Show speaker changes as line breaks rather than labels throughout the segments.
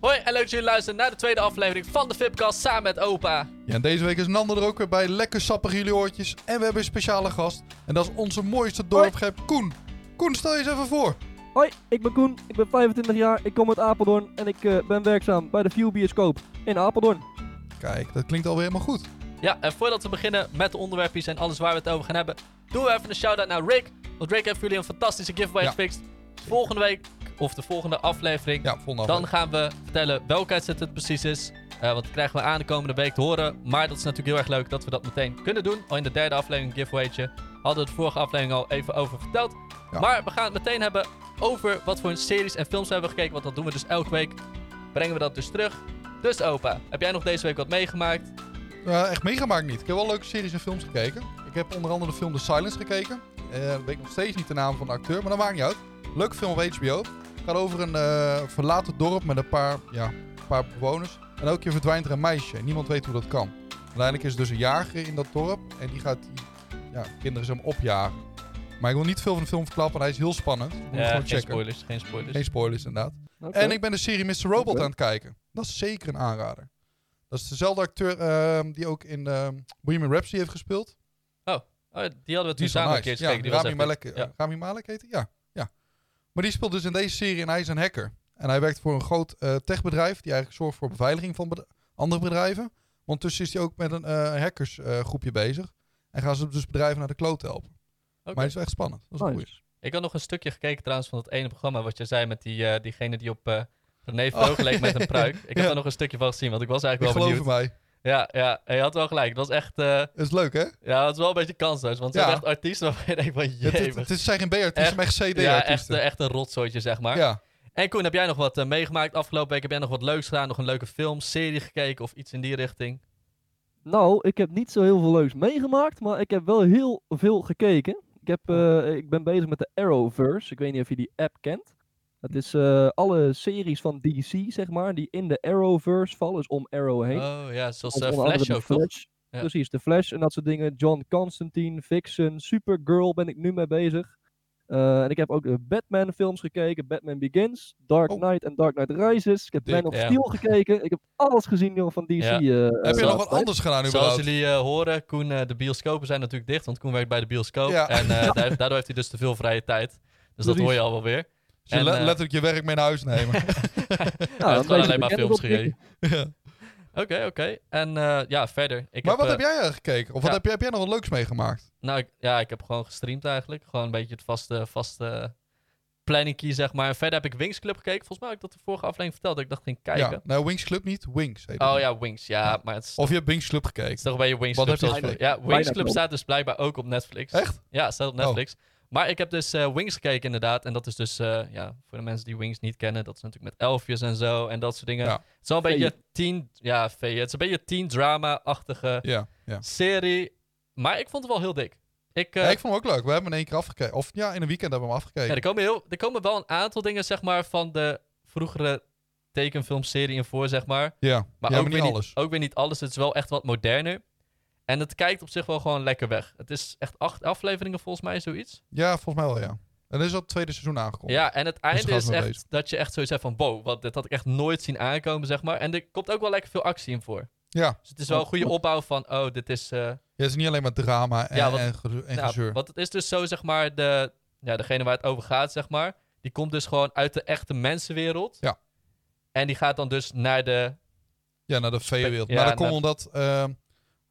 Hoi en leuk dat jullie luisteren naar de tweede aflevering van de Vipcast samen met opa.
Ja, en deze week is Nander er ook weer bij. Lekker sappig jullie oortjes. En we hebben een speciale gast. En dat is onze mooiste dorpgep, Koen. Koen, stel je eens even voor.
Hoi, ik ben Koen, ik ben 25 jaar, ik kom uit Apeldoorn en ik eh, ben werkzaam bij de View Bioscoop in Apeldoorn.
Kijk, dat klinkt alweer helemaal goed.
Ja, en voordat we beginnen met de onderwerpjes en alles waar we het over gaan hebben, doen we even een shout-out naar Rick. Want Rick heeft voor jullie een fantastische giveaway
Ja.
gefixt. Volgende week, of de volgende aflevering,
Ja, volgende
dan gaan we vertellen welke uitzet het precies is. Eh, want dat krijgen we aan de komende week te horen. Maar dat is natuurlijk heel erg leuk dat we dat meteen kunnen doen. Al in de derde aflevering een giveawaytje. Hadden we de vorige aflevering al even over verteld.
Ja.
Maar we gaan het meteen hebben over wat voor een series en films we hebben gekeken. Want dat doen we dus elke week. Brengen we dat dus terug. Dus opa, heb jij nog deze week wat meegemaakt?
Eh, echt meegemaakt niet. Ik heb wel leuke series en films gekeken. Ik heb onder andere de film The Silence gekeken. Eh weet ik nog steeds niet de naam van de acteur, maar dat maakt niet uit. Leuke film op HBO. Gaat over een eh, verlaten dorp met een paar, ja, een paar bewoners. En elke keer verdwijnt er een meisje. Niemand weet hoe dat kan. Uiteindelijk is er dus een jager in dat dorp. En die gaat die ja, kinderen zo opjagen. Maar ik wil niet veel van de film verklappen, want hij is heel spannend. Je Moet het gewoon
Eh, geen
checken.
spoilers, geen spoilers.
Geen spoilers inderdaad.
Oké.
En ik ben de serie Mr. Robot
Oké.
aan het kijken. Dat is zeker een aanrader. Dat is dezelfde acteur ehm, die ook in ehm Bohemian Rhapsody heeft gespeeld.
Oh, die hadden we
Die
toen
is wel
samen een
nice.
keer
ja,
gekeken. die was
Rami
echt
Malek.
goed.
eh, Rami Malek heet hij? Ja. ja. Maar die speelt dus in deze serie en hij is een hacker. En hij werkt voor een groot eh, techbedrijf die eigenlijk zorgt voor beveiliging van bed- andere bedrijven. Want tussen is hij ook met een eh, hackersgroepje bezig. En gaan ze dus bedrijven naar de kloot helpen.
Oké.
Maar het is wel echt spannend. Dat is een
Nice.
goeie.
Ik had nog een stukje gekeken trouwens van dat ene programma wat jij zei met die, eh, diegene die op eh René
Oh.
Vroog leek met een pruik. Ik heb
Ja.
daar nog een stukje van gezien, want ik was
Ik
eigenlijk wel
geloof in
benieuwd.
mij.
Ja, ja, en je had wel gelijk. Het was echt, eh,
Het is leuk hè?
ja, het is wel een beetje kansloos, want ze
Ja.
zijn echt artiesten waarvan je denkt van,
Het, het,
jemig.
het zijn geen B-artiesten,
Echt-
maar echt
Ja, echt,
CD-artiesten.
eh, echt een rotzooitje, zeg maar.
ja.
En Koen, heb jij nog wat eh, meegemaakt afgelopen week? Heb jij nog wat leuks gedaan? Nog een leuke film, serie gekeken of iets in die richting?
Nou, ik heb niet zo heel veel leuks meegemaakt, maar ik heb wel heel veel gekeken. Ik, heb,
Oh.
eh, ik ben bezig met de Arrowverse, ik weet niet of je die app kent. Dat is eh, alle series van DC, zeg maar, die in de Arrowverse vallen, dus om Arrow heen.
Oh ja, zoals
Of
eh,
onder andere
Flash
de
ook, toch?
Flash.
Ja.
Precies, de Flash en dat soort dingen. John Constantine, Vixen, Supergirl ben ik nu mee bezig. Eh, en ik heb ook de Batman films gekeken. Batman Begins, Dark
Oh.
Knight en Dark Knight Rises. Ik heb
Dik,
Man of
ja.
Steel gekeken. Ik heb alles gezien joh, van DC.
Ja.
eh,
Heb je
eh,
nog wat anders gedaan
Zoals
überhaupt?
jullie eh, horen, Koen, eh, de bioscopen zijn natuurlijk dicht, want Koen werkt bij de bioscoop.
Ja.
En eh, daar heeft- daardoor heeft hij dus te veel vrije tijd. Dus dat
Precies.
hoor je al wel weer.
Dus je
En,
le-
eh,
letterlijk je werk mee naar huis nemen.
Ja,
hij heeft
een
gewoon
beetje
alleen maar
bekend
films
oppikken.
gekeken.
Ja.
Oké, oké. En eh, ja, verder. Ik
maar wat
eh,
heb jij eh, gekeken? Of wat
ja.
heb, jij, heb jij nog wat leuks meegemaakt?
Nou, ik, ja, ik heb gewoon gestreamd eigenlijk. Gewoon een beetje het vaste, vaste planningkie, zeg maar. En verder heb ik Wings Club gekeken. Volgens mij had ik dat de vorige aflevering verteld. Dat ik dat ging
Ja.
kijken.
Nou, Wings Club niet. Wings heet het.
Oh ja, Wings. Ja,
Ja.
maar het is,
Of je hebt Wings Club
het is
gekeken.
toch bij je Wings
Wat
Club.
heb je
zoals-
gekeken?
ja, Wings Club
wel.
staat dus blijkbaar ook op Netflix.
Echt?
Ja, staat op
Oh.
Netflix. Maar ik heb dus eh, Wings gekeken inderdaad. En dat is dus, eh, ja, voor de mensen die Wings niet kennen, dat is natuurlijk met elfjes en zo en dat soort dingen.
Ja.
Het is wel een beetje teen, ja, veeën. Het is een beetje teen drama-achtige
Ja. Ja.
serie. Maar ik vond het wel heel dik. Ik, eh,
ja, ik vond hem ook leuk. We hebben hem in één keer afgekeken. Of ja, in een weekend hebben we hem
ja,
afgekeken.
er, komen heel, er komen wel een aantal dingen, zeg maar, van de vroegere tekenfilmserie in voor, zeg maar.
Ja,
Maar
Ja,
ook
maar
weer
niet alles.
Ook weer niet alles. Het is wel echt wat moderner. En het kijkt op zich wel gewoon lekker weg. Het is echt acht afleveringen volgens mij, zoiets.
Ja, volgens mij wel, ja. En er is al het tweede seizoen aangekomen.
Ja, en het
daar
einde
gaan
is
ze mee
echt
bezig.
dat je echt zoiets hebt van... wow, wat, dit had ik echt nooit zien aankomen, zeg maar. En er komt ook wel lekker veel actie in voor.
Ja.
Dus het is wel een goede opbouw van... oh, dit is... eh,
Ja, het is niet alleen maar drama en,
Ja, want-
en, gezu- en
nou,
gezeur.
want het is dus zo, zeg maar, de, ja, degene waar het over gaat, zeg maar... die komt dus gewoon uit de echte mensenwereld.
Ja.
En die gaat dan dus naar de...
Ja, naar de veewereld.
Ja,
maar dat komt
naar-
omdat ehm,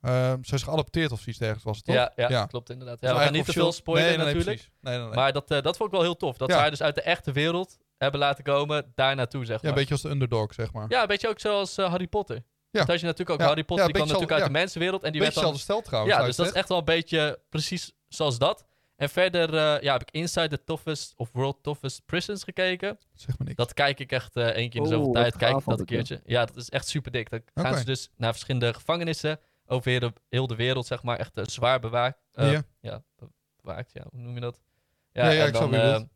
ehm, ze is geadopteerd of zoiets dergelijks was het, toch?
Ja, ja,
Ja.
klopt inderdaad.
Dus
Ja, we gaan niet
eigenlijk
te veel spoilen
officieel- nee, nee, nee,
natuurlijk.
precies. Nee, nee, nee.
Maar dat, eh, dat vond ik wel heel tof. Dat
Ja.
ze haar dus uit de echte wereld hebben laten komen, daar naartoe, zeg
ja,
maar.
een beetje als de underdog, zeg maar.
Ja, een beetje ook zoals eh, Harry Potter.
Ja.
Dat je natuurlijk ook
Ja.
Harry Potter, die
Ja,
kwam
beetje
natuurlijk uit
zo-
de mensenwereld. En die
beetje
werd dan
hetzelfde stel trouwens.
Ja,
nou,
dus dat is
je
echt wel een beetje precies zoals dat. En verder eh, ja, heb ik Inside the Toughest of World Toughest Prisons gekeken.
zegt. Zeg maar niks.
Dat kijk ik echt eh één keer in de
Oh,
zoveel
wat
tijd. Kijk ik
gaaf
dat een
altijd,
keertje. Ja, dat is echt super dik. Dan gaan
Oké.
ze dus naar verschillende gevangenissen over heel de, heel de wereld, zeg maar. Echt eh, zwaar bewaakt. eh,
Ja.
ja, be- bewaakt, ja, hoe noem je dat? Ja,
Ja, ja,
en
ik snap
dan,
wat je
eh,
bedoelt.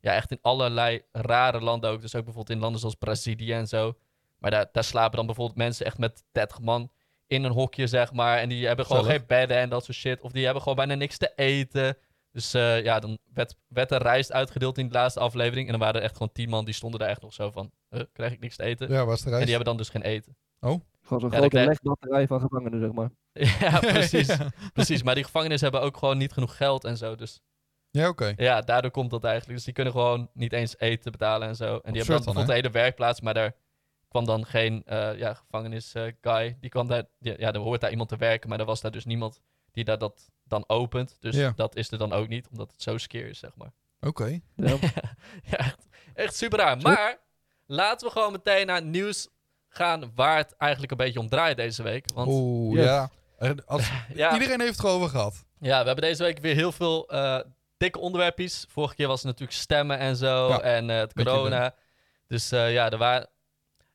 ja, echt in allerlei rare landen ook. Dus ook bijvoorbeeld in landen zoals Brazilië en zo. Maar daar, daar slapen dan bijvoorbeeld mensen echt met 30 man in een hokje, zeg maar. En die hebben gewoon
Gezellig.
geen bedden en dat soort shit. Of die hebben gewoon bijna niks te eten. Dus eh, ja, dan werd, werd er rijst uitgedeeld in de laatste aflevering. En dan waren er echt gewoon tien man die stonden daar echt nog zo van... "Huh, krijg ik niks te eten?
Ja, waar is de
En
reis?
die hebben dan dus geen eten. Ja,
Gewoon zo'n
dat
grote
krijg-
legbatterij van gevangenen, zeg maar.
ja, precies.
ja,
precies. Maar die gevangenis hebben ook gewoon niet genoeg geld en zo. Dus
Ja, oké.
ja, daardoor komt dat eigenlijk. Dus die kunnen gewoon niet eens eten betalen en zo. En die hebben
Absurd
dan
dan, hè?
bijvoorbeeld de hele werkplaats, maar daar kwam dan geen eh, ja, gevangenis eh, guy. Die kwam daar, die- ja, er hoort daar iemand te werken, maar er was daar dus niemand die daar dat dan opent. Dus
Ja.
dat is er dan ook niet, omdat het zo skeer is, zeg maar.
Oké.
Ja.
Ja, echt, echt super raar.
Zo.
Maar laten we gewoon meteen naar het nieuws gaan waar het eigenlijk een beetje om draait deze week. Want
Oeh,
Yes.
ja. En als-
ja,
Iedereen heeft het erover gehad.
Ja, we hebben deze week weer heel veel eh, dikke onderwerpjes. Vorige keer was het natuurlijk stemmen en zo.
Ja,
en eh, het
beetje
corona. Dus eh, ja, er waren...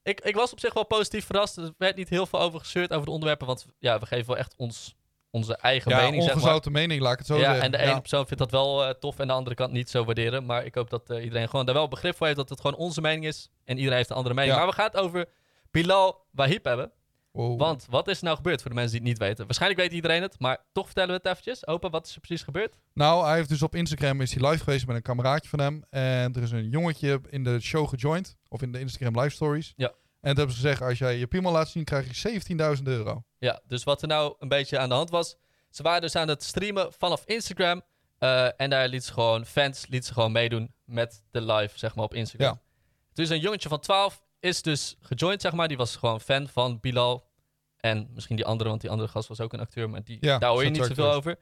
Ik, ik was op zich wel positief verrast. Er werd niet heel veel over gezeurd over de onderwerpen. Want ja, we geven wel echt ons, onze eigen
ja,
mening, zeg maar.
ongezouten mening, laat ik het zo
Ja,
zeggen.
en de ene persoon vindt dat wel eh, tof en de andere kant niet zo waarderen. Maar ik hoop dat eh, iedereen gewoon daar wel begrip voor heeft dat het gewoon onze mening is. En iedereen heeft een andere mening.
Ja.
Maar we gaan het over Bilal Wahib hebben.
Wow.
Want wat is er nou gebeurd voor de mensen die het niet weten? Waarschijnlijk weet iedereen het, maar toch vertellen we het eventjes. Opa, wat is er precies gebeurd?
Nou, hij heeft dus op Instagram is hij live geweest met een kameraadje van hem. En er is een jongetje in de show gejoind. Of in de Instagram live stories.
Ja.
En toen hebben ze gezegd, als jij je piemel laat zien, krijg je 17.000 euro.
Ja, dus wat er nou een beetje aan de hand was. Ze waren dus aan het streamen vanaf Instagram. eh, en daar liet ze gewoon, fans liet ze gewoon meedoen met de live, zeg maar, op Instagram.
Ja.
Dus een jongetje van 12 is dus gejoind, zeg maar. Die was gewoon fan van Bilal. En misschien die andere, want die andere gast was ook een acteur. Maar die,
Ja,
daar hoor je
zo'n
niet zoveel
acteur.
over.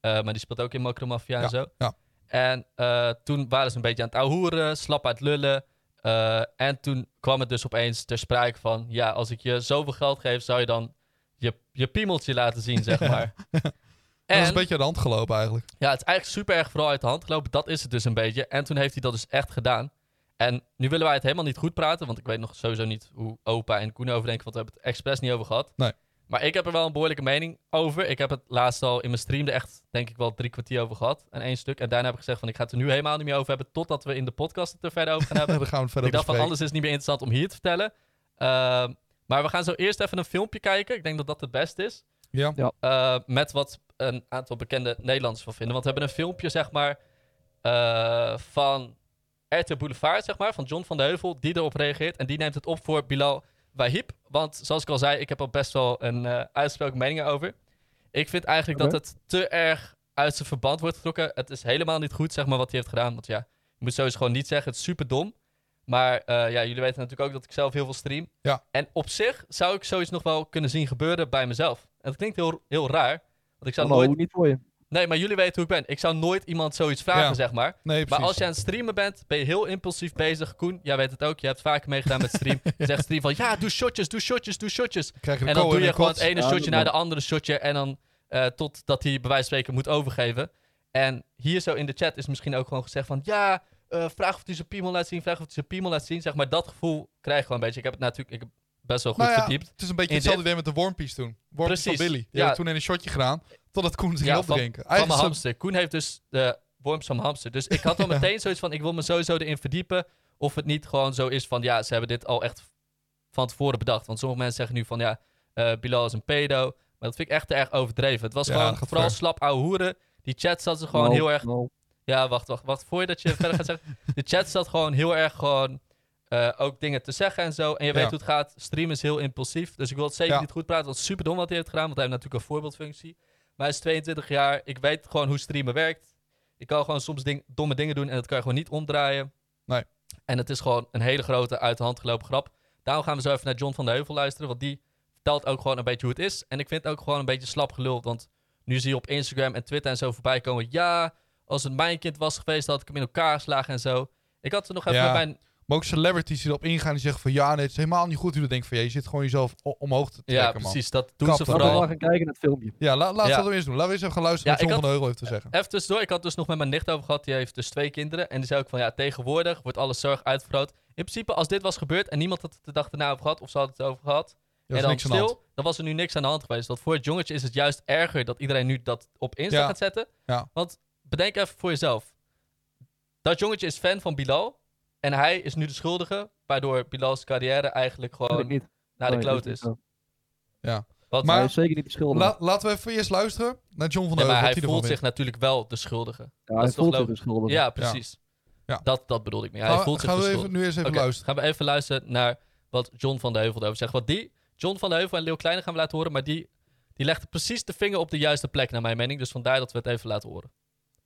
Eh, maar die speelt ook in Macromafia en zo.
ja.
En eh, toen waren ze een beetje aan het ahoeren, slap uit lullen. Eh, en toen kwam het dus opeens ter sprake van... ja, als ik je zoveel geld geef, zou je dan je, je piemeltje laten zien, zeg maar.
Dat
en
is een beetje aan de hand gelopen eigenlijk.
ja, het is eigenlijk super erg vooral uit de hand gelopen. Dat is het dus een beetje. En toen heeft hij dat dus echt gedaan. En nu willen wij het helemaal niet goed praten, want ik weet nog sowieso niet hoe opa en Koen overdenken, want we hebben het expres niet over gehad.
Nee.
Maar ik heb er wel een behoorlijke mening over. Ik heb het laatst al in mijn stream er echt, denk ik wel, drie kwartier over gehad. En één stuk. En daarna heb ik gezegd van, ik ga het er nu helemaal niet meer over hebben, totdat we in de podcast het er verder over gaan hebben.
Ja, dan gaan we het verder
ik dacht van,
bespreken.
anders is het niet meer interessant om hier te vertellen. Ehm, maar we gaan zo eerst even een filmpje kijken. Ik denk dat dat het beste is.
Ja.
Eh, met wat een aantal bekende Nederlanders van vinden. Want we hebben een filmpje, zeg maar, eh, van RTL Boulevard, zeg maar, van John van de Heuvel, die erop reageert. En die neemt het op voor Bilal Wahib. Want zoals ik al zei, ik heb al best wel een eh uitsproken mening over. Ik vind eigenlijk
Oké.
dat het te erg uit zijn verband wordt getrokken. Het is helemaal niet goed, zeg maar, wat hij heeft gedaan. Want ja, je moet sowieso gewoon niet zeggen, het is super dom. Maar eh, ja, jullie weten natuurlijk ook dat ik zelf heel veel stream.
Ja.
En op zich zou ik zoiets nog wel kunnen zien gebeuren bij mezelf. En dat klinkt heel, heel raar. Want ik zou
Hallo,
nooit...
niet voor je.
Nee, maar jullie weten hoe ik ben. Ik zou nooit iemand zoiets vragen,
Ja.
zeg maar.
Nee, precies.
Maar als je aan het streamen bent, ben je heel impulsief bezig. Koen, jij weet het ook. Je hebt vaker meegedaan met stream. Je zegt stream van, ja, doe shotjes, doe shotjes, doe shotjes.
krijg je de
En dan
kool
doe
in
je
de
gewoon
kot.
het ene
Ja,
shotje
dat
naar de
wel.
andere shotje. En dan eh, totdat hij bij wijze van spreken moet overgeven. En hier zo in de chat is misschien ook gewoon gezegd van... Ja, eh, vraag of hij zijn piemel laat zien. Vraag of hij zijn piemel laat zien. Zeg maar, dat gevoel krijg je gewoon een beetje. Ik heb het natuurlijk ik heb best wel goed
Nou ja,
verdiept.
Het is een beetje
In
hetzelfde idee met de wormpies toen. Wormpies van
Precies,
Billy. Die
ja.
hebben toen in een shotje gedaan, totdat Koen het ging
Ja, van-
opdrinken.
Van mijn
Eigenlijk is
hamster. Koen heeft dus de worms van mijn hamster. Dus ik had al
Ja.
meteen zoiets van... Ik wil me sowieso erin verdiepen. Of het niet gewoon zo is van... Ja, ze hebben dit al echt van tevoren bedacht. Want sommige mensen zeggen nu van... Ja, eh, Bilal is een pedo. Maar dat vind ik echt te erg overdreven. Het was
Ja,
gewoon
dat gaat
vooral
ver.
slap ouwe hoeren. Die chat zat ze gewoon
Lol,
heel erg...
lol.
Ja, wacht, wacht, wacht. Voordat je verder gaat zeggen. De chat zat gewoon heel erg gewoon eh, ook dingen te zeggen en zo. En je weet
Ja.
hoe het gaat. Stream is heel impulsief. Dus ik wil het zeker
Ja.
niet goed praten. Want het is super dom wat hij heeft gedaan. Want hij heeft natuurlijk een voorbeeldfunctie. Maar hij is 22 jaar. Ik weet gewoon hoe streamen werkt. Ik kan gewoon soms ding- domme dingen doen en dat kan je gewoon niet omdraaien.
Nee.
En het is gewoon een hele grote uit de hand gelopen grap. Daarom gaan we zo even naar John van de Heuvel luisteren. Want die vertelt ook gewoon een beetje hoe het is. En ik vind het ook gewoon een beetje slap gelul. Want nu zie je op Instagram en Twitter en zo voorbij komen. Ja, als het mijn kind was geweest, had ik hem in elkaar geslagen en zo. Ik had er nog even
Ja.
met mijn.
Maar ook celebrities die erop ingaan die zeggen van... Ja, nee, het is helemaal niet goed. Die denken van, ja, je zit gewoon jezelf o- omhoog te trekken,
Ja,
man.
precies. Dat doen
Kap
ze
ermee.
Laten we
vooral.
maar gaan kijken naar het filmpje.
Ja, la- laten
Ja.
we dat eerst doen. Laten we eens even gaan luisteren
Ja,
wat
ik
John
had-
van de Heuvel heeft te zeggen.
Even tussendoor, ik had dus nog met mijn nicht over gehad. Die heeft dus twee kinderen. En die zei ook van ja, tegenwoordig wordt alle zorg uitvergroot. In principe, als dit was gebeurd en niemand had het de dag daarna over gehad, of ze hadden het over gehad,
Ja,
en
is
dan
niks aan de hand.
stil, dan was er nu niks aan de hand geweest. Want voor het jongetje is het juist erger dat iedereen nu dat op Insta
Ja.
gaat zetten.
Ja.
Want bedenk even voor jezelf. Dat jongetje is fan van Bilal. En hij is nu de schuldige, waardoor Bilal's carrière eigenlijk
Dat weet
gewoon
ik niet.
naar de
Nee,
kloot
dat
is.
zo.
Wat?
Maar-
hij is zeker niet de schuldige.
La- laten we even eerst luisteren naar John van
Nee, maar
der Heuvel.
hij
wat ervan
voelt zich
vindt.
natuurlijk wel de schuldige.
Ja,
dat
hij
is toch
voelt zich
leuk?
de schuldige.
Ja, precies.
Ja.
Dat, dat bedoel ik meer. Hij
Gaan we-
voelt zich
gaan
de
we
schuldige.
even, nu eens even
Oké,
luisteren.
Gaan we even luisteren naar wat John van de Heuvel daarover zegt. Want die, John van de Heuvel en Leeuw Kleine gaan we laten horen, maar die, die legde precies de vinger op de juiste plek, naar mijn mening. Dus vandaar dat we het even laten horen.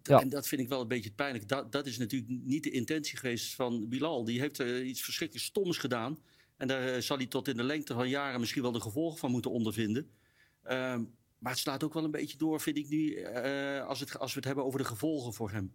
Ja.
En dat vind ik wel een beetje pijnlijk. Dat, dat is natuurlijk niet de intentie geweest van Bilal. Die heeft eh, iets verschrikkelijk stoms gedaan. En daar eh, zal hij tot in de lengte van jaren misschien wel de gevolgen van moeten ondervinden. Ehm, maar het slaat ook wel een beetje door, vind ik nu, eh, als, het, als we het hebben over de gevolgen voor hem.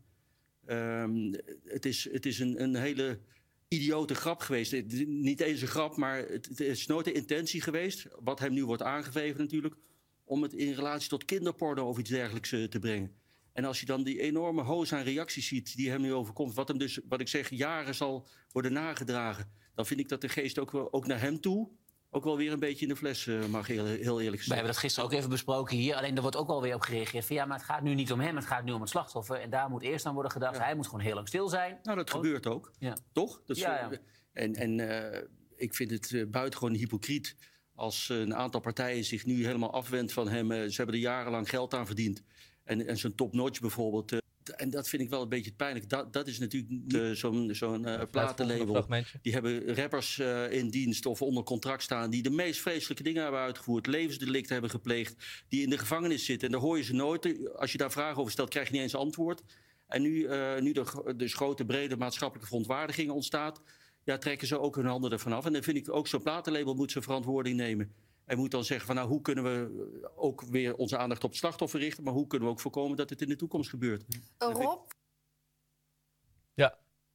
Ehm, het is, het is een, een hele idiote grap geweest. Het- Niet eens een grap, maar het, het is nooit de intentie geweest, wat hem nu wordt aangegeven natuurlijk, om het in relatie tot kinderporno of iets dergelijks eh, te brengen. En als je dan die enorme hoos aan reacties ziet die hem nu overkomt, wat hem dus, wat ik zeg, jaren zal worden nagedragen, dan vind ik dat de geest ook, wel, ook naar hem toe ook wel weer een beetje in de fles eh, mag, heel, heel eerlijk
We
zijn.
hebben dat gisteren ook even besproken hier. Alleen er wordt ook alweer op gereageerd. Van, ja, maar het gaat nu niet om hem, het gaat nu om het slachtoffer. En daar moet eerst aan worden gedacht.
Ja.
Hij moet gewoon heel lang stil zijn.
Nou, dat
Oh.
gebeurt ook.
Ja.
Toch? Dat is-
Ja, ja.
En, en eh, ik vind het eh, buitengewoon hypocriet als eh, een aantal partijen zich nu helemaal afwendt van hem. Eh, ze hebben er jarenlang geld aan verdiend. En, en zo'n topnotch bijvoorbeeld. eh, d- en dat vind ik wel een beetje pijnlijk. Dat, dat is natuurlijk niet, eh, zo'n zo'n eh,
Volgende
platenlabel.
fragmentje.
Die hebben rappers eh, in dienst of onder contract staan. die de meest vreselijke dingen hebben uitgevoerd. levensdelicten hebben gepleegd. die in de gevangenis zitten. En daar hoor je ze nooit. Als je daar vragen over stelt, krijg je niet eens antwoord. En nu, eh, nu er gro- dus grote, brede maatschappelijke verontwaardiging ontstaat. Ja, trekken ze ook hun handen ervan af. En dan vind ik ook zo'n platenlabel moet zijn verantwoording nemen. En moet dan zeggen van nou, hoe kunnen we eh, ook weer onze aandacht op het slachtoffer richten. maar hoe kunnen we ook voorkomen dat dit in de toekomst gebeurt.
Rob,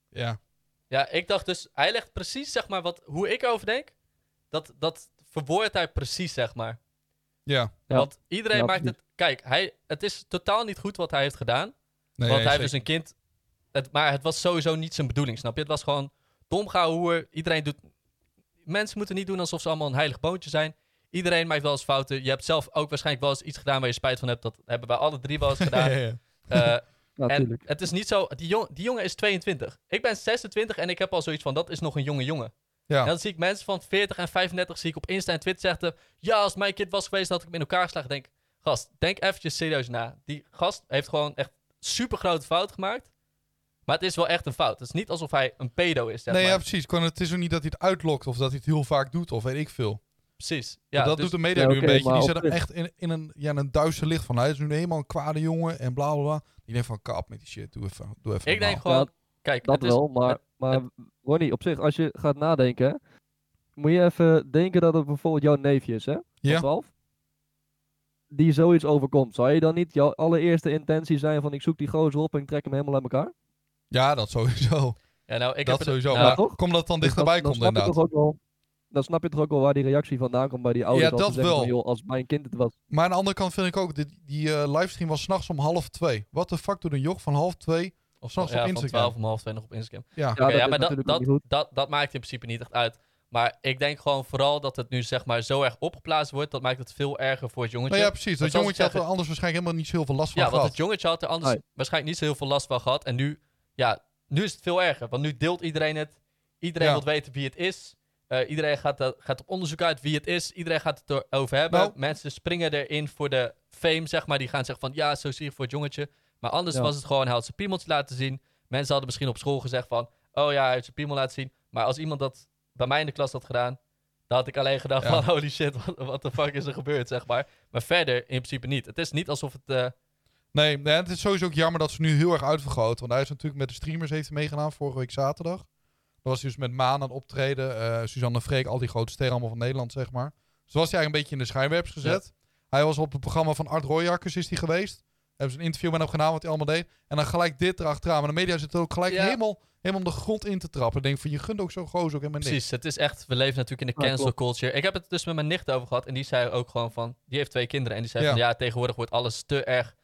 Ja.
Ja, ik dacht dus, hij legt precies zeg maar wat, hoe ik over denk. Dat, dat verwoordt hij precies zeg maar.
Ja.
Ja.
Want iedereen
Ja,
maakt het. Kijk, hij, het is totaal niet goed wat hij heeft gedaan.
Nee,
want hij
zeker.
heeft dus een kind. Het, maar het was sowieso niet zijn bedoeling, snap je? Het was gewoon dom hoer. Iedereen doet. Mensen moeten niet doen alsof ze allemaal een heilig boontje zijn. Iedereen maakt wel eens fouten. Je hebt zelf ook waarschijnlijk wel eens iets gedaan waar je spijt van hebt. Dat hebben wij alle drie wel eens gedaan.
Ja, ja, ja.
Eh,
Ja,
en
natuurlijk.
het is niet zo. Die, jong, die jongen is 22. Ik ben 26 en ik heb al zoiets van: dat is nog een jonge jongen.
Ja.
En dan zie ik mensen van 40 en 35 zie ik op Insta en Twitter zeggen... Ja, als het mijn kind was geweest, had ik hem in elkaar geslagen. Denk, gast, denk eventjes serieus na. Die gast heeft gewoon echt super grote fout gemaakt. Maar het is wel echt een fout. Het is niet alsof hij een pedo is, zeg
nee,
maar.
ja, precies. Kan- Het is ook niet dat hij het uitlokt of dat hij het heel vaak doet of weet ik veel.
Preet. Ja,
dat
dus-
doet de media
Ja,
nu
oké,
een beetje.
maar
Die
op
zet hem
zich-
echt in, in een, ja, in een duister licht van. Hij is nu helemaal een kwade jongen en bla bla bla. Die denkt van kap met die shit. Doe even. Doe even
Ik denk
normaal.
gewoon...
Ja,
kijk,
Dat
het is,
wel, maar, maar Ronnie, op zich, als je gaat nadenken, hè, moet je even denken dat het bijvoorbeeld jouw neefje is, hè? van
Ja.
12, die zoiets overkomt. Zou je dan niet jouw allereerste intentie zijn van ik zoek die gozer op en ik trek hem helemaal uit elkaar?
Ja, dat sowieso.
ja, nou, ik
dat
heb het-
sowieso.
nou,
Ja,
maar
toch?
kom dat dan
Dus
dichterbij
dan,
komt
dan snap je
inderdaad.
toch ook wel, dan snap je toch ook wel waar die reactie vandaan komt bij die ouders.
Ja,
als ze
dat
zeggen van,
wel.
joh, als mijn kind het was.
Maar aan de andere kant vind ik ook, dit, die eh, livestream was s'nachts om half twee. Wat de fuck doet een joch van half twee?
of
s'nachts
ja,
op
van
Instagram.
12 om half 2 nog op Instagram.
Ja,
Ja,
Oké,
dat
ja,
is
maar dat,
natuurlijk ook
dat,
niet goed.
dat, dat maakt in principe niet echt uit. Maar ik denk gewoon vooral dat het nu zeg maar zo erg opgeplaatst wordt. Dat maakt het veel erger voor het jongetje.
nou ja precies. Dat
zoals ik
jongetje had
zeg,
er anders waarschijnlijk helemaal niet zo heel veel last van
Ja, want
gehad.
het jongetje had er anders
Nee.
waarschijnlijk niet zo heel veel last van gehad. En nu, ja, nu is het veel erger. Want nu deelt iedereen het. Iedereen
Ja.
wil weten wie het is. Eh, iedereen gaat, dat- gaat op onderzoek uit wie het is. Iedereen gaat het erover hebben.
Nou.
Mensen springen erin voor de fame, zeg maar. Die gaan zeggen van, ja, zo zie je voor het jongetje. Maar anders
Ja.
was het gewoon, hij had zijn piemeltje laten zien. Mensen hadden misschien op school gezegd van, oh ja, hij heeft zijn piemel laten zien. Maar als iemand dat bij mij in de klas had gedaan, dan had ik alleen gedacht
Ja.
van, holy shit, wat- wat de fuck is er gebeurd, zeg maar. Maar verder, in principe niet. Het is niet alsof het... eh,
Nee, nee, het is sowieso ook jammer dat ze nu heel erg uitvergroten. Want hij is natuurlijk met de streamers heeft hij meegedaan vorige week zaterdag. Dan was hij dus met Maan aan het optreden. eh Suzanne Freek, al die grote sterren allemaal van Nederland, zeg maar. Dus was hij eigenlijk een beetje in de schijnwerpers gezet. Hij was op het programma van Art Royakkers is hij geweest. Hebben ze een interview met hem gedaan, wat hij allemaal deed. En dan gelijk dit erachteraan. Maar de media zit er ook gelijk
Ja.
helemaal, helemaal om de grond in te trappen. Ik denk van, je gunt ook zo'n gozer ook helemaal niks.
Precies, het is echt, we leven natuurlijk in de
Ja,
cancel culture. Ik heb het dus met mijn nicht over gehad en die zei ook gewoon van, die heeft twee kinderen en die zei
Ja.
van, ja, tegenwoordig wordt alles te erg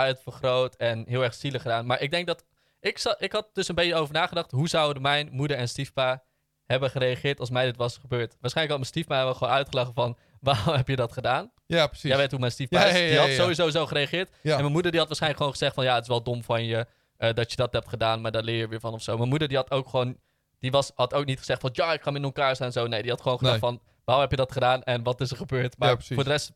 uitvergroot en heel erg zielig gedaan. Maar ik denk dat, ik, za- ik had dus een beetje over nagedacht, hoe zouden mijn moeder en stiefpa hebben gereageerd als mij dit was gebeurd? Waarschijnlijk had mijn stiefpa me gewoon uitgelachen van, waarom heb je dat gedaan?
Ja, precies.
Jij weet hoe mijn stiefpa
Ja,
is.
ja, ja,
Die had
ja.
sowieso zo gereageerd.
Ja.
En mijn moeder die had waarschijnlijk gewoon gezegd van... ja, het is wel dom van je eh, dat je dat hebt gedaan... maar daar leer je weer van of zo. Mijn moeder die had ook gewoon... die was, had ook niet gezegd van... ja, ik ga hem in elkaar staan en zo. Nee, die had gewoon gedacht
Nee.
van... waarom heb je dat gedaan en wat is er gebeurd? Maar
Ja, precies.
voor de rest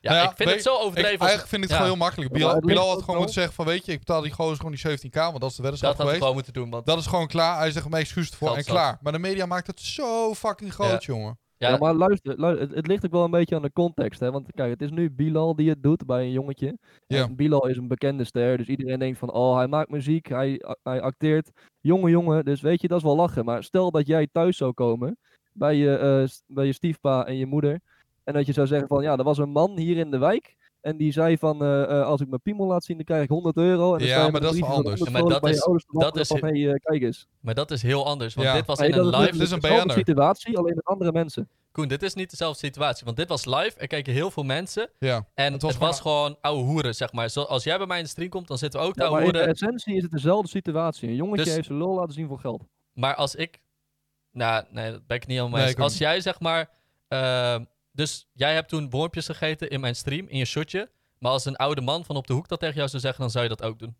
Ja,
Nou ja,
ik vind
weet-
het zo
Ik,
overdreven. als-
eigenlijk vind ik het
ja,
gewoon heel makkelijk.
Maar
Bilal,
het ligt
Bilal
ook
had gewoon
wel-
moeten zeggen van... Weet je, ik betaal die gozer gewoon die 17k. Want dat is de weddenschap
dat had ik
geweest.
gewoon moeten doen. Want,
Dat is gewoon klaar. Hij zegt mijn excuus ervoor
Geld
en
zat.
klaar. Maar de media maakt het zo fucking groot, jongen.
ja,
Ja, maar luister, luister, het, het ligt ook wel een beetje aan de context. Hè? Want kijk, het is nu Bilal die het doet bij een jongetje.
Ja.
En Bilal is een bekende ster, dus iedereen denkt van, oh, hij maakt muziek, hij, a- hij acteert. Jongen, jongen, dus weet je, dat is wel lachen. Maar stel dat jij thuis zou komen bij je, eh, s- bij je stiefpa en je moeder. En dat je zou zeggen van, ja, er was een man hier in de wijk. En die zei van, eh, eh, als ik mijn piemel laat zien, dan krijg ik 100 euro. En dan
Ja,
sta je
maar
met
dat is
een
wel
briefje
anders.
Ja, maar
van 100 euro
dat
bij je
is-
ouders te
dat
wapperen
is
van, hey, eh, kijk eens.
maar dat is heel anders. Want
Ja.
dit was
Nee,
in een
dat
live.
dit is een
dezelfde
BN'er.
situatie, alleen met andere mensen.
Koen, dit is niet dezelfde situatie. Want dit was live. Er keken heel veel mensen.
Ja.
En
Het
het
was
was, gewoon oude hoeren, zeg maar. Zo, als jij bij mij in de stream komt, dan zitten we ook te
Ja,
oude
maar in de
hoeren.
essentie is het dezelfde situatie. Een jongetje
Nou, Dus-
heeft zijn lol laten zien voor geld.
Maar als ik. Nou, nee, dat ben ik niet helemaal
Nee,
mee eens.
ik ook
Als
niet.
jij zeg maar. ehm, dus jij hebt toen wormpjes gegeten in mijn stream, in je shotje. Maar als een oude man van op de hoek dat tegen jou zou zeggen, dan zou je dat ook doen.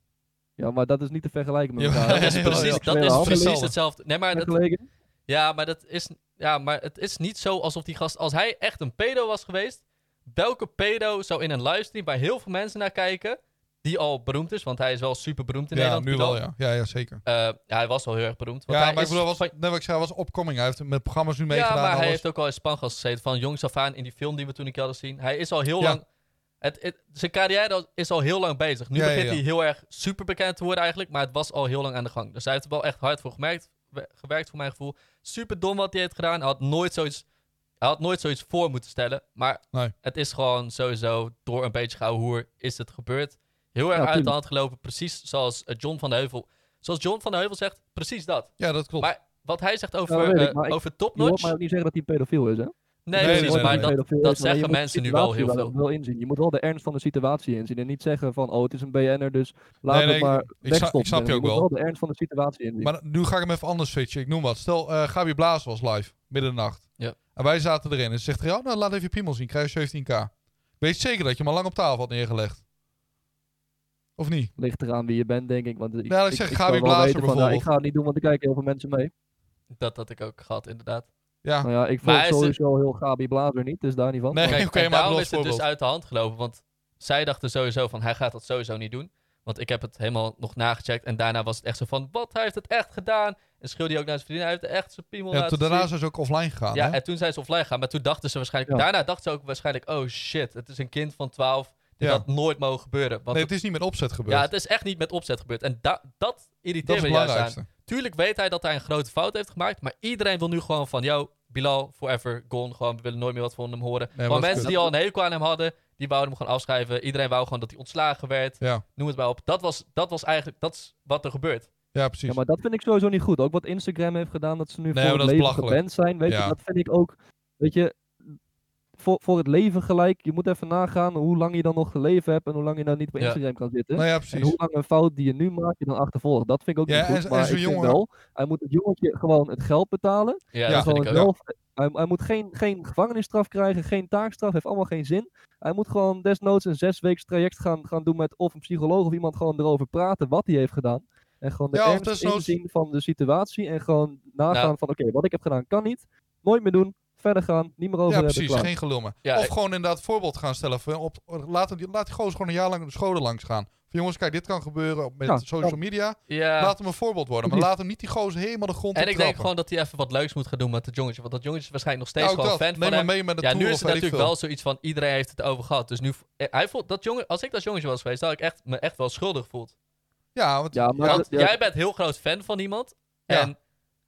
Ja, maar dat is niet te vergelijken met
Ja,
elkaar.
Dat
ja,
is
ja,
precies,
ja.
dat
Ja,
is
ja.
precies
Hetzelfde.
hetzelfde. Nee, maar dat,
Vergeleken.
ja, maar dat is, ja, maar het is niet zo alsof die gast, als hij echt een pedo was geweest, welke pedo zou in een livestream waar heel veel mensen naar kijken, die al beroemd is, want hij is wel super beroemd in
Ja,
Nederland.
nu
Bilal.
wel, ja. Ja, ja zeker.
Eh, ja, hij was al heel erg beroemd. want
Ja,
hij
maar ik
is
bedoel, was,
van-
net wat ik zei, hij was opkoming. Hij heeft met programma's nu meegedaan.
Ja, maar
en
hij
alles.
heeft ook al in Spangas gezeten. Van jongs af aan in die film die we toen een keer hadden zien. Hij is al heel
Ja.
lang... Het, het- zijn carrière al- is al heel lang bezig. Nu
Ja, ja,
begint
ja.
hij heel erg super bekend te worden eigenlijk. Maar het was al heel lang aan de gang. Dus hij heeft er wel echt hard voor gemerkt, we- gewerkt voor mijn gevoel. Super dom wat hij heeft gedaan. Hij had nooit zoiets, hij had nooit zoiets voor moeten stellen. Maar
Nee.
het is gewoon sowieso door een beetje gauw hoer is het gebeurd. Heel erg
Ja,
uit de
tuurlijk.
hand gelopen. Precies zoals eh, John van de Heuvel. Zoals John van de Heuvel zegt, precies dat.
Ja, dat klopt.
Maar wat hij zegt
Ja, dat
over,
weet ik,
eh,
maar ik-
over
Je hoort
topnotch...
mij ook niet zeggen dat hij pedofiel is, hè?
Nee,
Nee,
precies.
nee,
maar
nee,
dat,
Pedofiel is, maar
dat
je moet
zeggen
de
mensen nu wel
situatie
heel veel.
Wel inzien. Je moet wel de ernst van de situatie inzien. En niet zeggen van, oh, het is een BN'er, dus
Nee,
laten
nee,
we maar
ik- ik, snap, ik snap je ook
moet
wel.
wel de ernst van de situatie inzien.
Maar nu ga ik hem even anders switchen. Ik noem wat. Stel, eh Gabi Blaas was live, midden in de nacht.
Ja.
En wij zaten erin. En ze zegt, ja, nou laat even je piemel zien. Krijg je 17k. Ik Weet zeker dat je hem al lang op tafel had neergelegd? Of niet?
Ligt eraan wie je bent, denk ik. Want ik,
Ja, ik zeg
zou
Gabi
wel
Blazer
weten van, nou,
bijvoorbeeld.
ik ga het niet doen, want er kijken heel veel mensen mee.
Dat had ik ook gehad, inderdaad.
Ja.
Nou ja, ik
Maar
volg
hij is-
sowieso heel Gabi Blazer niet, dus daar niet van.
Nee,
Kijk,
oké,
en
maar
daarom
bedoel
is het dus
voorbeeld.
uit de hand gelopen. Want zij dachten sowieso van, hij gaat dat sowieso niet doen. Want ik heb het helemaal nog nagecheckt. En daarna was het echt zo van, wat, hij heeft het echt gedaan. En schreeuwde hij ook naar zijn vriendin, hij heeft echt zijn piemel
Ja,
laten
toen daarna
zien.
zijn ze ook offline gegaan.
Ja,
hè?
en toen zijn ze offline gegaan. Maar toen dachten ze waarschijnlijk...
Ja.
Daarna dachten ze ook waarschijnlijk... Oh shit, het is een kind van 12. Dit
Ja.
had nooit mogen gebeuren. Want
Nee,
het-
het is niet met opzet gebeurd.
ja, het is echt niet met opzet gebeurd. En da- dat
dat is
irriteert
het
me juist aan.
belangrijkste.
Tuurlijk weet hij dat hij een grote fout heeft gemaakt. Maar iedereen wil nu gewoon van jou, Bilal, forever, gone. Gewoon, we willen nooit meer wat van hem horen.
maar
gewoon
dat is
mensen
kut.
die al een hekel aan hem hadden, die wouden hem gewoon afschrijven. Iedereen wou gewoon dat hij ontslagen werd.
Ja.
Noem het maar op. Dat was, dat was eigenlijk dat is wat er gebeurt.
Ja, precies.
Ja, maar dat vind ik sowieso niet goed. Ook wat Instagram heeft gedaan, dat ze nu
Nee, maar
voor
dat
het
is
leven
belachelijk.
geband zijn. Weet
Ja.
je, dat vind ik ook, weet je, voor, voor het leven gelijk. Je moet even nagaan hoe lang je dan nog geleven hebt en hoe lang je nou niet op
Ja.
Instagram kan zitten.
nou ja,
en
precies.
hoe lang een fout die je nu maakt je dan achtervolgt. Dat vind ik ook
Ja,
niet
en
goed.
zo- en
maar
zo'n
ik vind
jongen-
wel, hij moet het jongetje gewoon het geld betalen.
Ja,
Ja.
dat
gewoon
vind ik ook.
zelf, hij, hij moet geen, geen gevangenisstraf krijgen, geen taakstraf, heeft allemaal geen zin. Hij moet gewoon desnoods een zesweeks traject gaan, gaan doen met of een psycholoog of iemand gewoon erover praten wat hij heeft gedaan. En gewoon de
Ja, of
ernst
desnoods-
inzien van de situatie en gewoon nagaan
Nou.
van oké, wat ik heb gedaan kan niet, nooit meer doen, verder gaan, niet meer over
Ja,
hebben,
precies.
klaar.
Geen gelul meer.
Ja,
of
ik-
gewoon inderdaad voorbeeld gaan stellen. Van op, laat, die, laat die gozer gewoon een jaar lang de scholen langs gaan. Van jongens, kijk, dit kan gebeuren op- met
Ja,
social
ja.
media.
Ja.
Laat hem een voorbeeld worden. Maar
Precies.
laat hem niet die gozer helemaal de grond
En ik denk
optrappen.
gewoon dat hij even wat leuks moet gaan doen met het jongetje. Want dat jongetje is waarschijnlijk nog
Ja,
steeds
ook
gewoon
Nou, dat.
fan van
Neem
hem.
maar mee met de
ja,
tour
nu
of
is het
weet ik
natuurlijk
veel.
wel zoiets van iedereen heeft het over gehad. Dus nu eh, hij voelt dat jongen, als ik dat jongetje was geweest, zou ik echt, me echt wel schuldig voeld.
Ja, want,
Ja, maar
ja,
dat-
Want jij bent heel groot fan van iemand
Ja.
en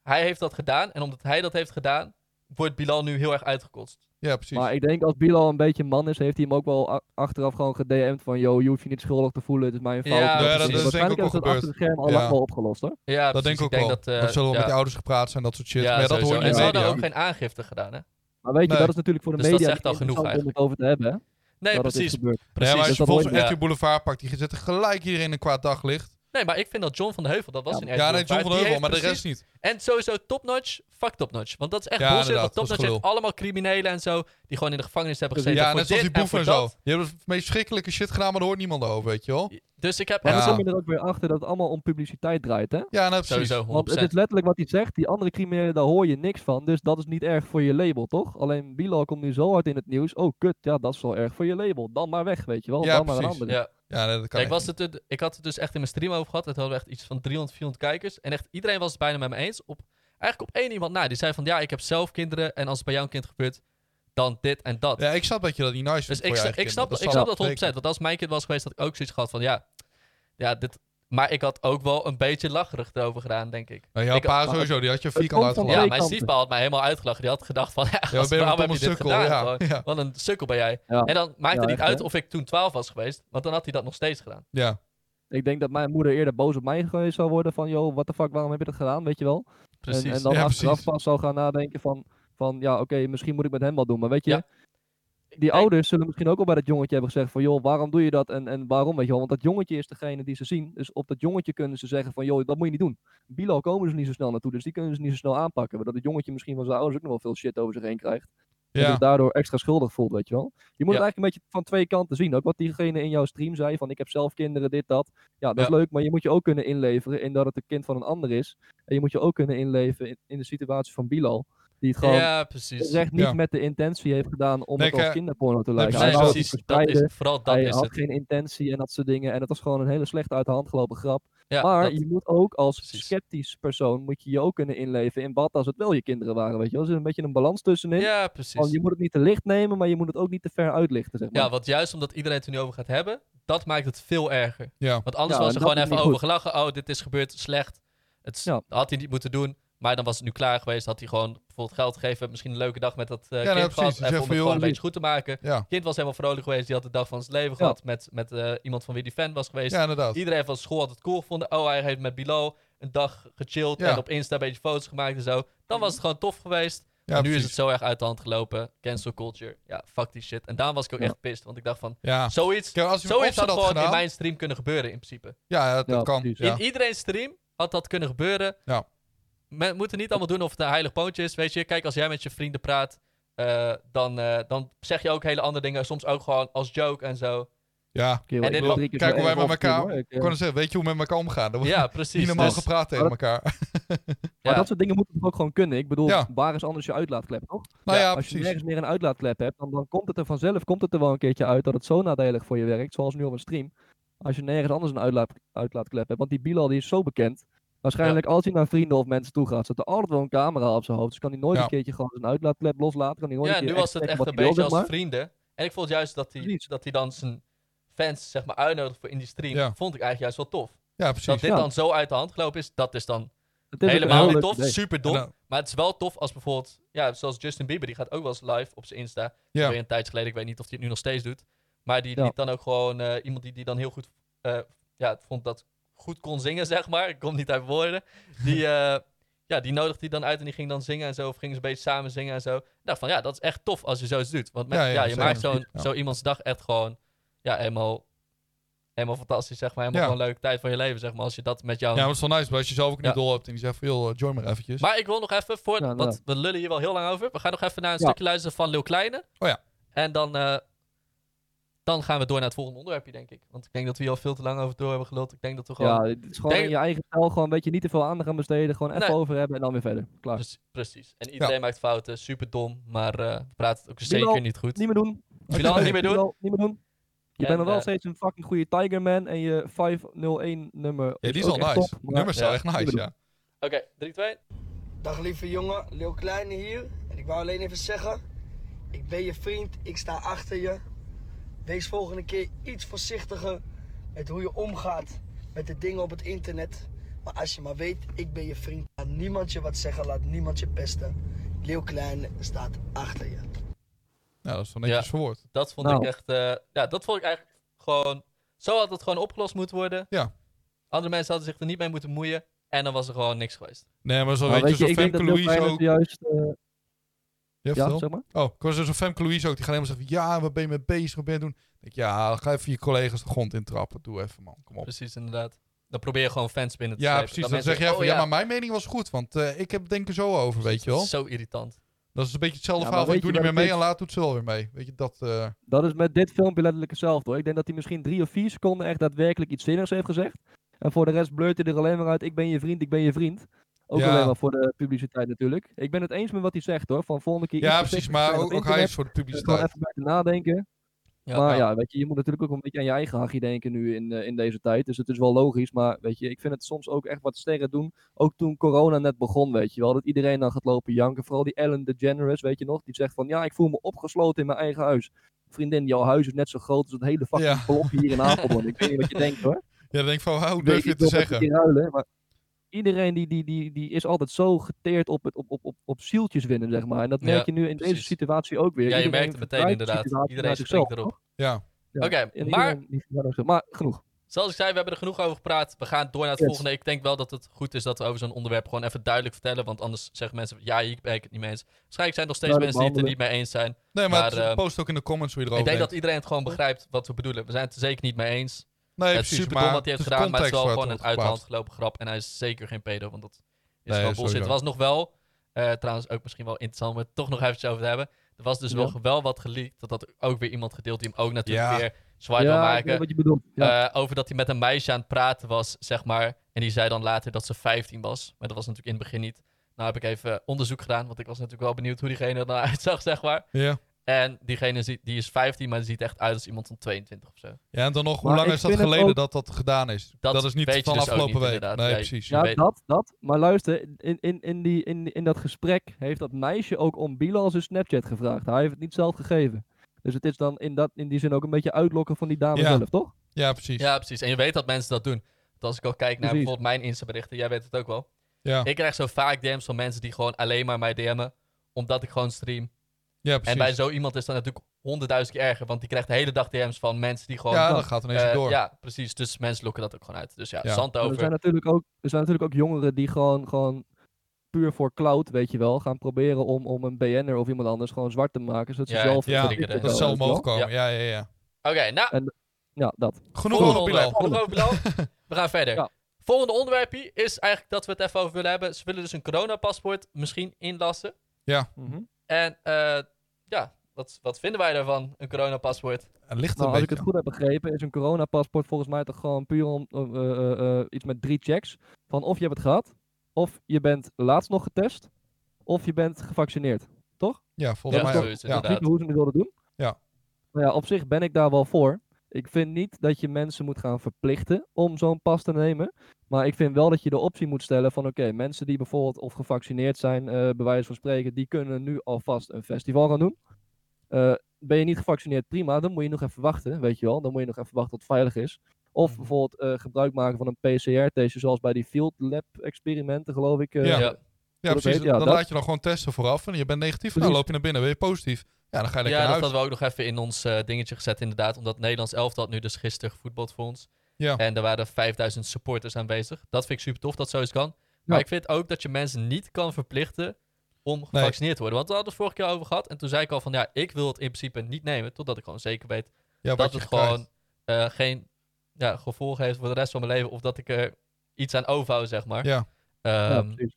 hij heeft dat gedaan en omdat hij dat heeft gedaan wordt Bilal nu heel erg uitgekotst.
ja, precies.
Maar ik denk als Bilal een beetje man is, heeft hij hem ook wel a- achteraf gewoon gedM'd van yo, je hoeft je niet schuldig te voelen, het is mijn fout.
Ja,
is
Ja, dat
het.
is
denk ik
Waarschijnlijk
ook
hebben ze
wel
dat achter de schermen al
Ja.
lang wel opgelost hoor.
Ja,
dat
precies.
denk ik ook
denk
wel.
Dat, eh,
dat zullen we
ja.
met de ouders gepraat zijn, dat soort shit.
Ja,
maar ja, dat
sowieso.
hoor je
En
in de
ze hadden
media.
ook geen aangifte gedaan, hè?
Maar weet je,
Nee.
dat is natuurlijk voor de
Dus dat
media
zegt al
niet
genoeg
interessant om het over te hebben. Hè?
Nee,
dat dit
precies.
gebeurt.
Nee,
precies.
maar als
Dus
je
dat hoor
volgens
je-
mij echt
ja.
je boulevard pakt, die zet er gelijk iedereen in een kwaad daglicht.
Nee, maar ik vind dat John van de Heuvel, dat was
Ja,
een
Ja, nee, John van Heuvel, maar de
precies...
rest niet.
En sowieso topnotch, fuck topnotch. Want dat is echt
Ja,
bullshit, want
inderdaad, dat is
topnotch heeft
gelul.
allemaal criminelen en zo... die gewoon in de gevangenis hebben gezeten
Ja,
voor
net zoals die
dit
boeven en
voor
zo.
dat.
Die hebben het meest schrikkelijke shit gedaan, maar daar hoort niemand over, weet je wel.
Dus ik heb
Maar
echt
Ja.
dan kom je er ook weer achter dat het allemaal om publiciteit draait, hè?
Ja, nou, precies.
sowieso 100%.
Want het is letterlijk wat hij zegt. Die andere criminelen, daar hoor je niks van. Dus dat is niet erg voor je label, toch? Alleen Bilal komt nu zo hard in het nieuws. Oh, kut. Ja, dat is wel erg voor je label. Dan maar weg, weet je wel.
Ja,
dan maar een
precies.
andere.
Ja.
Ja, nee, dat kan
Ja, ik,
echt
was het, het- ik had het dus echt in mijn stream over gehad. Het hadden we echt iets van 300, 400 kijkers. En echt iedereen was het bijna met me eens. Op, eigenlijk op één iemand na. Die zei van, ja, ik heb zelf kinderen. En als het bij jou een kind gebeurt, dan dit en dat.
niet. Ja, ik snap dat je dat niet nice
dus
vindt
ik,
voor
sta-
je eigen
ik
kinderen.
snap dat, ik
zal
snap dat 100%.
ik zeker.
Want als mijn kind was geweest, had ik ook zoiets gehad van, ja, ja dit... Maar ik had ook wel een beetje lacherig erover gedaan, denk ik.
Nou, jouw
Ik-
pa
maar-
sowieso, die had je
komt
vierkant
van-
uitgelaten.
Ja,
twee
mijn
kanten.
stiefpa had mij helemaal uitgelachen. Die had gedacht van, ja,
Ja,
gast,
we ben je
waarom
met
heb je
Thomas
dit
Sukkel?
gedaan?
Ja,
Gewoon,
ja,
Wat een sukkel ben jij.
Ja.
En dan maakte het
Ja,
niet
echt,
uit
hè?
of ik toen 12 was geweest. Want dan had hij dat nog steeds gedaan.
ja.
Ik denk dat mijn moeder eerder boos op mij geweest zou worden. Van, joh, what the fuck, waarom heb je dat gedaan? Weet je wel. En-
Precies.
En, dan
ja,
achteraf
precies.
pas zou gaan nadenken van... Van, ja, oké, misschien moet ik met hem wat doen. Maar weet je,
Ja.
die ouders zullen misschien ook al bij dat jongetje hebben gezegd van... joh, waarom doe je dat en, en waarom, weet je wel. Want dat jongetje is degene die ze zien. Dus op dat jongetje kunnen ze zeggen van... joh, dat moet je niet doen. Bilo komen ze niet zo snel naartoe, dus die kunnen ze niet zo snel aanpakken. Waardoor het jongetje misschien van zijn ouders ook nog wel veel shit over zich heen krijgt. En
Ja.
dus daardoor extra schuldig voelt, weet je wel. Je moet
Ja.
het eigenlijk een beetje van twee kanten zien. Ook wat diegene in jouw stream zei, van ik heb zelf kinderen, dit, dat. Ja, dat is
Ja.
leuk, maar je moet je ook kunnen inleveren in dat het een kind van een ander is. En je moet je ook kunnen inleveren in, in de situatie van Bilal. Die het gewoon
Ja, precies.
echt niet
Ja.
met de intentie heeft gedaan om
Nee,
het als
kijk,
kinderporno te
precies.
lijken.
Nee,
hij wou het
precies.
niet
Dat
verspreiden,
is, vooral dat
hij
is
had
het.
geen intentie en dat soort dingen. En dat is gewoon een hele slecht uit de hand gelopen grap.
Ja,
maar
dat-
je moet ook als
precies.
sceptisch persoon moet je je ook kunnen inleven in wat als het wel je kinderen waren, weet je wel. Er zit een beetje een balans tussenin.
ja,
Van,
precies.
Oh, je moet het niet te licht nemen, maar je moet het ook niet te ver uitlichten, zeg maar.
Ja, want juist omdat iedereen het er nu over gaat hebben, dat maakt het veel erger.
Ja.
Want anders
Ja,
was er
en dat
gewoon
is
even
niet
over
goed.
gelachen. Oh, dit is gebeurd, slecht. Het is-
Ja.
had hij niet moeten doen. Maar dan was het nu klaar geweest. Had hij gewoon bijvoorbeeld geld gegeven. Misschien een leuke dag met dat eh,
nee,
kind
precies.
gehad.
Dus
Even
even,
om het
joh,
gewoon een beetje goed te maken.
Ja.
kind was helemaal vrolijk geweest. Die had de dag van zijn leven
Ja.
gehad. Met, met eh, iemand van wie die fan was geweest.
ja, inderdaad.
Iedereen van school had het cool gevonden. Oh, hij heeft met Bilal een dag gechilled.
Ja.
En op Insta een beetje foto's gemaakt en zo. Dan was het gewoon tof geweest.
Ja,
Maar nu is
precies.
het zo erg uit de hand gelopen. Cancel culture. Ja, fuck die shit. En daarom was ik ook
Ja.
echt pissed. Want ik dacht van,
Ja.
zoiets,
Kijk, als je op
zoiets
ze
had
dat
gewoon in
gedaan...
mijn stream kunnen gebeuren in principe.
Ja, dat, dat
Ja,
kan.
precies.
Ja.
In iedereen stream had dat kunnen gebeuren.
Ja.
We moeten niet allemaal doen of het een heilig poontje is. Weet je, kijk, als jij met je vrienden praat, eh, dan, eh, dan zeg je ook hele andere dingen. Soms ook gewoon als joke en zo.
Ja.
Oké, wel,
en
ik
dit
wil
was-
drie keer
Kijk
zo
hoe wij
even
met
opzoeken,
elkaar-
hoor. Ik, eh,
Ik kon zeggen, weet je hoe we met elkaar omgaan? Dan wordt
Ja,
niet
precies.
normaal
Dus-
gepraat tegen
Maar
elkaar.
Maar
ja.
dat soort dingen moeten toch ook gewoon kunnen. Ik bedoel,
Ja.
waar is anders je uitlaatklep, toch?
Nou ja,
Als je
precies.
nergens meer een uitlaatklep hebt, dan, dan komt het er vanzelf komt het er wel een keertje uit dat het zo nadelig voor je werkt, zoals nu op een stream. Als je nergens anders een uitlaat, uitlaatklep hebt, want die Bilal die is zo bekend. Waarschijnlijk als hij naar vrienden of mensen toe gaat, zit er altijd wel een camera op zijn hoofd. Dus kan hij nooit
Ja.
een keertje gewoon zijn uitlaatklep loslaten. Kan hij nooit
Ja,
een
nu
keer
was het
zeggen
echt
wat
een
hij wil,
beetje
zeg
als
maar.
vrienden. En ik vond juist dat hij
Precies.
dat hij dan zijn fans zeg maar, uitnodigt voor in die stream.
Ja.
Vond ik eigenlijk juist wel tof.
Ja,
Dat
precies.
dit
Ja.
dan zo uit de hand gelopen is, dat is dan
Het is ook een
helemaal
heel
niet
leuk
tof.
idee.
Super dom.
En dan-
Maar het is wel tof als bijvoorbeeld, ja, zoals Justin Bieber, die gaat ook wel eens live op zijn Insta.
Ja.
Alweer een tijd geleden, ik weet niet of hij het nu nog steeds doet. Maar die
Ja.
liet dan ook gewoon eh, iemand die, die dan heel goed, eh, ja, vond dat goed kon zingen, zeg maar. Ik kom niet uit woorden. Die, eh, ja, die nodigde hij dan uit en die ging dan zingen en zo. Of gingen ze een beetje samen zingen en zo. Ik dacht van, ja, dat is echt tof als je zoiets doet. Want met-
Ja,
ja,
ja,
je
zeker.
maakt zo'n,
Ja.
zo iemands dag echt gewoon, ja, helemaal, helemaal fantastisch, zeg maar. Helemaal
Ja.
gewoon een leuke tijd van je leven, zeg maar. Als je dat met jou
Ja, maar het is wel nice. Maar als je zelf ook
Ja.
niet dol hebt en die zegt van, joh, eh, join maar eventjes.
maar ik wil nog even, voor,
Ja, nou.
want we lullen hier wel heel lang over. We gaan nog even naar een
Ja.
stukje luisteren van Leeuw Kleine.
Oh ja.
En dan, eh, dan gaan we door naar het volgende onderwerpje, denk ik. Want ik denk dat we hier al veel te lang over door hebben geluld. Ik denk dat we gewoon...
Ja, het is gewoon
Denk-
in je eigen stijl gewoon een beetje niet te veel aandacht aan besteden. Gewoon even
Nee. Dus-
over hebben en dan weer verder. Klaar.
Pre- precies. En iedereen maakt fouten. Super dom. Maar eh we praten het ook
Bilal,
zeker niet goed.
Niet meer doen.
Bilal, niet meer doen.
Bilal, niet meer doen.
En,
Je bent nog wel
eh,
steeds een fucking goede Tigerman en je 501 nummer.
Ja, die is
ook
wel
echt
nice.
top,
Die
maar-
nummers zijn
Ja.
echt nice, ja.
Oké, 3, 2.
Dag lieve jongen, Leeuw Kleine hier. En ik wou alleen even zeggen, ik ben je vriend, ik sta achter je. Wees volgende keer iets voorzichtiger met hoe je omgaat met de dingen op het internet. Maar als je maar weet, ik ben je vriend. Laat niemand je wat zeggen, laat niemand je pesten. Leeuw Kleine staat achter je.
Ja, dat is wel netjes
Ja.
verwoord.
Dat vond
Nou.
ik echt... eh, ja, dat vond ik eigenlijk gewoon... Zo had het gewoon opgelost moeten worden.
Ja.
Andere mensen hadden zich er niet mee moeten moeien. En dan was er gewoon niks geweest.
Nee, maar zo
Maar
weet je, zo'n
ik denk
Femke
dat Lil
Louise
Kleine
ook...
juist, eh,
Ja,
ja,
vertel.
zeg maar.
Oh, ik was dus een Femke Louise ook. Die gaan helemaal zeggen, ja, waar ben je mee bezig? Wat ben je aan het doen? Ik denk, ja, ga even je collega's de grond intrappen. Doe even, man. Kom op.
Precies, inderdaad. Dan probeer je gewoon fans binnen te
Ja,
slepen.
precies. Dan
mensen
zeg jij
denken,
van,
oh
ja, maar mijn mening was goed. Want eh, ik heb het denk ik er zo over, weet je wel.
Zo irritant.
Dat is een beetje hetzelfde
Ja, maar
verhaal van, ik doe
weet
niet
je
meer
wat
mee en laat
het
doet ze wel weer mee. Weet je, dat... eh,
Dat is met dit filmpje letterlijk hetzelfde hoor. Ik denk dat hij misschien drie of vier seconden echt daadwerkelijk iets zinnigs heeft gezegd. En voor de rest blurt hij er alleen maar uit, ik ben je vriend, ik ben je vriend. Ook
Ja.
alleen maar voor de publiciteit natuurlijk. Ik ben het eens met wat hij zegt hoor, van volgende keer... iets
ja, precies.
voorzichtig
Maar
zijn
ook,
op
ook hij is
internet.
voor de
Dus Gewoon
publiciteit.
even bij te nadenken.
Ja,
maar
ja.
ja, weet je, je moet natuurlijk ook een beetje aan je eigen hachje denken nu in, eh, in deze tijd. Dus het is wel logisch, maar weet je, ik vind het soms ook echt wat sterren doen. Ook toen corona net begon, weet je wel, dat iedereen dan gaat lopen janken. Vooral die Ellen DeGeneres, weet je nog, die zegt van, ja, ik voel me opgesloten in mijn eigen huis. Vriendin, jouw huis is net zo groot als het hele fucking
Ja.
blokje hier in Apeldoorn. ik weet niet wat je denkt hoor.
Ja, dan denk ik van, wauw, hoe
Nee,
durf je het
ik
te
wil met
zeggen?
die ruilen, maar iedereen die, die, die, die is altijd zo geteerd op, het, op, op, op, op zieltjes winnen, zeg maar. En dat
Ja,
merk je nu in deze
precies.
situatie ook weer.
Ja, je
Iedereen
merkt het meteen
verdraait de
inderdaad.
situatie
Iedereen
naar
springt
zichzelf.
erop.
Ja.
Ja.
Oké,
En
maar
iedereen die verder zegt, maar genoeg.
Zoals ik zei, we hebben er genoeg over gepraat. We gaan door naar het
Yes.
volgende. Ik denk wel dat het goed is dat we over zo'n onderwerp gewoon even duidelijk vertellen. Want anders zeggen mensen, ja, hier ben ik het niet mee eens. Waarschijnlijk zijn er nog steeds
Duidelijk
mensen die het er niet mee eens zijn.
Nee, maar,
Maar,
het-
eh,
post ook in de comments hoe je erover
ik denk dat
denkt.
iedereen het gewoon begrijpt wat we bedoelen. We zijn het er zeker niet mee eens.
nee,
het is
precies,
super dom
maar
wat hij heeft
is
gedaan, maar het is wel
context
gewoon
waar
een uit
wordt
de hand
geplaatst.
gelopen grap. En hij is zeker geen pedo, want dat is
Nee,
gewoon
sowieso.
bullshit. Het was nog wel, eh, trouwens ook misschien wel interessant om het toch nog eventjes over te hebben. Er was dus
Ja.
wel, wel wat geleakt, dat had ook weer iemand gedeeld die hem ook natuurlijk
Ja.
weer zwaar wil
ja, ik
maken.
weet wat je bedoelt. Ja.
Eh, over dat hij met een meisje aan het praten was, zeg maar. En die zei dan later dat ze 15 was. Maar dat was natuurlijk in het begin niet. Nou heb ik even eh, onderzoek gedaan, want ik was natuurlijk wel benieuwd hoe diegene er nou uitzag, zeg maar.
Ja.
En diegene zie- die is 15, maar die ziet echt uit als iemand van 22 of zo.
ja, en dan nog, hoe
Maar
lang
ik
is dat
vind het
geleden
ook-
dat dat gedaan is?
Dat
Dat, is niet
weet je
van
dus ook
afgelopen
niet,
week.
inderdaad.
Nee,
Nee.
precies.
Ja.
Ja,
weet-
dat, dat. Maar luister, in, in, in, die, in, in dat gesprek heeft dat meisje ook om Bilal zijn Snapchat gevraagd. Hij heeft het niet zelf gegeven. Dus het is dan in, dat, in die zin ook een beetje uitlokken van die dame
Ja.
zelf, toch?
Ja, precies.
Ja, precies. En je weet dat mensen dat doen. Want als ik al kijk naar
Precies.
bijvoorbeeld mijn Insta-berichten, jij weet het ook wel.
Ja,
Ik krijg zo vaak DM's van mensen die gewoon alleen maar mij DM'en, omdat ik gewoon stream.
ja
En bij
precies.
zo iemand is dat natuurlijk honderdduizend keer erger, want die krijgt de hele dag DM's van mensen die gewoon...
Ja, dat gaat ineens weer
Eh,
door.
Ja, precies. Dus mensen lokken dat ook gewoon uit. Dus ja,
Ja.
zand
Maar Er
over.
zijn, natuurlijk ook, er zijn natuurlijk ook jongeren die gewoon, gewoon puur voor cloud, weet je wel, gaan proberen om, om een BN'er of iemand anders gewoon zwart te maken. Zodat ze
Ja,
zelf...
ja,
een tikkie
dat
Dat
wel,
is
krijgen,
zelf
weet je
omhoog
wel.
komen. Ja, ja, ja.
Oké, nou,
Ja, dat.
Genoeg
volgende
over
onderwerp.
Bilal.
Genoeg over Bilal. We gaan verder.
Ja.
Volgende onderwerpje is eigenlijk dat we het even over willen hebben. Ze willen dus een coronapaspoort misschien inlassen.
Mhm.
En eh, ja, wat, wat vinden wij daarvan, een coronapaspoort?
Het ligt
Nou,
een
als ik het
beetje.
goed heb begrepen, is een coronapaspoort volgens mij toch gewoon puur om, om, eh, eh, eh, iets met drie checks. Van of je hebt het gehad, of je bent laatst nog getest, of je bent gevaccineerd.
Ja, volgens
Ja,
mij ook.
zoiets,
Ja.
inderdaad.
Ik weet niet hoe ze het wilden doen.
Ja.
Maar ja, op zich ben ik daar wel voor. Ik vind niet dat je mensen moet gaan verplichten om zo'n pas te nemen. Maar ik vind wel dat je de optie moet stellen van oké, mensen die bijvoorbeeld of gevaccineerd zijn, eh bij wijze van spreken, die kunnen nu alvast een festival gaan doen. Eh, ben je niet gevaccineerd, prima, dan moet je nog even wachten, weet je wel. Dan moet je nog even wachten tot het veilig is. Of
Mhm.
bijvoorbeeld eh, gebruik maken van een PCR-testje, zoals bij die field lab experimenten, geloof ik. eh,
Ja. Ja,
dat
precies.
weet- ja,
Dan
dat-
laat je dan gewoon testen vooraf. En je bent negatief, nou
Precies.
loop je naar binnen. Ben je positief? Ja, dan ga je lekker
Ja,
naar
dat
huis.
hadden we ook nog even in ons eh, dingetje gezet, inderdaad. Omdat het Nederlands elftal had nu dus gisteren gevoetbald voor ons.
Ja.
En er waren 5000 supporters aanwezig. Dat vind ik super tof dat zoiets kan. Maar
Ja.
ik vind ook dat je mensen niet kan verplichten om gevaccineerd te worden. Want we hadden het vorige keer over gehad. En toen zei ik al van ja, ik wil het in principe niet nemen. Totdat ik gewoon zeker weet
Ja, wat
dat
je
het
krijgt.
gewoon eh, geen ja, gevolg heeft voor de rest van mijn leven. Of dat ik er iets aan overhoud, zeg maar.
Ja.
ja,
Ehm,
precies.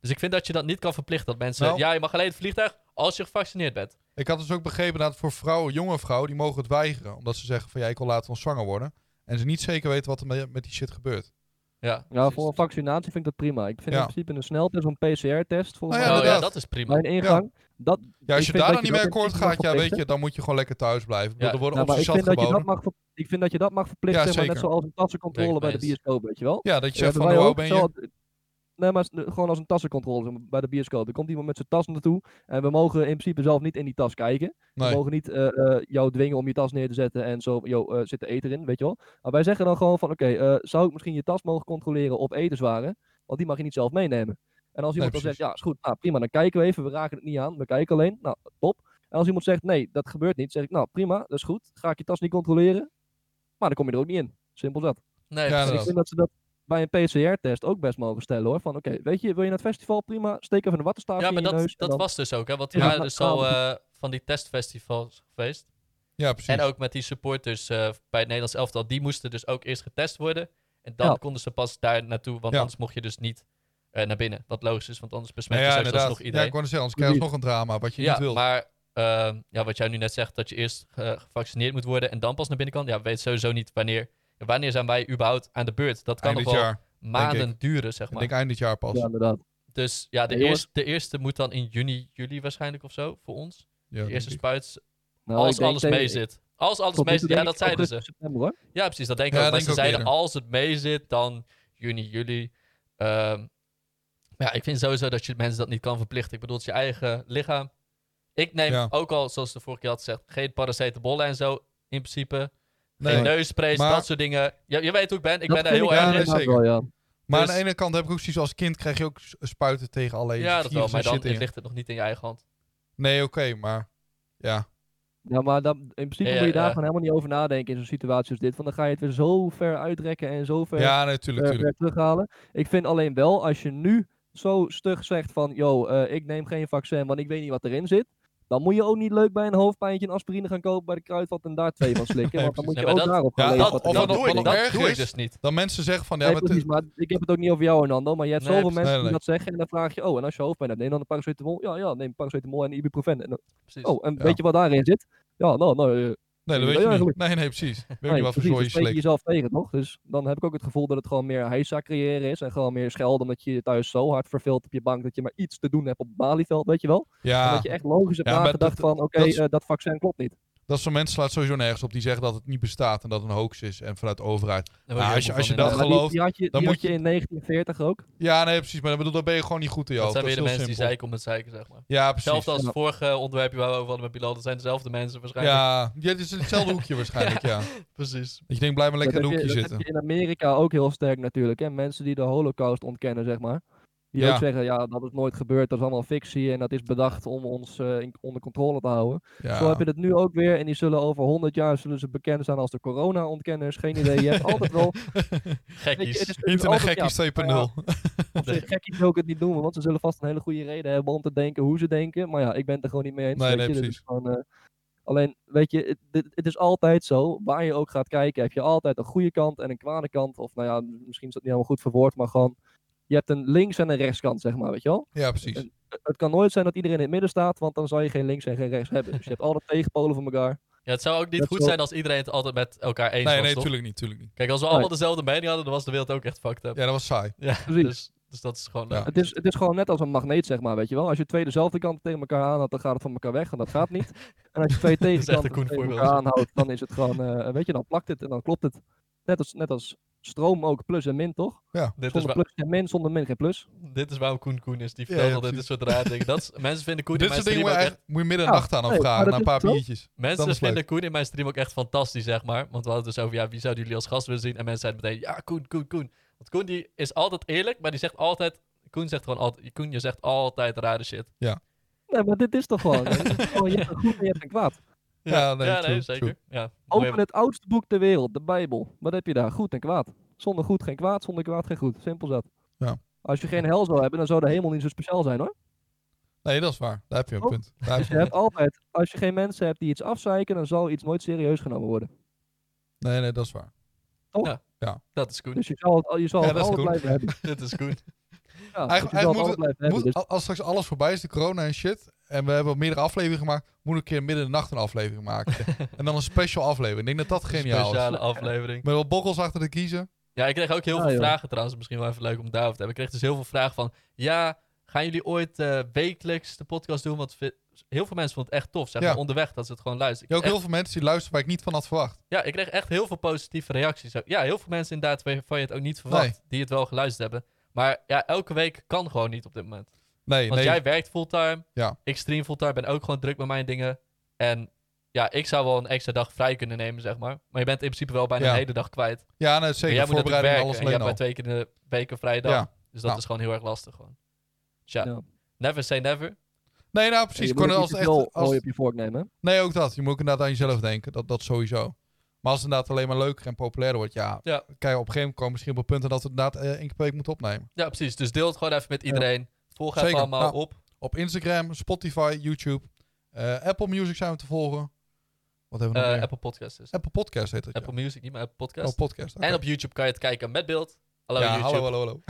dus ik vind dat je dat niet kan verplichten. Dat mensen,
Nou.
ja, je mag alleen het vliegtuig als je gevaccineerd bent.
Ik had dus ook begrepen dat voor vrouwen, jonge vrouwen, die mogen het weigeren. Omdat ze zeggen van ja, ik wil later ontzwanger worden. En ze niet zeker weten wat er me- met die shit gebeurt.
Ja,
Ja,
precies.
voor een vaccinatie vind ik dat prima. Ik vind
Ja.
in principe een sneltest, een PCR-test, volgens
Ja,
oh,
mij.
ja,
inderdaad.
dat is prima.
Mijn ingang. Dat,
Ja, als
Ik
je
vind
daar
dat
dan niet
je
mee
dat in
akkoord
principe
gaat,
mag
ja, weet je,
verplichten.
dan moet je gewoon lekker thuis blijven. Ik bedoel,
Ja,
er worden
Ja,
op
Nou,
zijn
maar ik
zat
vind, dat je dat
geboden.
mag, ver- ik vind dat je dat mag verplichten,
Ja,
maar net
zeker.
zoals een tassencontrole
Denk
bij de
ik mee eens.
bioscoop, weet je wel.
Ja, dat je zegt
hebben
van
wij
hoe oud
ook
ben
zo-
je?
Nee, maar s- gewoon als een tassencontrole zeg maar, bij de bioscoop. Er komt iemand met zijn tas naartoe en we mogen in principe zelf niet in die tas kijken. We
Nee.
mogen niet eh, eh, jou dwingen om je tas neer te zetten en zo, yo, eh, zit er eten in, weet je wel. Maar wij zeggen dan gewoon van, oké, eh, zou ik misschien je tas mogen controleren op etenswaren? Want die mag je niet zelf meenemen. En als iemand dan
precies.
zegt, ja, is goed, nou, prima, dan kijken we even, we raken het niet aan, we kijken alleen, nou, top. En als iemand zegt, nee, dat gebeurt niet, zeg ik, nou, prima, dat is goed, ga ik je tas niet controleren, maar dan kom je er ook niet in. Simpel dat.
Nee,
Ja,
precies.
Dus ik vind dat ze dat bij een PCR-test ook best mogen stellen, hoor. Van, oké, weet je, wil je naar het festival? Prima, steek even een wattenstaafje
Ja, maar
in je
dat,
neus. en
dat
dan-
was dus ook, hè? Want die
Ja,
waren
dat
dus
gaan
al
we
eh, van die testfestivals geweest.
Ja, precies.
En ook met die supporters eh, bij het Nederlands elftal. Die moesten dus ook eerst getest worden. En dan
Ja.
konden ze pas daar naartoe, want
Ja.
anders mocht je dus niet eh, naar binnen. Wat logisch is, want anders besmet
Nou
je
ja,
zelfs
inderdaad.
nog
Ja,
iedereen.
ik wou net zeggen, anders krijg je nog een drama wat je
Ja,
niet wilt.
maar ehm, ja, wat jij nu net zegt, dat je eerst eh, gevaccineerd moet worden en dan pas naar binnen kan. Ja, we weten sowieso niet wanneer. Wanneer zijn wij überhaupt aan de beurt? Dat kan
eind dit
nog wel
jaar.
maanden duren, zeg
Ik
maar.
denk eind dit jaar pas.
Ja,
Ja,
inderdaad.
Dus ja, de,
Ja, jongens.
eerste, de eerste moet dan in juni, juli waarschijnlijk of zo, voor ons. De
denk
eerste
ik.
spuit,
Nou,
als
ik denk
alles
tegen-
mee zit. Als alles
tot nu
mee
toe
zit, ja,
denk
dat
ik
zeiden
augustus,
ze.
September, hoor.
Ja, precies, dat denk ik
Ja,
ook. Maar ze
denk ik ook
zeiden,
eerder.
als het mee zit, dan juni, juli. Ehm, maar ja, ik vind sowieso dat je mensen dat niet kan verplichten. Ik bedoel, het is je eigen lichaam. Ik neem
Ja.
ook al, zoals de vorige keer had gezegd, geen paracetamolen en zo, in principe.
Nee.
Geen neussprays,
Maar-
dat soort dingen. Je, je weet hoe ik ben, ik ben
Dat
er
vind
heel
ik
erg
nee,
in.
inderdaad
zeker.
wel, ja.
Maar
Dus-
aan de ene kant heb ik ook zoiets als kind krijg je ook s- spuiten tegen allerlei
Ja, dat wel,
virussen
maar dan
en shit in.
ligt het nog niet in je eigen hand.
Nee, oké, maar ja.
Ja, maar dan, in principe
Ja,
moet je daar
ja.
gewoon helemaal niet over nadenken in zo'n situatie als dit. Want dan ga je het weer zo ver uitrekken en zo ver,
Ja, natuurlijk,
ver- ver terughalen. Ik vind alleen wel, als je nu zo stug zegt van... ...yo, eh, ik neem geen vaccin, want ik weet niet wat erin zit. Dan moet je ook niet leuk bij een hoofdpijntje een aspirine gaan kopen bij de kruidvat en daar twee van slikken.
Nee,
want dan moet je
precies.
ook
Nee, maar
daarop gaan
Ja,
lezen
dat-
wat
of
erin
dat
zit.
doe je
dat,
dan.
dat
erg
doe ik
is-
dus niet.
Dan mensen zeggen van ja,
Nee,
maar
precies,
het,
maar ik heb het ook niet over jou, Hernando. Maar je hebt
Nee,
zoveel
precies.
mensen
Nee,
die
nee.
dat zeggen. En dan vraag je, oh, en als je hoofdpijn hebt, neem dan een paracetamol. Ja, ja, neem paracetamol en ibuprofen. En dan,
Precies.
oh, en
Dus, Ja.
weet je wat daarin zit? Ja, nou, nou... eh,
nee, dat
Ja,
weet je niet.
eigenlijk.
Nee, nee, precies. Ik Weet
Nee,
niet wat voor
precies,
zooi je
dat spreek je
slikt.
jezelf tegen, toch? Dus dan heb ik ook het gevoel dat het gewoon meer heisa creëren is. En gewoon meer schelden omdat je je thuis zo hard verveelt op je bank dat je maar iets te doen hebt op het Malieveld, weet je wel? En
Ja,
dat je echt logisch hebt
Ja, maar
nagedacht
dat-
van, oké,
dat is-
eh, dat vaccin klopt niet.
dat soort mensen slaat sowieso nergens op. Die zeggen dat het niet bestaat en dat het een hoax is en vanuit de overheid.
Daar word
Ja,
je
Ah, als je-
helemaal
als je
van
dat
in.
Maar die-
gelooft,
die had je,
dan
die
moet
had je in 1940 ook.
Ja, nee, precies. Maar ik bedoel, dan ben je gewoon niet goed in je
Dat
hoofd.
zijn weer de
is
mensen die
heel simpel.
zeiken om het zeiken, zeg maar.
Ja, precies.
Hetzelfde als het
Ja.
vorige onderwerpje waar we over hadden met Bilal. Dat zijn dezelfde mensen waarschijnlijk.
Ja, ja, het is in hetzelfde hoekje waarschijnlijk, ja. Dat
precies.
je denkt, blijf maar lekker in
dat
een
heb je,
hoekje
dat
zitten.
heb je in Amerika ook heel sterk natuurlijk. Hè? Mensen die de holocaust ontkennen, zeg maar. Die
Ja.
ook zeggen, ja, dat is nooit gebeurd, dat is allemaal fictie en dat is bedacht om ons eh, in- onder controle te houden. Zo heb
Ja.
je dat nu ook weer. En die zullen over 100 jaar zullen ze bekend staan als de corona-ontkenners. Geen idee. Je hebt altijd wel. Weet je, het
Gekkies.
is natuurlijk
Internet
altijd-
gekkies 2.0.
Ja, op zich gekkies wil ik het niet doen, want ze zullen vast een hele goede reden hebben om te denken hoe ze denken. Maar ja, ik ben het er gewoon niet mee eens.
Nee,
weet
nee,
je. Dit
precies.
is gewoon, eh, alleen, weet je, het, dit- het is altijd zo. Waar je ook gaat kijken, heb je altijd een goede kant en een kwade kant. Of nou ja, misschien is dat niet helemaal goed verwoord, maar gewoon. Je hebt een links- en een rechtskant, zeg maar, weet je wel?
Ja, precies.
Het kan nooit zijn dat iedereen in het midden staat, want dan zal je geen links en geen rechts hebben. Dus je hebt altijd tegenpolen van elkaar.
Ja, het zou ook niet
Dat
goed
is wel-
zijn als iedereen het altijd met elkaar eens
Nee,
was,
nee,
toch?
tuurlijk niet, tuurlijk niet.
Kijk, als we allemaal dezelfde mening hadden, dan was de wereld ook echt fucked up.
Ja, dat was saai.
Ja,
Precies.
dus, dus dat is gewoon...
Ja.
eh,
Ah, Het is, het is gewoon net als een magneet, zeg maar, weet je wel. Als je twee dezelfde kanten tegen elkaar aanhoudt, dan gaat het van elkaar weg en dat gaat niet. En als je twee
echt een
tegenkanten
Koen
tegen elkaar
voorbeeld.
aanhoudt, dan is het gewoon, eh, weet je, dan plakt het en dan klopt het. Net als, net als stroom ook, plus en min, toch?
dit, is
Zonder
waar-
plus en min, zonder min geen plus.
dit is waarom Koen Koen is. Die
Ja,
vertelt
ja,
altijd dit
precies.
soort rare dingen. Dat is, mensen vinden Koen in
Dit
mijn
soort dingen
stream
moet
ook echt...
je, eigenlijk- moet je midden en
Ja,
nacht aan
nee,
afvragen,
maar dat
na een
is
paar
het zo.
biertjes.
Mensen
Dat is
vinden
leuk.
Koen in mijn stream ook echt fantastisch, zeg maar. Want we hadden het dus over, ja, wie zouden jullie als gast willen zien? En mensen zeiden meteen, ja, Koen, Koen, Koen. Want Koen die is altijd eerlijk, maar die zegt altijd... Koen zegt gewoon altijd... Koen, je zegt altijd rare shit.
Nee, maar dit is toch gewoon, hè? Dit is gewoon, je hebt een goed en je hebt een kwaad.
Ja, nee, true,
zeker.
true.
Ja, mooie-
Open het oudste boek ter wereld, de Bijbel. Wat heb je daar? Goed en kwaad. Zonder goed geen kwaad, zonder kwaad geen goed. Simpel zat.
Ja.
Als je geen hel zou hebben, dan zou de hemel niet zo speciaal zijn, hoor.
Nee, dat is waar. Daar heb je een
Oh.
punt. Daar heb je
Je hebt altijd, als je geen mensen hebt die iets afzeiken, dan zal iets nooit serieus genomen worden.
Nee, nee, dat is waar.
Dat is Koen.
Dus je zal het, al- je zal
Ja,
het
dat is
altijd
goed.
blijven hebben.
Dit is Koen.
Ja, dus
Eigenlijk-
je zal het
eigenlijk
altijd blijven hebben.
Moet,
Dus
al- als straks alles voorbij is, de corona en shit, en we hebben meerdere afleveringen gemaakt, moet ik een keer midden in de nacht een aflevering maken. en dan een special aflevering. Ik denk dat dat geniaal is.
Speciale aflevering.
Met wat bokkels achter de kiezen.
Ja, ik kreeg ook heel
Ja,
veel
Ah, joh.
vragen trouwens. Misschien wel even leuk om daarover te hebben. Ik kreeg dus heel veel vragen van... Ja, gaan jullie ooit eh, wekelijks de podcast doen? Want vi- heel veel mensen vonden het echt tof. Zeg
Ja.
maar onderweg dat ze het gewoon luisteren. Ik
Je hebt ook heel veel mensen die luisteren waar ik niet van had verwacht.
Ja, ik kreeg echt heel veel positieve reacties. ook. Ja, heel veel mensen inderdaad waarvan je het ook niet verwacht.
Nee.
Die het wel geluisterd hebben. Maar ja, elke week kan gewoon niet op dit moment.
Nee,
Want
nee.
jij werkt fulltime.
Ja.
Ik stream fulltime. Ben ook gewoon druk met mijn dingen. En ja, ik zou wel een extra dag vrij kunnen nemen, zeg maar. Maar je bent in principe wel bijna
Ja.
een hele dag kwijt.
Ja, nee,
Maar
zeker.
jij moet natuurlijk werken
Voorbereiding en alles
en je hebt
alleen
maar
al.
twee keer in de week een vrije dag.
Ja.
Dus dat
Nou.
is gewoon heel erg lastig gewoon. Dus ja,
Ja.
never say never.
Nee, nou
je
precies.
moet
Kunnen
het niet
als
te
het echt,
veel
als-
hooi op je vork nemen. hè.
Nee, ook dat. Je moet ook inderdaad aan jezelf denken. Dat, dat sowieso. Maar als het inderdaad alleen maar leuker en populairder wordt, ja.
Ja.
Kijk, op een gegeven moment komen misschien op het punt dat we het inderdaad eh, één keer per week moeten opnemen.
Ja, precies. Dus deel het gewoon even met iedereen. Volg even
Zeker.
allemaal
Nou,
op.
Op Instagram, Spotify, YouTube, eh, Apple Music zijn we te volgen. Wat hebben we nog
Eh,
meer? Apple,
Apple Podcasts dus.
Podcast heet het. ja.
Apple Music, niet maar Apple Podcast.
Oh, podcast. oké.
En op YouTube kan je het kijken met beeld. Hallo
ja,
YouTube.
hallo, hallo, hallo.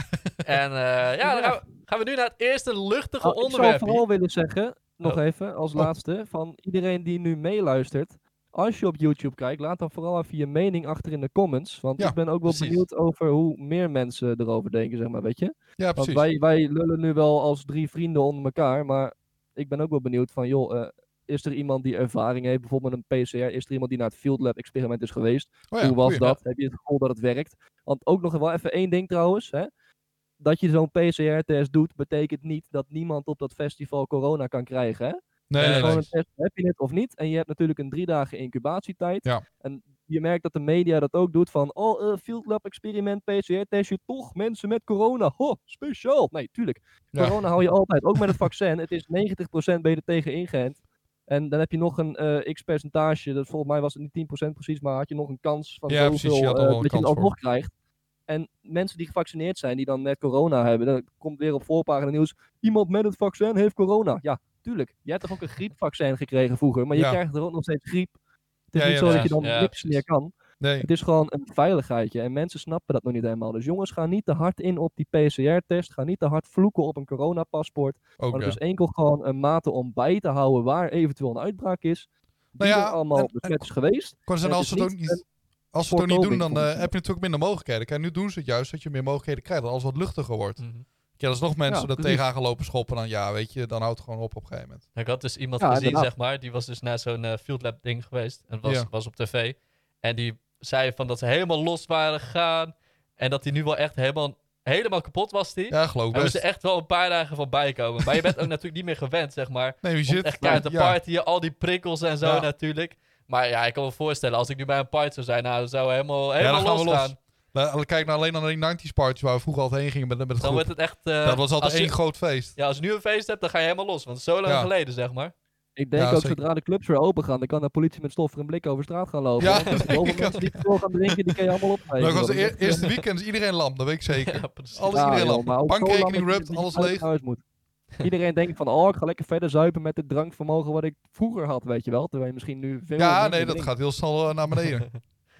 En eh, ja, dan gaan we, gaan we nu naar het eerste luchtige
Nou, ik zou
onderwerp.
vooral willen zeggen, nog
Oh.
even als
Oh.
laatste, van iedereen die nu meeluistert. Als je op YouTube kijkt, laat dan vooral even je mening achter in de comments. Want
Ja,
ik ben ook wel
precies.
benieuwd over hoe meer mensen erover denken, zeg maar, weet je.
Ja,
Want
precies.
wij, wij lullen nu wel als drie vrienden onder elkaar, maar ik ben ook wel benieuwd van, joh, eh, is er iemand die ervaring heeft, bijvoorbeeld met een PCR? Is er iemand die naar het Field Lab experiment is geweest?
Oh ja,
Hoe was
goeie.
dat? Heb je het gevoel dat het werkt? Want ook nog wel even één ding trouwens. Hè? Dat je zo'n PCR-test doet, betekent niet dat niemand op dat festival corona kan krijgen. Hè?
Nee,
Eh,
nee,
Gewoon
nee.
een test, heb je het of niet? En je hebt natuurlijk een drie dagen incubatietijd.
Ja.
En je merkt dat de media dat ook doet van, oh, eh, field lab experiment, PCR-testje, toch mensen met corona. Ho, speciaal. Nee, tuurlijk.
Ja.
Corona hou je altijd, ook met het vaccin. Het is 90% ben je er tegen ingeënt. En dan heb je nog een eh, x percentage, dat volgens mij was het niet 10% precies, maar had je nog een kans van
Ja,
zoveel
precies, je had
eh,
al wel een
dat je het
kans voor.
alsnog krijgt. En mensen die gevaccineerd zijn, die dan net corona hebben, dan komt weer op voorpagina nieuws, iemand met het vaccin heeft corona. Ja, tuurlijk. Jij hebt toch ook een griepvaccin gekregen vroeger, maar je
Ja.
krijgt er ook nog steeds griep. Het is
Ja,
niet
ja,
zo dat je
precies.
dan
Ja,
niks meer
precies.
kan.
nee.
Het is gewoon een veiligheidje en mensen snappen dat nog niet helemaal. Dus jongens, ga niet te hard in op die PCR-test. Ga niet te hard vloeken op een coronapaspoort.
Ook,
Maar
ja.
het is enkel gewoon een mate om bij te houden waar eventueel een uitbraak is. Die
Nou ja,
er allemaal
en-
op de
en-
set is geweest.
Kon ze
Het
als
is
ze het ook
niet
niet,
een
als ze het ook niet doen,
voorkoming
dan
van
eh,
het-
heb je natuurlijk minder mogelijkheden. Kijk, nu doen ze het juist dat je meer mogelijkheden krijgt, dat alles wat luchtiger wordt.
Mhm.
Ja, dat is nog mensen
Ja,
dat
precies.
tegenaan gaan lopen schoppen, dan ja, weet je, dan houdt het gewoon op op een gegeven moment.
Ik had dus iemand
Ja,
gezien,
inderdaad.
zeg maar. Die was dus naar zo'n eh, Field Lab ding geweest. En was,
Ja.
was op tv. En die zei van dat ze helemaal los waren gegaan. En dat hij nu wel echt helemaal, helemaal kapot was. Die.
Ja, geloof ik
Daar moesten
best.
echt wel een paar dagen van bijkomen. Maar je bent ook natuurlijk niet meer gewend, zeg maar.
Nee, wie
Om
zit?
echt keihard te
ja.
partyen, al die prikkels en zo
Ja.
natuurlijk. Maar ja, ik kan me voorstellen, als ik nu bij een party zou zijn, nou, dan zou we helemaal,
Ja,
helemaal
dan gaan we
los
los.
gaan.
Nou, Kijk nou alleen naar die 90s parties waar we vroeger altijd heen gingen met, met het
Dan
groep.
wordt het echt... eh,
dat was altijd
als je-
één groot feest.
Ja, als je nu een feest hebt, dan ga je helemaal los. Want het is zo lang
Ja.
geleden, zeg maar.
Ik denk
Ja,
ook
zeker.
zodra de clubs weer open gaan, dan kan de politie met stof en blik over straat gaan lopen.
Ja,
Want er zijn
denk
zoveel
ik
mensen die door gaan drinken, die kan je allemaal opgeven.
dat was
Dat
de
is
eer-
echt, eh,
eerste weekend is iedereen lam, dat weet ik zeker.
Ja, precies.
Alles iedereen
joh,
lam.
maar ook zo
Bankrekening
lang dat je
rupt,
er niet
alles
uit
leeg.
huis moet. Iedereen denkt van, oh, ik ga lekker verder zuipen met het drankvermogen wat ik vroeger had, weet je wel. Terwijl je misschien nu veel
Ja,
minder
nee, dat
drinkt.
gaat heel snel eh, naar beneden.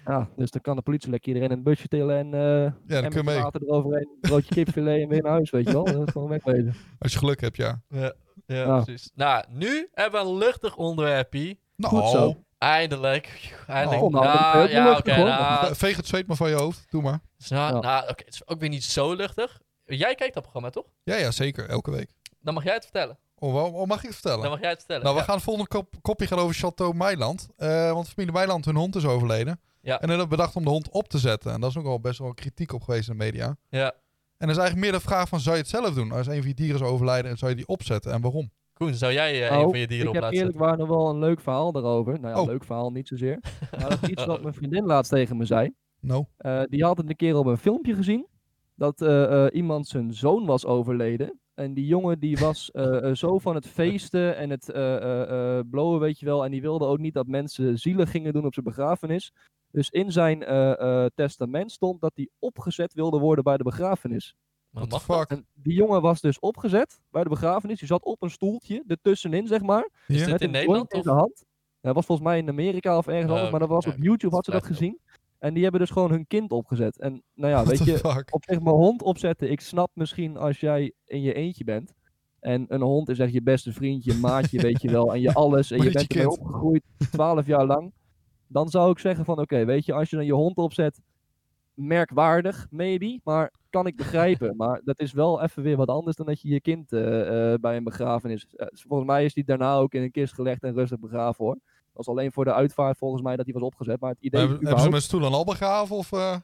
Ja, dus dan kan de politie lekker iedereen in het busje tillen en eh
Ja, dan
en
kun je mee.
water eroverheen, broodje kipfilet en weer naar huis, weet je wel. Dat is gewoon wegwezen.
Als je geluk hebt, ja.
Ja, ja,
Ja.
precies. Nou, nu hebben we een luchtig onderwerpje.
Goed
Nou,
zo.
Eindelijk. Eindelijk.
Oh,
nou, dat is heel
ja,
luchtig,
oké.
hoor.
nou,
ve- veeg het zweet maar van je hoofd. Doe maar.
nou,
Ja.
nou, oké, het is ook weer niet zo luchtig. Jij kijkt dat programma, toch?
Ja, ja, zeker. Elke week.
Dan mag jij het vertellen.
Oh, waarom- oh, mag ik het vertellen?
Dan mag jij het vertellen.
Nou, we
ja.
gaan het volgende kop, kopje gaan over Chateau Meiland. Eh, want familie Meiland, hun hond is overleden.
Ja.
En hun hebben bedacht om de hond op te zetten. En daar is ook al best wel kritiek op geweest in de media.
Ja.
En er is eigenlijk meer de vraag van, zou je het zelf doen? Nou, Als een van je dieren zou overlijden, zou je die opzetten en waarom?
Koen, zou jij eh,
Oh,
een van je dieren
Ik
op
heb
laten
eerlijk
zetten?
waar nog wel een leuk verhaal daarover. Nou ja,
Oh.
leuk verhaal niet zozeer. Maar dat is iets wat mijn vriendin laatst tegen me zei.
Nou,
Eh, die had het een keer op een filmpje gezien. Dat eh, eh, iemand zijn zoon was overleden. En die jongen die was eh, eh, zo van het feesten en het eh eh, eh, blowen, weet je wel. En die wilde ook niet dat mensen zielen gingen doen op zijn begrafenis. Dus in zijn eh, eh, testament stond dat hij opgezet wilde worden bij de begrafenis.
Maar
what
mag
the fuck?
En die jongen was dus opgezet bij de begrafenis. Die zat op een stoeltje, ertussenin zeg maar.
Is
Ja.
dit in
een
Nederland?
joint in
Of?
de hand. Dat was volgens mij in Amerika of ergens
Oh,
anders. Maar dat
oké,
was
ja,
op YouTube had ze
dat
dat
lijkt me
gezien. En die hebben dus gewoon hun kind opgezet. En nou ja,
what
weet
the
je,
fuck?
op zich mijn hond opzetten. Ik snap misschien als jij in je eentje bent. En een hond is echt je beste vriend, je maatje, weet je wel. En je alles. En
Maar
je
niet je
bent ermee
kind.
opgegroeid, twaalf jaar lang. Dan zou ik zeggen van, oké, weet je, als je dan je hond opzet, merkwaardig, maybe. Maar kan ik begrijpen. Maar dat is wel even weer wat anders dan dat je je kind eh, eh, bij een begrafenis... eh, volgens mij is die daarna ook in een kist gelegd en rustig begraven, hoor. Dat was alleen voor de uitvaart volgens mij dat die was opgezet. Maar het idee...
Hebben, hebben ze
überhaupt-
mijn stoel en al begraven? Of, eh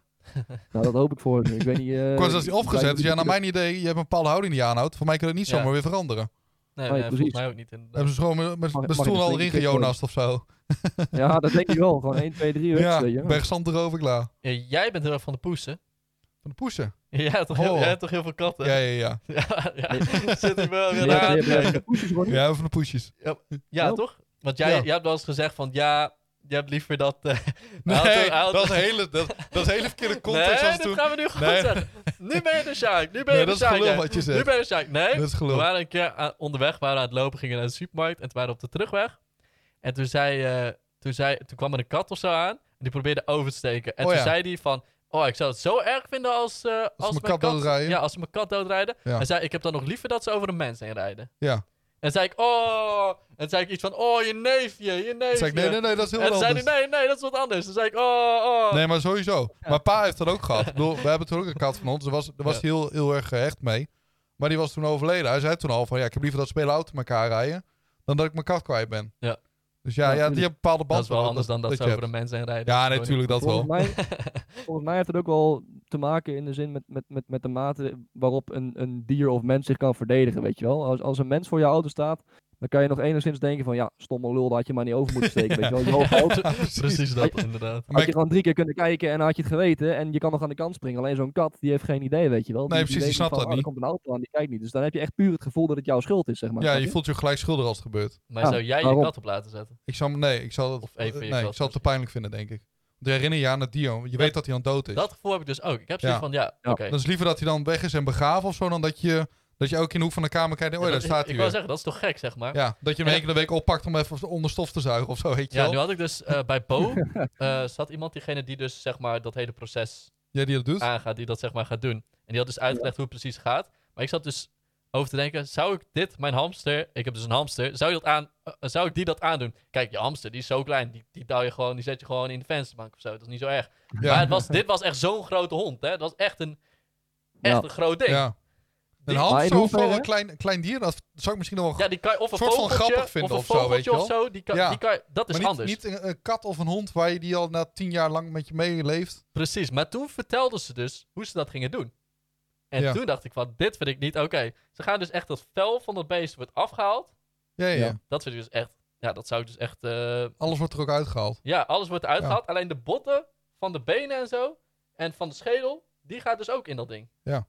Nou, dat hoop ik voor ze. Ik weet niet... eh,
kort als die opgezet
lijkt
is,
me
ja,
niet
naar mijn idee, je hebt een bepaalde houding die je aanhoudt. Voor mij kan het niet
Ja.
zomaar weer veranderen.
Nee,
Nee,
nee, volgens
precies.
mij ook niet. inderdaad.
Hebben ze gewoon met- met
Mag-
mijn
mag ik
stoel
een
al
flinke
erin
tik
gejonast of zo?
Ja, dat denk ik wel. Gewoon 1, 2, 3
Ja,
huts, weet je.
bergstand erover, klaar.
Eh, Jij bent heel erg van de poesen.
Van de poesen.
Jij hebt toch, heel,
Oh.
jij hebt toch heel veel katten?
Ja, ja, ja.
ja, ja. Zit hij wel
Je
weer
hebt-
aan
je
te
hebt-
kijken.
je hebt poesjes gewoon niet.
Ja, van de poesjes.
Ja,
Ja.
toch? Want jij,
Ja.
jij hebt wel eens gezegd van ja, je hebt liever dat. eh,
Nee,
Hij houdt- hij houdt-
dat is een hele, dat, dat is een hele verkeerde context
nee,
als
dat
toen.
gaan we nu goed
Nee.
zeggen. Nu ben je de Sjaak. Nu ben
Nee,
je
dat
de
is
Sjaak.
gelul
hè.
wat je
Nu
zegt.
ben je de Sjaak. Nee,
Dat is
we
gelul.
waren een keer aan- onderweg, we waren aan het lopen, gingen naar de supermarkt en toen waren we op de terugweg. En toen zei eh, Toen, zei, toen kwam er een kat of zo aan. En die probeerde over te steken. En
Oh
toen
ja.
zei hij van... Oh, ik zou het zo erg vinden als... eh, als,
mijn
mijn
kat doodrijden.
Ja, als ze mijn kat doodrijden.
Ja.
Hij zei, ik heb dan nog liever dat ze over een mens heen rijden.
Ja.
En zei ik, oh... En toen zei ik iets van, oh, je neefje, je neefje.
Toen zei ik, nee, nee, nee, dat is heel
en
wat
toen
anders.
zei hij, nee, nee, dat is wat anders. Toen zei ik, oh, oh.
Nee, maar sowieso. Maar pa heeft dat ook gehad. Ik bedoel, we hebben toen ook een kat van ons. Daar was, daar was
Ja.
hij heel, heel erg gehecht mee. Maar die was toen overleden. Hij zei toen al van, ja, ik heb liever dat spelen auto elkaar rijden... dan dat ik mijn kat kwijt ben.
Ja.
Dus ja,
Ja,
ja, die
tuurlijk.
hebben bepaalde band.
dat is wel anders dan dat, ze
je
over een
hebt.
mens heen rijden.
Ja, natuurlijk dat
volgens,
wel.
mij, volgens mij heeft het ook wel te maken in de zin met, met, met, met de mate waarop een, een dier of mens zich kan verdedigen, weet je wel. Als, als een mens voor je auto staat, dan kan je nog enigszins denken van, ja, stomme lul, daar had je maar niet over moeten steken, weet je wel. Je hoofd auto,
Precies dat, inderdaad.
Maar
had je
ik-
gewoon drie keer kunnen kijken en had je het geweten en je kan nog aan de kant springen. Alleen zo'n kat, die heeft geen idee, weet je wel.
Nee, precies, die
weet
snapt
van,
dat
oh, er
niet.
komt een auto aan, die kijkt niet. Dus dan heb je echt puur het gevoel dat het jouw schuld is, zeg maar.
Ja,
snap
je voelt je gelijk schuldig als het gebeurt.
Maar
Ja,
zou jij je
waarom?
kat op laten zetten?
Ik zou, nee, ik zou, dat,
Of even je
nee, ik
kat
zou het te pijnlijk vinden, denk ik. Want herinner je aan het dier. Je weet dat hij dan dood is.
Dat gevoel heb ik dus ook. Ik heb
Ja.
zoiets van, ja, oké.
Ja,
Dan is liever dat hij dan weg is en begraven of zo... dan dat je, dat je elke keer in de hoek van de kamer kijkt... en, oh, ja,
Dat-
daar staat
Ik
hij
wou
weer.
zeggen, dat is toch gek, zeg maar.
Ja, dat je hem één keer de week oppakt om even onder stof te zuigen of zo, weet je
Ja,
wel.
nu had ik dus eh, bij Bo eh, zat iemand diegene die dus zeg maar dat hele proces
Ja, die dat doet.
aangaat, die dat zeg maar gaat doen. En die had dus uitgelegd hoe het precies gaat. Maar ik zat dus over te denken, zou ik dit, mijn hamster, ik heb dus een hamster, zou, je dat aan, eh, zou ik die dat aandoen? Kijk, je hamster, die is zo klein, die, die, duw je gewoon, die zet je gewoon in de vensterbank of zo, dat is niet zo erg. Maar het was, dit was echt zo'n grote hond, hè. Het was echt een, echt
Ja.
een groot ding. Ja.
Ja. Een
Maar in
hamster of wel
hoeverre?
een klein, klein dier, dat zou ik misschien nog wel...
die kan je of een
Soort van
vogeltje,
grappig vinden
of een
of zo, weet
vogeltje
je
of zo, die kan,
Ja.
die kan, je- dat is
maar niet,
anders.
niet een, een kat of een hond waar je die al na tien jaar lang met je meeleeft.
Precies, maar toen vertelden ze dus hoe ze dat gingen doen. En
Ja.
toen dacht ik van, dit vind ik niet oké. Ze gaan dus echt dat vel van dat beest wordt afgehaald.
Ja, ja, ja.
Ja.
Dat vind ik dus echt, ja, dat zou ik dus echt, eh,
Alles wordt er ook uitgehaald.
ja, alles wordt eruit gehaald. Alleen de botten van de benen en zo, en van de schedel, die gaat dus ook in dat ding.
Ja.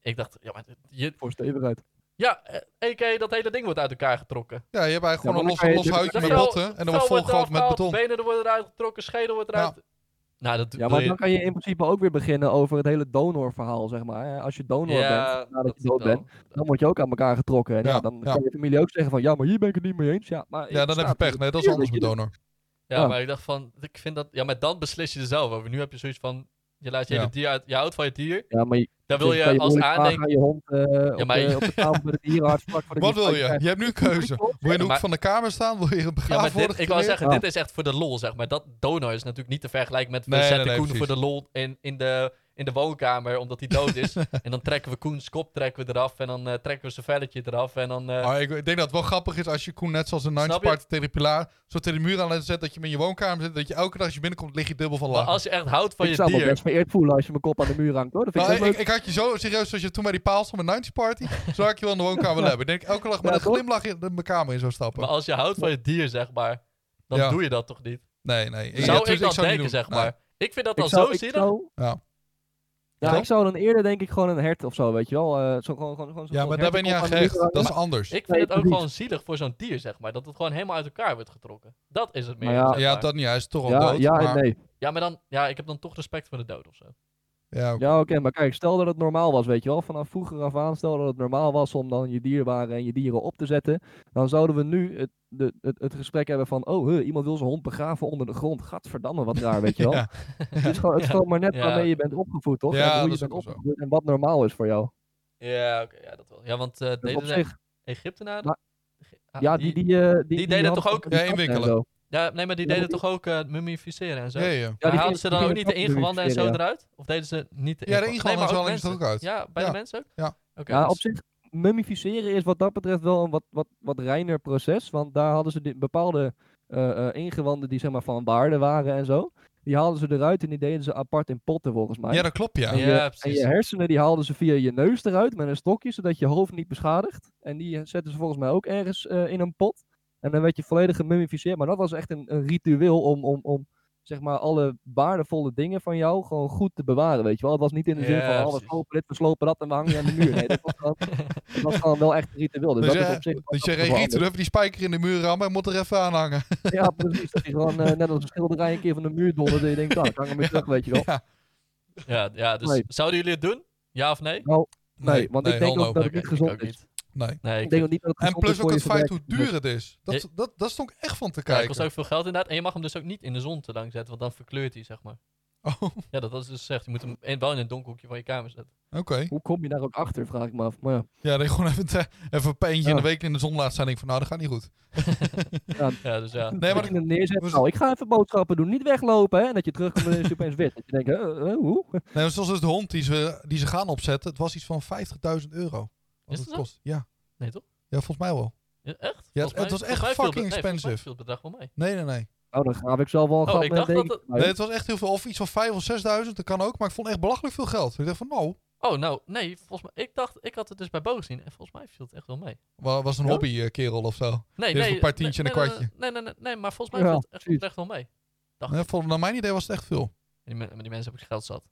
Ik dacht, ja, maar je,
Voor stevigheid.
ja, eh, a.k.a. dat hele ding wordt uit elkaar getrokken.
Ja, je hebt eigenlijk gewoon
maar
een los,
dan kan je-
los huidje
Dat
met
vel-
botten en
vel
dan wordt volgehaald met
uitgehaald,
beton.
Benen er worden eruit getrokken, schedel wordt
Ja.
eruit. Nou, dat
Ja,
wil
maar
je-
dan kan je in principe ook weer beginnen over het hele donorverhaal, zeg maar. hè. Als je donor
Ja,
bent, nadat je
dat
dood
wel.
bent, dan word je ook aan elkaar getrokken. En ja,
Ja,
dan
ja.
kan je familie ook zeggen van, ja, maar hier ben ik het niet mee eens. Ja, maar
Ja,
ik
dan heb
sta
je pech.
er.
Nee, dat is
Ja,
anders
dat
met
je-
donor.
Ja,
Ja.
maar ik dacht van, ik vind dat, ja, maar dan beslis je er zelf over. Nu heb je zoiets van, je laat je
Ja.
hele dier uit, je houdt van je dier.
Ja, maar Dus je,
Daar wil
dit
je
kan
als
moeilijk vragen
aandenken,
aan je hond eh, op,
maar je-
de, op de tafel met het dierenarts vlak voordat
Wat wil
je?
je?
krijgt.
Je hebt nu een keuze. Wil je in de hoek
maar-
van de kamer staan? Wil je
ja, maar
begraven worden?
dit, ik wou
gecremeerd?
zeggen,
Ja.
dit is echt voor de lol, zeg maar. Dat donor is natuurlijk niet te vergelijken met, we
Nee,
zetten
nee, nee,
Koen
precies.
voor de lol in, in, de, in de woonkamer, omdat hij dood is. en dan trekken we Koens kop trekken we eraf, en dan eh, trekken we zijn velletje eraf, en dan... eh,
Maar ik, ik denk dat het wel grappig is als je Koen net zoals een
Snap je?
nine party tegen de pilaar zo tegen de muur aan zet dat je hem in je woonkamer zit, dat je elke dag als je binnenkomt lig je dubbel van
maar
lachen.
als je echt houdt van
ik
je
zou me
dier...
best vereerd voelen als je mijn kop aan de muur hangt, hoor. Dat vind
Nou,
ik
ik,
wel
ik had je zo serieus als je toen bij die paal stond met 90s Party. zo had ik je wel in de woonkamer willen hebben. Ik denk elke dag met
Ja,
een
toch?
glimlach in de- mijn kamer in zou stappen.
Maar als je houdt van je dier, zeg maar, dan
Ja.
doe je dat toch niet?
nee, nee. ja,
zou
tuurlijk,
ik dat
zou niet
denken,
doen.
zeg maar. Ik vind dat
leuk.
dan
Ik zou,
zo
ik
zielig.
zou-
Ja.
Ja,
Toch?
ik zou dan eerder denk ik gewoon een hert of zo, weet je wel. eh, zo, gewoon, gewoon, gewoon zo'n
Nee. Ja,
groot
maar daar ben je
hertenkop
niet aan
de muur
gehecht.
hangen.
Dat is anders.
Ik vind
Nee,
het ook
precies.
gewoon zielig voor zo'n dier, zeg maar. Dat het gewoon helemaal uit elkaar wordt getrokken. Dat is het meer.
Maar ja-
zeg
ja,
maar.
dat niet. Hij is toch al
Ja,
dood.
ja en
maar-
nee.
ja, maar dan... Ja, ik heb dan toch respect voor de dood of zo.
ja, oké.
Ja, oké, maar kijk, stel dat het normaal was, weet je wel. Vanaf vroeger af aan, stel dat het normaal was om dan je dierbaren en je dieren op te zetten. Dan zouden we nu het, de, het, het gesprek hebben van, oh, huh, iemand wil zijn hond begraven onder de grond. Gadverdamme, wat raar, weet je wel.
Ja.
Het is gewoon, het is gewoon maar net
Ja.
waarmee je bent opgevoed, toch?
Ja,
En hoe
dat
je
is
bent
ook wel zo.
opgevoed en wat normaal is voor jou.
Ja, oké. ja, dat wel. Ja, want eh
Dus op
deden ze
zich,
Egyptenaren...
Maar-
Ge- ah,
ja, die, die, eh, die,
die deden
hadden
toch ook- eh,
van die
Ja,
katten en
inwikkelen.
zo.
Ja, nee, maar die
Ja,
deden
die-
toch ook eh, mummificeren en zo?
Ja, ja.
Maar
die
haalden
gingen-
ze
die
dan ook
gingen
niet de
ook
ingewanden en zo
mummificeren,
eruit? Of deden ze niet de
Ja,
ingewanden?
de
Nee,
ingewanden
maar
is
ook
wel eens er
mensen.
ook uit.
Ja, bij
Ja.
de mensen ook?
Ja.
Oké,
Ja,
dus-
op zich, mummificeren is wat dat betreft wel een wat, wat, wat reiner proces. Want daar hadden ze die bepaalde eh, eh, ingewanden die zeg maar van waarde waren en zo. Die haalden ze eruit en die deden ze apart in potten volgens mij.
Ja, dat klopt, ja.
en, je,
Ja,
en
precies.
je hersenen die haalden ze via je neus eruit met een stokje, zodat je hoofd niet beschadigt. En die eh, zetten ze volgens mij ook ergens eh, in een pot. En dan werd je volledig gemummificeerd. Maar dat was echt een, een ritueel om, om, om zeg maar alle waardevolle dingen van jou gewoon goed te bewaren, weet je wel. Het was niet in de zin
Ja,
van, oh, we
precies.
slopen dit, we slopen dat en we hangen je aan de muur. Nee, dat was gewoon, dat was gewoon wel echt een ritueel. Dus,
Dus
dat
ja,
is op zich... wel
Dus je
grappig
reageert,
veranderd.
dan even die spijker in de muur rammen en moet er even aan hangen.
Ja, precies. Dat is gewoon eh, net als een schilderij een keer van de muur dondert en je denkt, nou, ik hang hem weer terug, weet je wel.
Ja.
ja, ja, dus
Nee.
zouden jullie het doen? Ja of nee?
Nou, nee, want ik denk
hol
ook
no.
dat-
Oké,
niet gezond
ook
is.
niet.
Nee.
Nee,
Ik
ik
denk ook niet dat het
En
gezond
plus
is voor
ook het
je
feit hoe
verwerking.
duur het is. Dat,
Je-
dat, dat stond ik echt van te
ja, het kost
kijken.
ook veel geld inderdaad. En je mag hem dus ook niet in de zon te lang zetten, want dan verkleurt hij, zeg maar.
Oh, oké.
Ja, dat, dat is dus gezegd. Je moet hem in- wel in een donker hoekje van je kamer zetten.
Hoe kom je daar ook achter, vraag ik me af. Maar ja,
Ja, dat je gewoon even, te- even een peentje in de
Ja.
week in de zon laat staan. Denk ik van, nou, dat gaat niet goed.
Ja, dus ja.
Nee,
dat
maar
je hem neerzet.
we z-
Nou, ik ga even boodschappen doen. Niet weglopen, hè. En dat je terugkomt en dan is hij opeens wit. Dat je denkt, hè, eh, hoe?
nee, maar zoals het hond die ze, die ze gaan opzetten, het was iets van 50.000 euro. Wat
Is
het
het zo?
kost. Ja.
Nee, toch?
ja, volgens mij wel.
Ja, echt?
Ja,
Volgens
het was echt
volgens mij viel het-
fucking
nee, volgens mij
expensive.
viel het bedrag wel mee.
Nee, nee, nee.
Nou, dan graaf ik zelf wel een
Oh,
gat
ik
met een
dacht dat
dekentje
het-
bij.
Nee, het was echt heel veel. Of iets van 5.000 of 6.000, dat kan ook. Maar ik vond het echt belachelijk veel geld. Ik dacht van, nou,
Oh, nou, nee. Volgens mij, ik dacht, ik had het dus bij Bo gezien. En volgens mij viel het echt wel mee.
wa- was een hobby eh, kerel of zo.
Nee,
Dit is
nee.
een paar tientje
nee,
en een
nee,
kwartje.
Nee, nee, nee, nee, maar volgens mij
Ja,
viel het echt,
precies.
echt wel mee. Dacht
Nee,
ik.
volgens- naar mijn idee was het echt veel.
Die, men- maar die mensen hebben geld zat.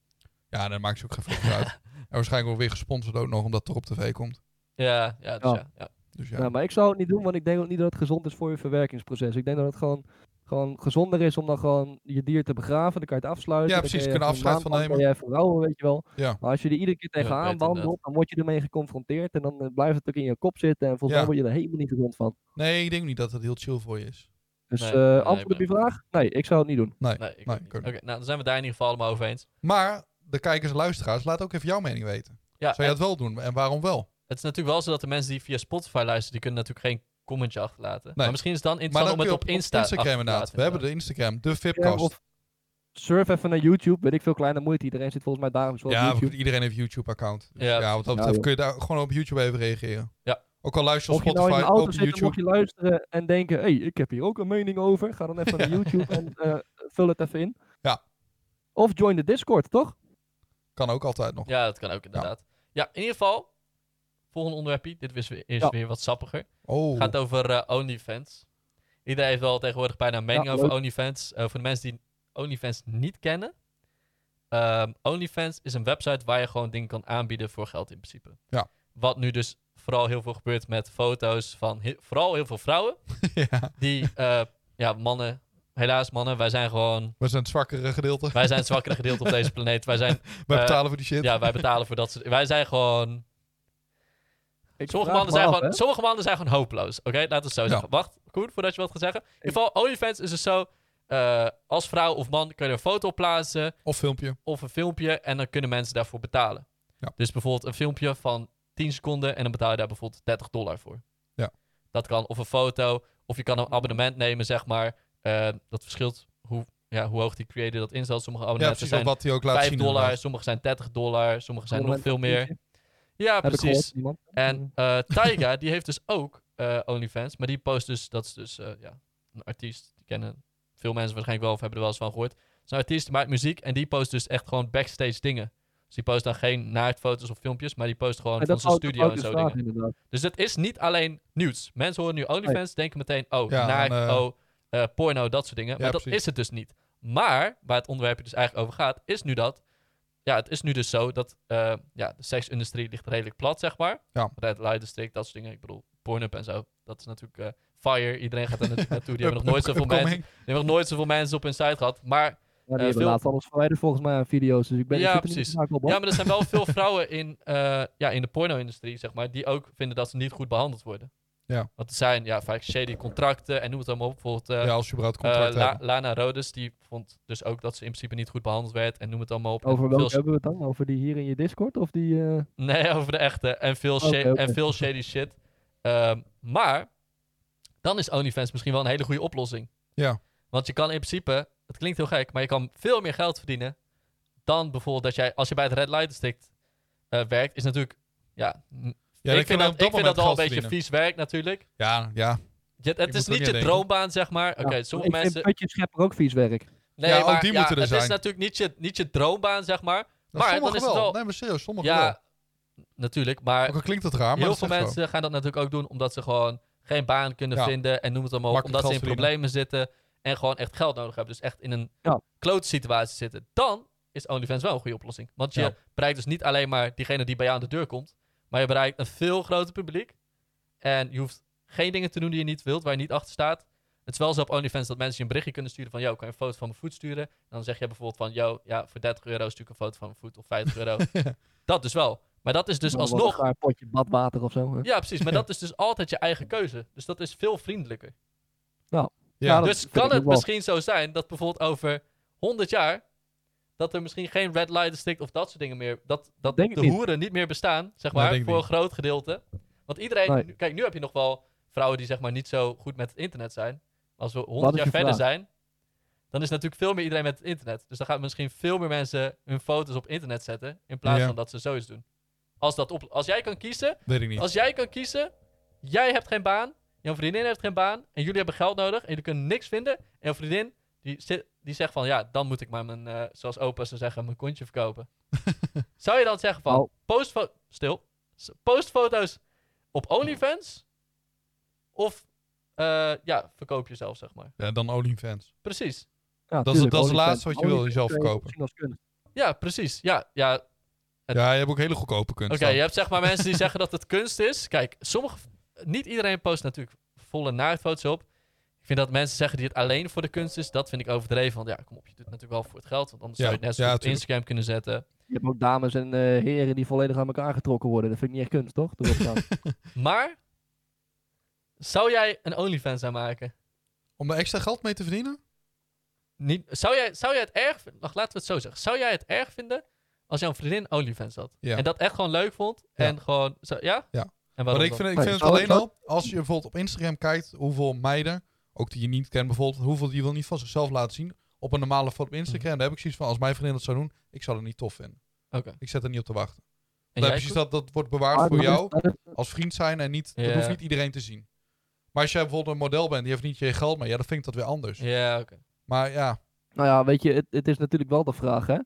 Ja, dan maakt ze ook geen fuck uit. En waarschijnlijk ook weer gesponsord ook nog, omdat het er op tv komt.
Ja, ja, dus
Ja.
ja. ja.
Dus ja.
Nou, maar ik zou het niet doen, want ik denk ook niet dat het gezond is voor je verwerkingsproces. Ik denk dat het gewoon, gewoon gezonder is om dan gewoon je dier te begraven. Dan kan je het afsluiten.
Ja,
dan
precies,
kun
je kunt er
even een
afscheid
maand
van
lang kun je even rouwen, weet je wel.
Ja.
Maar als je er iedere keer tegenaan
beter
wandelt,
inderdaad.
dan word je ermee geconfronteerd. En dan eh, blijft het ook in je kop zitten. En volgens
Ja.
mij word je er helemaal niet gezond van.
Nee, ik denk niet dat het heel chill voor je is.
Dus
Nee,
eh
nee,
antwoord
ben
op je vraag? Nee, ik zou het niet doen.
Nee.
Nee, ik
Nee,
ook niet.
ik ook
Oké,
niet.
nou, dan zijn we daar in ieder geval allemaal over eens.
Maar de kijkers en luisteraars, laat ook even jouw mening weten.
Ja,
Zou je dat wel doen en waarom wel?
Het is natuurlijk wel zo dat de mensen die via Spotify luisteren, die kunnen natuurlijk geen commentje achterlaten. Maar misschien is het dan
Maar
interessant
dan
om
kun
het
je
op, Insta
Instagram
achter te
inderdaad.
laten,
We hebben de Instagram, de
Ja,
Vipcast.
of surf even naar YouTube. Weet ik veel kleiner moeite. Iedereen zit volgens mij dagelijks wel
Ja,
op YouTube.
iedereen heeft YouTube-account. Dus ja,
Ja,
wat dat
Ja,
betreft
joh.
kun je daar gewoon op YouTube even reageren.
Ja.
Ook al luister je op
Mocht je nou in
Spotify,
de auto
op
zitten, mocht
YouTube.
je luisteren en denken... hey, ik heb hier ook een mening over. Ga dan even naar YouTube en eh, vul het even in.
Ja.
Of join de Discord, toch?
Kan ook altijd nog.
Ja, dat kan ook inderdaad. Ja, in ieder geval, volgende onderwerpje. Dit is weer, is
Ja.
weer wat sappiger.
Oh,
gaat over eh, OnlyFans. Iedereen heeft wel tegenwoordig bijna een mening
Ja,
over
leuk.
OnlyFans. Eh, voor de mensen die OnlyFans niet kennen. ehm, OnlyFans is een website waar je gewoon dingen kan aanbieden voor geld in principe.
Ja.
Wat nu dus vooral heel veel gebeurt met foto's van he- vooral heel veel vrouwen.
ja.
Die, eh, ja, mannen, helaas mannen, wij zijn gewoon,
We zijn het zwakkere gedeelte.
wij zijn het zwakkere gedeelte op deze planeet. Wij zijn,
Wij
eh,
betalen voor die shit.
ja, wij betalen voor dat soort, wij zijn gewoon
Ik
Sommige
vraag
mannen,
me
zijn
af,
gewoon,
hè.
sommige mannen zijn gewoon hopeloos. Oké, laten we het zo zeggen. Wacht, Koen, voordat je wat gaat zeggen. In ieder geval, OnlyFans is dus zo... eh, als vrouw of man kun je een foto plaatsen
Of filmpje.
of een filmpje... en dan kunnen mensen daarvoor betalen.
Ja.
Dus bijvoorbeeld een filmpje van 10 seconden... en dan betaal je daar bijvoorbeeld 30 dollar voor.
Ja.
Dat kan. Of een foto. Of je kan een abonnement nemen, zeg maar. Eh, dat verschilt hoe, ja, hoe hoog die creator dat instelt. Sommige
Ja,
abonnementen
precies. Ook
zijn
wat hij ook laat
5
zien.
dollar,
inderdaad.
sommige zijn 30 dollar... sommige zijn nog
Abonnement
veel
op
meer.
YouTube.
Ja,
Heb ik
precies.
gehoord, iemand.
En eh Tyga, die heeft dus ook eh, OnlyFans. Maar die post dus, dat is dus eh, ja, een artiest. Die kennen veel mensen waarschijnlijk wel of hebben er wel eens van gehoord. Het is een artiest, die maakt muziek en die post dus echt gewoon backstage dingen. Dus die post dan geen naaktfoto's of filmpjes, maar die post gewoon
En
van
dat
zijn
zou ik
studio en
ook dus
zo
vragen,
dingen.
inderdaad.
Dus het is niet alleen nieuws. Mensen horen nu OnlyFans, denken meteen, oh,
Ja,
naakt,
en, eh,
oh, eh, porno, dat soort dingen.
ja,
maar dat
precies.
is het dus niet. Maar, waar het onderwerp dus eigenlijk over gaat, is nu dat... Ja, het is nu dus zo dat eh, ja, de seksindustrie ligt redelijk plat, zeg maar.
Ja.
Red Light District, dat soort dingen. Ik bedoel, Pornhub en zo. Dat is natuurlijk eh, fire. Iedereen gaat daar natuurlijk naartoe. Die hebben nog nooit
Up-
zoveel mensen,
upcoming.
die hebben nog nooit zoveel mensen op hun site gehad. Maar
Ja, die
Eh,
hebben
veel-
laatst alles verwijderd volgens mij aan video's. Dus ik ben
Ja,
ik zit er
precies.
Niet vaak op, hoor.
Ja, maar er zijn wel veel vrouwen in, eh, ja, in de porno-industrie, zeg maar, die ook vinden dat ze niet goed behandeld worden.
Ja.
Want het zijn ja, vaak shady contracten en noem het allemaal op. Bijvoorbeeld eh,
Ja, als je überhaupt
eh,
contract
La-
hebt.
Lana Rhodes, die vond dus ook dat ze in principe niet goed behandeld werd en noem het allemaal op.
Over
En
welke
veel
hebben we het dan? Over die hier in je Discord? Of die... eh,
Nee, over de echte. En veel, sha-
Oké, oké.
En veel shady shit. Ehm, maar dan is OnlyFans misschien wel een hele goede oplossing.
Ja.
Want je kan in principe, het klinkt heel gek, maar je kan veel meer geld verdienen dan bijvoorbeeld dat jij, als je bij het Red Light District eh, werkt, is natuurlijk, ja, m-
Ja, dan
ik
kun
vind
je
dat,
op
ik vind
moment
dat al een
geld
beetje
verdienen.
vies werk natuurlijk.
Ja, ja.
Je-
moet
het is
er niet
niet
aan
je
denken.
droombaan, zeg maar. Oké,
ja,
sommige
ik
mensen... Dus
vind Putje Schepper ook vies werk.
Nee,
Ja, ook
maar
die
ja,
moeten er
het is
zijn.
natuurlijk niet je, niet je droombaan, zeg maar.
Maar
Maar dan
sommigen
is het
wel.
wel...
Nee, maar serieus, sommigen wel.
ja, natuurlijk, maar...
Ook al klinkt het raar, maar
Heel
dat
veel
is echt zo.
mensen gaan dat natuurlijk ook doen omdat ze gewoon geen baan kunnen
Ja.
vinden en noem het allemaal op.
Makkelijk
Omdat ze in
geld
problemen zitten en gewoon echt geld nodig hebben. Dus echt in een
Ja.
klote situatie zitten. Dan is OnlyFans wel een goede oplossing. Want je
Ja.
bereikt dus niet alleen maar diegene die bij jou aan de deur komt, maar je bereikt een veel groter publiek. En je hoeft geen dingen te doen die je niet wilt, waar je niet achter staat. Het is wel zo op OnlyFans dat mensen je een berichtje kunnen sturen van... ...yo, kan je een foto van mijn voet sturen? En dan zeg je bijvoorbeeld van... ...yo, ja, voor 30 euro stuur ik een foto van mijn voet of 50 euro. dat dus wel. Maar dat is dus
Wel Nou, wat
alsnog...
Een gaar potje badwater of zo. hè.
Ja, precies. Maar dat is dus altijd je eigen keuze. Dus dat is veel vriendelijker.
Ja,
dat
dus
vind
kan
ik
het
ook wel.
misschien zo zijn dat bijvoorbeeld over 100 jaar. dat er misschien geen red light district of dat soort dingen meer. dat, dat
Denk het
de
niet.
hoeren niet meer bestaan, zeg
Nee,
maar.
Nou, denk ik
voor een
niet.
groot gedeelte. Want iedereen.
Nee.
nu- Kijk, nu heb je nog wel vrouwen die zeg maar niet zo goed met het internet zijn. Als we
Wat
100
is
jaar
je
verder
vraag?
zijn. dan is natuurlijk veel meer iedereen met het internet. Dus dan gaan misschien veel meer mensen hun foto's op internet zetten. in plaats
Ja.
van dat ze zoiets doen. Als, dat op, als jij kan kiezen,
weet ik niet.
als jij kan kiezen, jij hebt geen baan, jouw vriendin heeft geen baan en jullie hebben geld nodig en jullie kunnen niks vinden. En jouw vriendin die, zit- die zegt van ja, dan moet ik maar mijn, eh, zoals opa zou zeggen, mijn kontje verkopen. zou je dan zeggen van
Nou.
postfo- stil, S- postfoto's op OnlyFans of eh, ja, verkoop jezelf zeg maar.
Ja, dan OnlyFans.
Precies.
Ja,
dat is
tuurlijk,
het
OnlyFans.
laatste wat je wil,
OnlyFans
jezelf
kun je
verkopen.
zien als kunst.
Ja, precies. Ja, ja. Oké, Het-
Ja, je hebt ook hele goedkope kunst. dan.
je hebt zeg maar mensen die zeggen dat het kunst is. Kijk, sommige, niet iedereen post natuurlijk volle naaktfoto's op. Ik vind dat mensen zeggen die het alleen voor de kunst is, dat vind ik overdreven. Want ja, kom op, je doet het natuurlijk wel voor het geld. Want anders
Ja,
zou je het net zo
ja,
goed op
tuurlijk.
Instagram kunnen zetten.
Je hebt ook dames en eh, heren die volledig aan elkaar getrokken worden. Dat vind ik niet echt kunst, toch? Doe dat dan.
Maar, zou jij een OnlyFans aanmaken?
Om er extra geld mee te verdienen?
Niet, zou, jij, zou jij het erg vinden, wacht, laten we het zo zeggen. Zou jij het erg vinden als jouw vriendin OnlyFans had?
Ja.
En dat echt gewoon leuk vond? En gewoon, zo, ja?
Ja.
En
Maar
waarom
ik
dan?
vind, ik
Nee,
vind het
zou
alleen
het
al, als je bijvoorbeeld op Instagram kijkt hoeveel meiden, ook die je niet kent bijvoorbeeld, hoeveel die wil niet van zichzelf laten zien op een normale foto op
Mhm.
Instagram. Daar heb ik zoiets van, als mijn vriendin dat zou doen, ik zou dat niet tof vinden.
Oké.
Ik zet er niet op te wachten.
En
Dan
jij,
heb je
Koen?
zoiets dat, dat wordt bewaard voor
Maar Ah, dat is-
jou
dat is-
als vriend zijn en niet,
Ja.
dat hoeft niet iedereen te zien. Maar als jij bijvoorbeeld een model bent, die heeft niet je geld mee, ja, dan vind ik dat weer anders.
Ja, oké.
Maar ja,
Nou ja, weet je, het, het is natuurlijk wel de vraag, hè.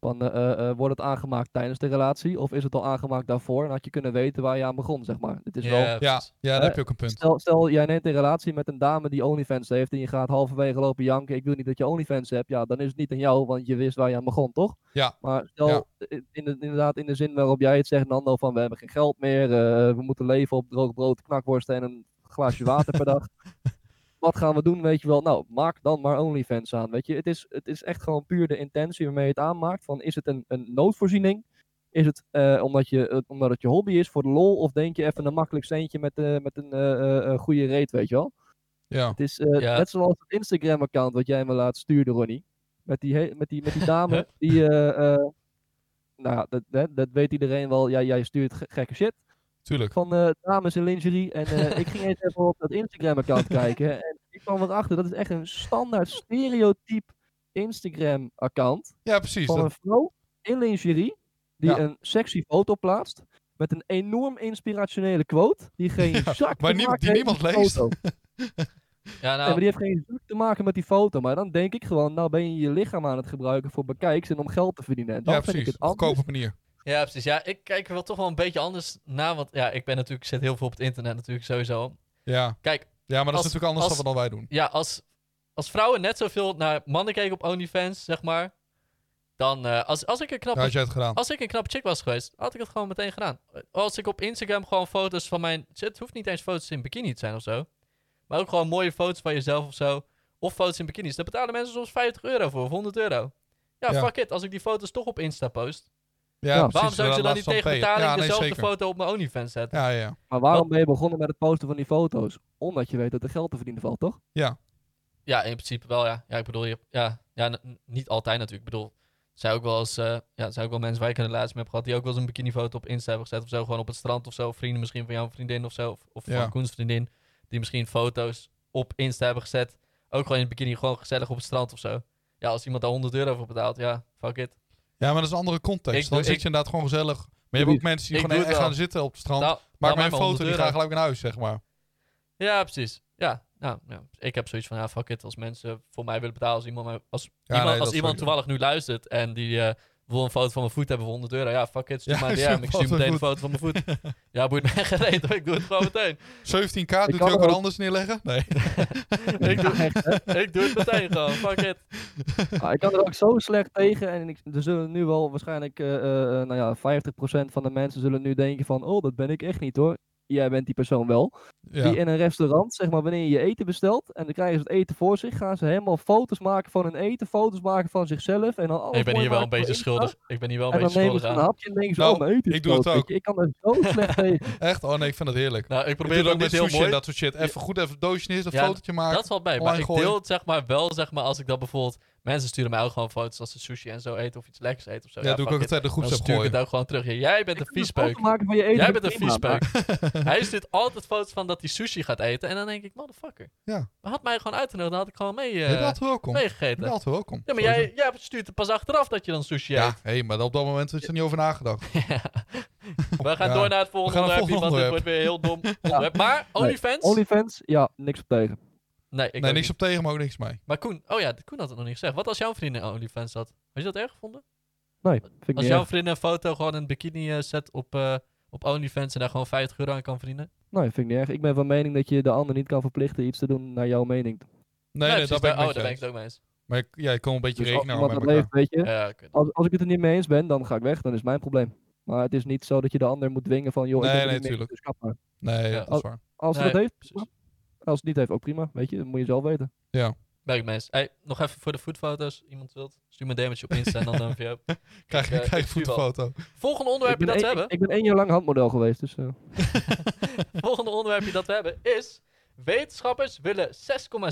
Van, eh, eh, eh, wordt het aangemaakt tijdens de relatie of is het al aangemaakt daarvoor? En had je kunnen weten waar je aan begon, zeg maar. Het is wel
Ja,
ja,
precies.
ja daar
Eh,
heb je ook een punt.
Stel, stel, jij neemt een relatie met een dame die OnlyFans heeft en je gaat halverwege lopen janken, ik wil niet dat je OnlyFans hebt, ja, dan is het niet aan jou, want je wist waar je aan begon, toch?
Ja.
Maar stel,
Ja.
i- in de- inderdaad, in de zin waarop jij het zegt, Nando, van we hebben geen geld meer, eh, we moeten leven op droog brood, knakworsten en een glaasje water per dag. Wat gaan we doen, weet je wel? Nou, maak dan maar OnlyFans aan, weet je. Het is, het is echt gewoon puur de intentie waarmee je het aanmaakt, van is het een, een noodvoorziening? Is het eh, omdat, je, eh, omdat het je hobby is voor de lol? Of denk je even een makkelijk centje met, eh, met een eh, eh, eh, goede reet, weet je wel?
Ja,
Het is eh,
Ja.
net zoals het Instagram-account wat jij me laat sturen, Ronnie. Met die, he- met die, met die dame die... eh, eh, nou, ja, dat, dat, dat weet iedereen wel. Ja, jij stuurt ge- gekke shit
tuurlijk.
van eh, dames in lingerie. En eh, ik ging eens even op dat Instagram-account kijken. En ik kwam erachter, dat is echt een standaard stereotype Instagram-account
Ja, precies.
van
Dat,
een vrouw in lingerie die
Ja.
een sexy foto plaatst met een enorm inspirationele quote die geen
Ja,
zak te
maar niemand-
maken
die
heeft
niemand
met die
leest.
foto.
Ja,
Nee,
nou,
maar die heeft geen zak te maken met die foto. Maar dan denk ik gewoon, nou ben je je lichaam aan het gebruiken voor bekijks en om geld te verdienen. En dan
ja,
vind ik
precies.
het
Op
anders.
goedkope manier.
Ja, precies. Ja, ik kijk er wel toch wel een beetje anders naar. Want ja, ik ben natuurlijk, zit heel veel op het internet natuurlijk sowieso.
Ja.
Kijk,
ja, maar dat
Als-
is natuurlijk anders
als-
dan wat wij doen.
ja, als, als vrouwen net zoveel naar mannen keken op OnlyFans, zeg maar. Dan, eh, als, als ik een
Ja, had
knappe,
jij het gedaan.
als ik een knappe chick was geweest, had ik het gewoon meteen gedaan. Als ik op Instagram gewoon foto's van mijn... Het hoeft niet eens foto's in bikini te zijn of zo. Maar ook gewoon mooie foto's van jezelf of zo. Of foto's in bikinis. Daar betalen mensen soms 50 euro voor of 100 euro. Ja,
Ja.
fuck it. Als ik die foto's toch op Insta post.
Ja,
Ja.
precies.
waarom zou ik ze dan
Laatst
niet
van
tegen
P.
betaling
ja, nee,
dezelfde
zeker.
foto op mijn OnlyFans zetten?
Ja, ja.
Maar waarom
Wat-
ben je begonnen met het posten van die foto's? Omdat je weet dat er geld te verdienen valt, toch?
Ja, in principe wel, ja. Ja, ik bedoel, je, ja, ja, n- n- niet altijd natuurlijk. Ik bedoel, er zijn ook wel eens, eh, ja, er zijn ook wel mensen waar ik een relatie mee heb gehad, die ook wel eens een bikinifoto op Insta hebben gezet of zo, gewoon op het strand of zo. Of vrienden misschien van jouw vriendin of zo, of, of
Ja.
van Koens vriendin, die misschien foto's op Insta hebben gezet. Ook gewoon in het bikini, gewoon gezellig op het strand of zo. Ja, als iemand daar 100 euro voor betaalt, ja, fuck it.
Ja, maar dat is een andere context.
Ik
dan
doe-
zit
ik-
je inderdaad gewoon gezellig. Maar je hebt ook mensen die
Ik
gewoon
doe
echt
het wel.
gaan zitten op het strand.
Nou,
maak
nou,
maar een
maar 100
foto, die
euro.
gaan gelijk naar huis, zeg maar.
Ja, precies. Ja, nou, ja, ik heb zoiets van, ja, fuck it. Als mensen voor mij willen betalen, als iemand, mij- als
Ja,
iemand,
nee, dat
als
is
iemand
sowieso.
toevallig nu luistert en die eh, wil een foto van mijn voet hebben voor 100 euro, ja, fuck it, stuur
Ja,
maar een
stuur
DM.
een
Ik
foto
stuur
van
meteen een
voet.
foto van mijn voet. ja, boeit mij gereed, hoor, ik doe het gewoon meteen.
17k, doet
kan
hij ook
er
wat
ook-
anders neerleggen? Nee.
ik, doe,
Echt, hè?
ik doe het meteen gewoon, fuck it.
Ah, ik kan er ook zo slecht tegen. En ik, er zullen nu wel waarschijnlijk eh, eh, eh, nou ja, 50% van de mensen zullen nu denken van... Oh, dat ben ik echt niet hoor. jij bent die persoon wel. Die in een restaurant, zeg maar, wanneer je je eten bestelt en dan krijgen ze het eten voor zich, gaan ze helemaal foto's maken van hun eten, foto's maken van zichzelf en dan alles
ik ben
mooi
hier wel een
maken
beetje
voor Insta.
schuldig. Ik ben hier wel een
En dan
beetje
nemen
schuldig
ze een
aan.
hapje en denken ze,
Nou,
oh, mijn eten is
ik doe het
dood, weet
ook.
je. Ik kan er zo slecht tegen.
Echt? Oh nee, ik vind dat heerlijk.
Nou, ik
Ik
probeer
doe
het
het
ook met
ook met
heel
sushi en
mooi.
dat soort shit. Even goed even een doosje neer, een
Ja,
fotootje maken.
Dat valt bij. Maar
online
ik
gooien.
deel het zeg maar wel, zeg maar, als ik dat bijvoorbeeld... Mensen sturen mij ook gewoon foto's als ze sushi en zo eten of iets lekkers eten of zo.
ja, doe ik
fuck
ook
it.
altijd de groeps
Dan
heb
stuur ik
gooien.
het ook gewoon terug. Ja, jij bent
Je
een
kunt een foto
viespeuk.
maken van je eten.
Jij
is
bent een
prima,
viespeuk.
maar-
Hij stuurt altijd foto's van dat hij sushi gaat eten. En dan denk ik, motherfucker.
Ja.
Maar had mij gewoon uitgenodigd, dan had ik gewoon mee,
Je bent
eh
altijd welkom. Je
meegegeten.
bent altijd welkom.
Ja, maar
Sowieso.
jij, jij stuurt er pas achteraf dat je dan sushi
Ja,
eet.
hé, maar op dat moment is er niet over nagedacht.
We gaan
Ja.
door naar het volgende
We gaan
onderwerp,
naar het
want dit
volgende
wordt weer heel dom. onderwerp. Maar OnlyFans?
OnlyFans, ja, niks op tegen.
Nee, ik
nee,
ook
niks
niet.
op tegen, maar ook niks mee.
Maar Koen, oh ja, Koen had het nog niet gezegd. Wat als jouw vriendin OnlyFans had? Had je dat erg gevonden?
Nee, vind ik
Als
niet
jouw
erg.
vriendin een foto gewoon in bikini eh, zet op, eh, op OnlyFans en daar gewoon 50 euro aan kan verdienen?
Nee, vind ik niet erg. Ik ben van mening dat je de ander niet kan verplichten iets te doen naar jouw mening.
Nee, nee,
precies,
dat ben ik
daar-
met
Oh, daar ben
je
ik
eens.
het ook mee eens.
Maar ik- ja, ik kom een beetje
Dus als
rekenen
iemand
houden
dat
met elkaar.
leeft, weet je,
Ja, oké.
als, als ik het er niet mee eens ben, dan ga ik weg. Dan is het mijn probleem. Maar het is niet zo dat je de ander moet dwingen van, joh,
Nee,
ik ben er
nee,
niet mee eens,
tuurlijk.
dus kap maar.
Nee,
Ja. Oh.
dat is waar.
Als ze
Nee,
dat heeft,
precies.
als het niet heeft, ook prima. Weet je, dat moet je zelf weten.
Ben ik mee eens. Hey, nog even voor de foodfoto's. Iemand wilt, stuur me een damage op Insta en dan een VO.
Krijg je
eh, ik
krijg
zie wel.
voetfoto.
Volgende
Ik
onderwerpje
ben,
dat we
één,
hebben.
ik ben één jaar lang handmodel geweest, dus... eh,
Volgende onderwerpje dat we hebben is... Wetenschappers willen 6,7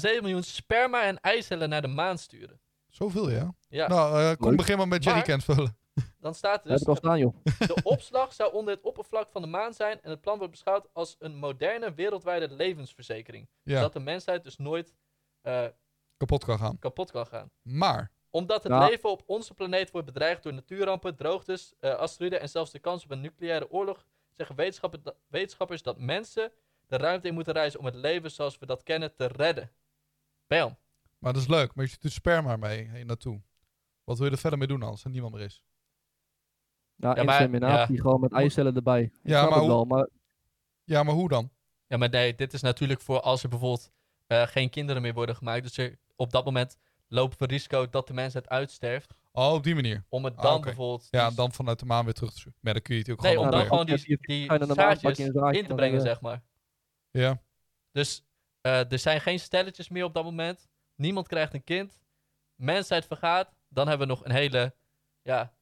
miljoen sperma en eicellen naar de maan sturen.
Zoveel, ja.
Ja,
Nou, eh, kom
Leuk.
begin maar met
Maar-
jerrycans vullen.
dan staat
heb
dus...
ik al staan, joh.
De opslag zou onder het oppervlak van de maan zijn... en het plan wordt beschouwd als een moderne wereldwijde levensverzekering.
Ja,
Dat de mensheid dus nooit eh,
kapot kan gaan.
kapot kan gaan.
Maar,
Omdat het
Ja.
leven op onze planeet wordt bedreigd door natuurrampen, droogtes, eh asteroïden en zelfs de kans op een nucleaire oorlog, zeggen wetenschappen da- wetenschappers dat mensen de ruimte in moeten reizen om het leven zoals we dat kennen te redden. Bam.
maar dat is leuk. Maar je doet sperma mee heen naartoe. Wat wil je er verder mee doen als er niemand meer is?
Nou,
Ja, maar-
inseminatie, gewoon met eicellen erbij. Ik
Ja,
snap
maar
het
hoe-
wel, maar
Ja, maar hoe dan?
Ja, maar nee, dit is natuurlijk voor als er bijvoorbeeld eh, geen kinderen meer worden gemaakt. Dus er, op dat moment lopen we risico dat de mensheid uitsterft.
Oh, op die manier.
Om het
Ah,
dan
oké.
bijvoorbeeld.
Ja,
die-
en dan vanuit de maan weer terug te zoeken. Maar dan kun je het ook
Nee,
gewoon
om dan
opleveren.
gewoon
Ja,
die,
je-
die
ga je dan normaal
zaadjes
pakken in een zaadje
in te
dan,
brengen,
eh,
zeg maar.
Ja.
Dus eh, er zijn geen stelletjes meer op dat moment. Niemand krijgt een kind. Mensheid vergaat. Dan hebben we nog een hele ja,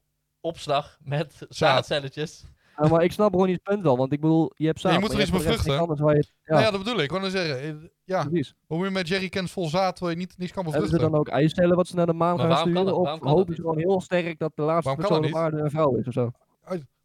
opslag met zaadcelletjes.
Ja, maar ik snap Ronnie's punt wel, want ik bedoel, je hebt
Ja, je
zaad.
moet
maar
er iets
hebt
mee
voor de rest
vruchten.
niks Anders waar je, ja,
Nou ja, dat bedoel ik. Ik wou dan zeggen, eh, ja,
precies.
hoe moet je met jerrycans vol zaad terwijl je niet, niks kan
Hebben ze
bevruchten?
dan ook eicellen wat ze naar de maan
Maar
gaan
waarom kan
sturen?
dat?
Of
Waarom kan dat
hopen ze
niet?
gewoon heel sterk dat de laatste
Waarom kan dat
persoon op
niet?
aarde een vrouw is of zo?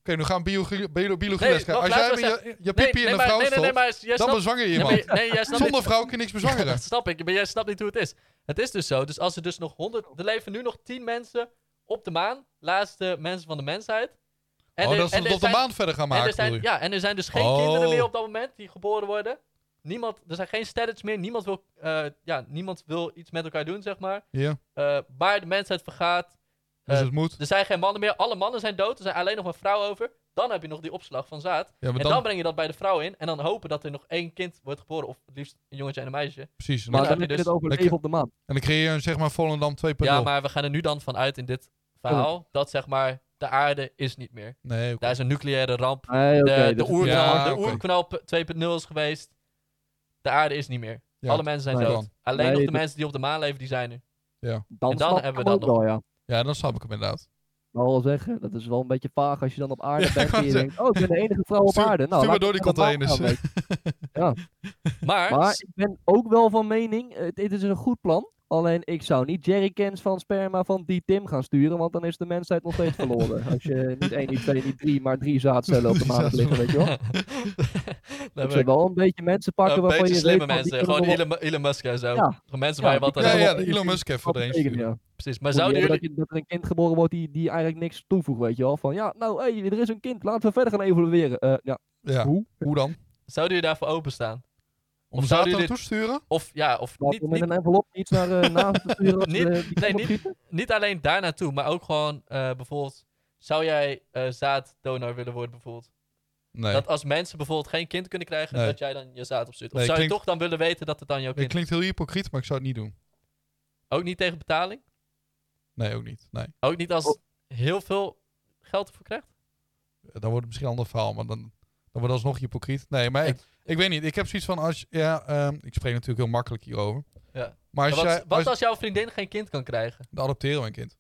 Oké, nu gaan biologie, bio, biologie
Nee,
les krijgen.
wacht,
Als jij
laten we
met je, je pipi in een
maar,
vrouw
nee, nee, nee,
stopt,
maar jij
dan
snapt,
bezwanger je
nee,
iemand.
maar, nee, jij snapt
Zonder
niet-
vrouw kun je niks bezwangeren.
Dat snap ik, maar jij snapt niet hoe het is. Het is dus zo. Dus als er dus nog 100. Er leven nu nog 10 mensen op de maan. Laatste mensen van de mensheid. En
oh,
er-
dat ze
en er
het op de
zijn-
maan verder
en
gaan
er
maken, bedoel
zijn,
je?
ja, en er zijn dus geen
Oh.
kinderen meer op dat moment die geboren worden. Niemand, er zijn geen sterretjes meer. Niemand wil, eh, ja, niemand wil iets met elkaar doen, zeg maar.
Ja,
Eh, maar de mensheid vergaat.
dus
Eh,
het moet.
Er zijn geen mannen meer. Alle mannen zijn dood. Er zijn alleen nog maar vrouwen over. Dan heb je nog die opslag van zaad.
Ja, maar
en dan,
dan,
breng je dat bij de vrouw in. En dan hopen dat er nog één kind wordt geboren. Of het liefst een jongetje en een meisje.
precies. En
Maar
dan,
heb
dan
je
heb je
dus-
het over
dan
leven
kun-
op de maan.
en dan creëer je zeg maar Volendam 2.0.
Ja, maar we gaan er nu dan vanuit in dit
Oh.
verhaal. Dat zeg maar de aarde is niet meer.
Nee, oké.
Daar is een nucleaire ramp.
Nee,
De,
oké,
de
dat is-
oerknal,
Ja,
de
oké.
oerknal p- 2.0 is geweest. De aarde is niet meer.
Ja,
Alle mensen zijn
nee.
dood.
Dan.
Alleen
Nee,
nog de
dat-
mensen die op de maan leven, die zijn er.
Dan,
en dan
snap
hebben
ik
we
hem
dat
ook wel, ja.
ja, dan snap ik hem inderdaad.
Ik wil wel zeggen, dat is wel een beetje vaag als je dan op aarde
Ja, ik
bent en
wou
je
zeggen.
denkt, oh, ik ben de enige vrouw op
Stuur-
aarde. Nou,
stuur maar
laat
door
ik
die
naar de maan
containers.
gaan, weet je.
Maar,
Maar ik ben ook wel van mening, eh, dit is een goed plan. Alleen ik zou niet jerrycans van sperma van die Tim gaan sturen, want dan is de mensheid nog steeds verloren. Als je niet één, niet twee, niet drie, maar drie zaadcellen op de
Drie
maan hebt liggen, weet je wel.
Dan hebben
Ik
we
zou wel een beetje mensen pakken
een
waarvan
beetje
je
slimme
weet van, die
mensen.
kunnen
Gewoon
nog wel
Elon, Mu- Elon Musk en zo.
Ja.
Gewoon Mensen
Ja,
waar je wat
die
aan
Ja,
kunnen
hebt.
ja,
wel
Elon Musk heeft voor
wat
de een
betekenen,
sturen.
ja.
Precies. Maar
Moet je
zouden
hebben
jullie...
dat, je, dat er een kind geboren wordt die, die eigenlijk niks toevoegt, weet je wel. Van ja, nou hé, er is een kind, laten we verder gaan evolueren. Eh, ja,
Ja,
hoe?
hoe dan?
Zouden jullie daarvoor openstaan?
Om
zouden
zaad
jullie-
naartoe te sturen?
Of ja, of
Laten
niet,
we met
niet,
een envelop iets naar eh, naast te sturen.
Niet-
eh, die
nee,
kant op
niet-
schieten?
niet alleen daar naartoe, maar ook gewoon eh, bijvoorbeeld... Zou jij eh, zaaddonor willen worden bijvoorbeeld?
Nee.
Dat als mensen bijvoorbeeld geen kind kunnen krijgen,
Nee.
dat jij dan je zaad opstuurt. Of
Nee,
zou je
klinkt-
toch dan willen weten dat het dan jouw
Het
kind
klinkt heel hypocriet, maar ik zou het niet doen.
Ook niet tegen betaling?
Nee, ook niet. Nee. Eh,
Ook niet als heel veel geld ervoor krijgt?
Dan wordt het misschien een ander verhaal, maar dan, Dan wordt alsnog hypocriet. Nee, maar ik, ik weet niet. Ik heb zoiets van als... je- Ja, ehm, ik spreek natuurlijk heel makkelijk hierover.
Ja.
Maar als
Maar
jij...
wat, wat
als,
als jouw vriendin geen kind kan krijgen?
Dan adopteren we een kind.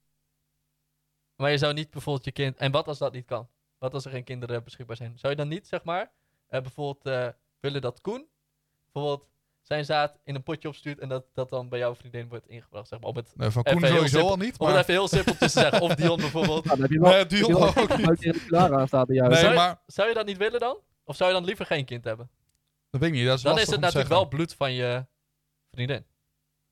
Maar je zou niet bijvoorbeeld je kind... En wat als dat niet kan? Wat als er geen kinderen beschikbaar zijn? Zou je dan niet, zeg maar, eh, bijvoorbeeld eh, willen dat Koen bijvoorbeeld zijn zaad in een potje opstuurt en dat dat dan bij jouw vriendin wordt ingebracht, zeg maar. Om het,
Nee, van
Even
Koen
heel
sowieso
simpel.
al niet.
om het
Maar,
even heel simpel te zeggen. Of Dion bijvoorbeeld.
Nou, dan heb je wel
nee, duur
heel erg
ook niet.
uit tegen de Clara aan staat bij jou.
Nee,
Zou je-
maar
Zou je dat niet willen dan? Of zou je dan liever geen kind hebben?
dat weet ik niet. Dat is
Dan is
lastig
het
om te
natuurlijk
zeggen.
wel bloed van je vriendin.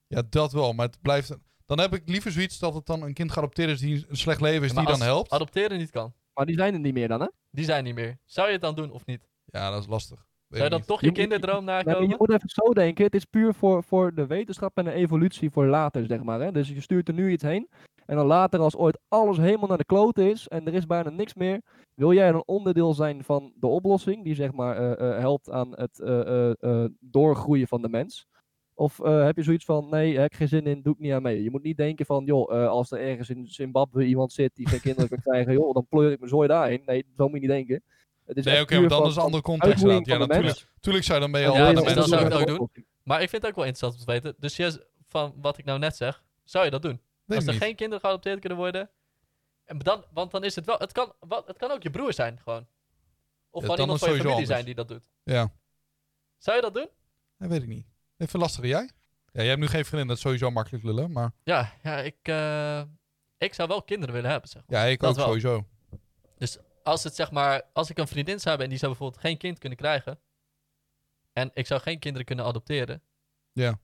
Ja, dat wel. Maar het blijft... Dan heb ik liever zoiets dat het dan een kind geadopteerd is die een slecht leven is,
Maar
die dan
als
helpt.
Adopteren niet kan.
Maar die zijn er niet meer dan, hè?
Die zijn niet meer. Zou je het dan doen of niet?
Ja, dat is lastig.
Zou
Weet
je
ik
dan
niet.
toch
Je
je
moet-
kinderdroom
Nee, maar
nakomen?
je moet even zo denken. Het is puur voor, voor de wetenschap en de evolutie voor later, zeg maar. Hè? Dus je stuurt er nu iets heen. En dan later, als ooit alles helemaal naar de klote is en er is bijna niks meer, wil jij een onderdeel zijn van de oplossing die zeg maar eh, eh, helpt aan het eh, eh, eh, doorgroeien van de mens? Of eh, heb je zoiets van, nee, heb ik geen zin in, doe ik niet aan mee. Je moet niet denken van, joh, eh, als er ergens in Zimbabwe iemand zit die geen kinderen kan krijgen, joh, dan pleur ik mijn zooi daarheen. Nee, zo moet je niet denken. Het is
Nee,
echt
oké, maar
puur
dan
van-
is een andere
van
context.
uitgroeiing
inderdaad. Ja,
van de mens.
natuurlijk. Tuurlijk zou je dan ben je
En
al
Ja,
aan de
dat-
mensen.
dat zou ik
toe.
ook doen. Maar ik vind het ook wel interessant om te weten. Dus je, van wat ik nou net zeg, zou je dat doen?
Weet
Als
ik
er
niet.
geen kinderen geadopteerd kunnen worden. En dan, want dan is het wel. Het kan, wat, het kan ook je broer zijn, gewoon. Of
Ja,
van
dan
iemand
is
van je
sowieso
familie
anders.
zijn die dat doet.
Ja,
Zou je dat doen?
dat weet ik niet. Even lastiger, jij? Ja, jij hebt nu geen vriendin, dat is sowieso makkelijk lullen, maar...
Ja, ja ik, eh, ik zou wel kinderen willen hebben, zeg maar.
Ja, ik
Dat
ook
wel.
sowieso.
Als, het, zeg maar. als ik een vriendin zou hebben en die zou bijvoorbeeld geen kind kunnen krijgen. En ik zou geen kinderen kunnen adopteren.
Ja.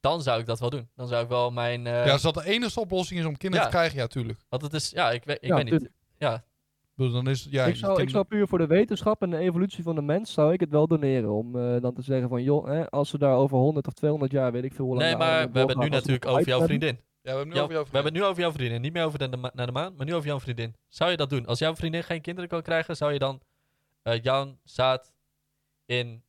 Dan zou ik dat wel doen. Dan zou ik wel mijn. eh,
ja, als dat de enige oplossing is om kinderen
Ja.
te krijgen, ja, tuurlijk. Ik
Want het is. Ja, ik, weet- ik
Ja,
weet niet.
tuurlijk.
bedoel, dan is... Ja,
ik, zou, ik
kinderen-
zou puur voor de wetenschap en de evolutie van de mens zou ik het wel doneren. Om eh, dan te zeggen van joh, hè, als ze daar over 100 of 200 jaar, weet ik veel hoe lang
Nee,
de aarde
maar we hebben het nu
doorgaat, als ze
natuurlijk
nog
over jouw
hype hebben.
vriendin.
Ja, we hebben nu
Jou-
over jou
we hebben het nu over jouw vriendin. Niet meer over de, de ma- naar de maan, maar nu over jouw vriendin. Zou je dat doen? Als jouw vriendin geen kinderen kan krijgen, zou je dan eh, jouw zaad in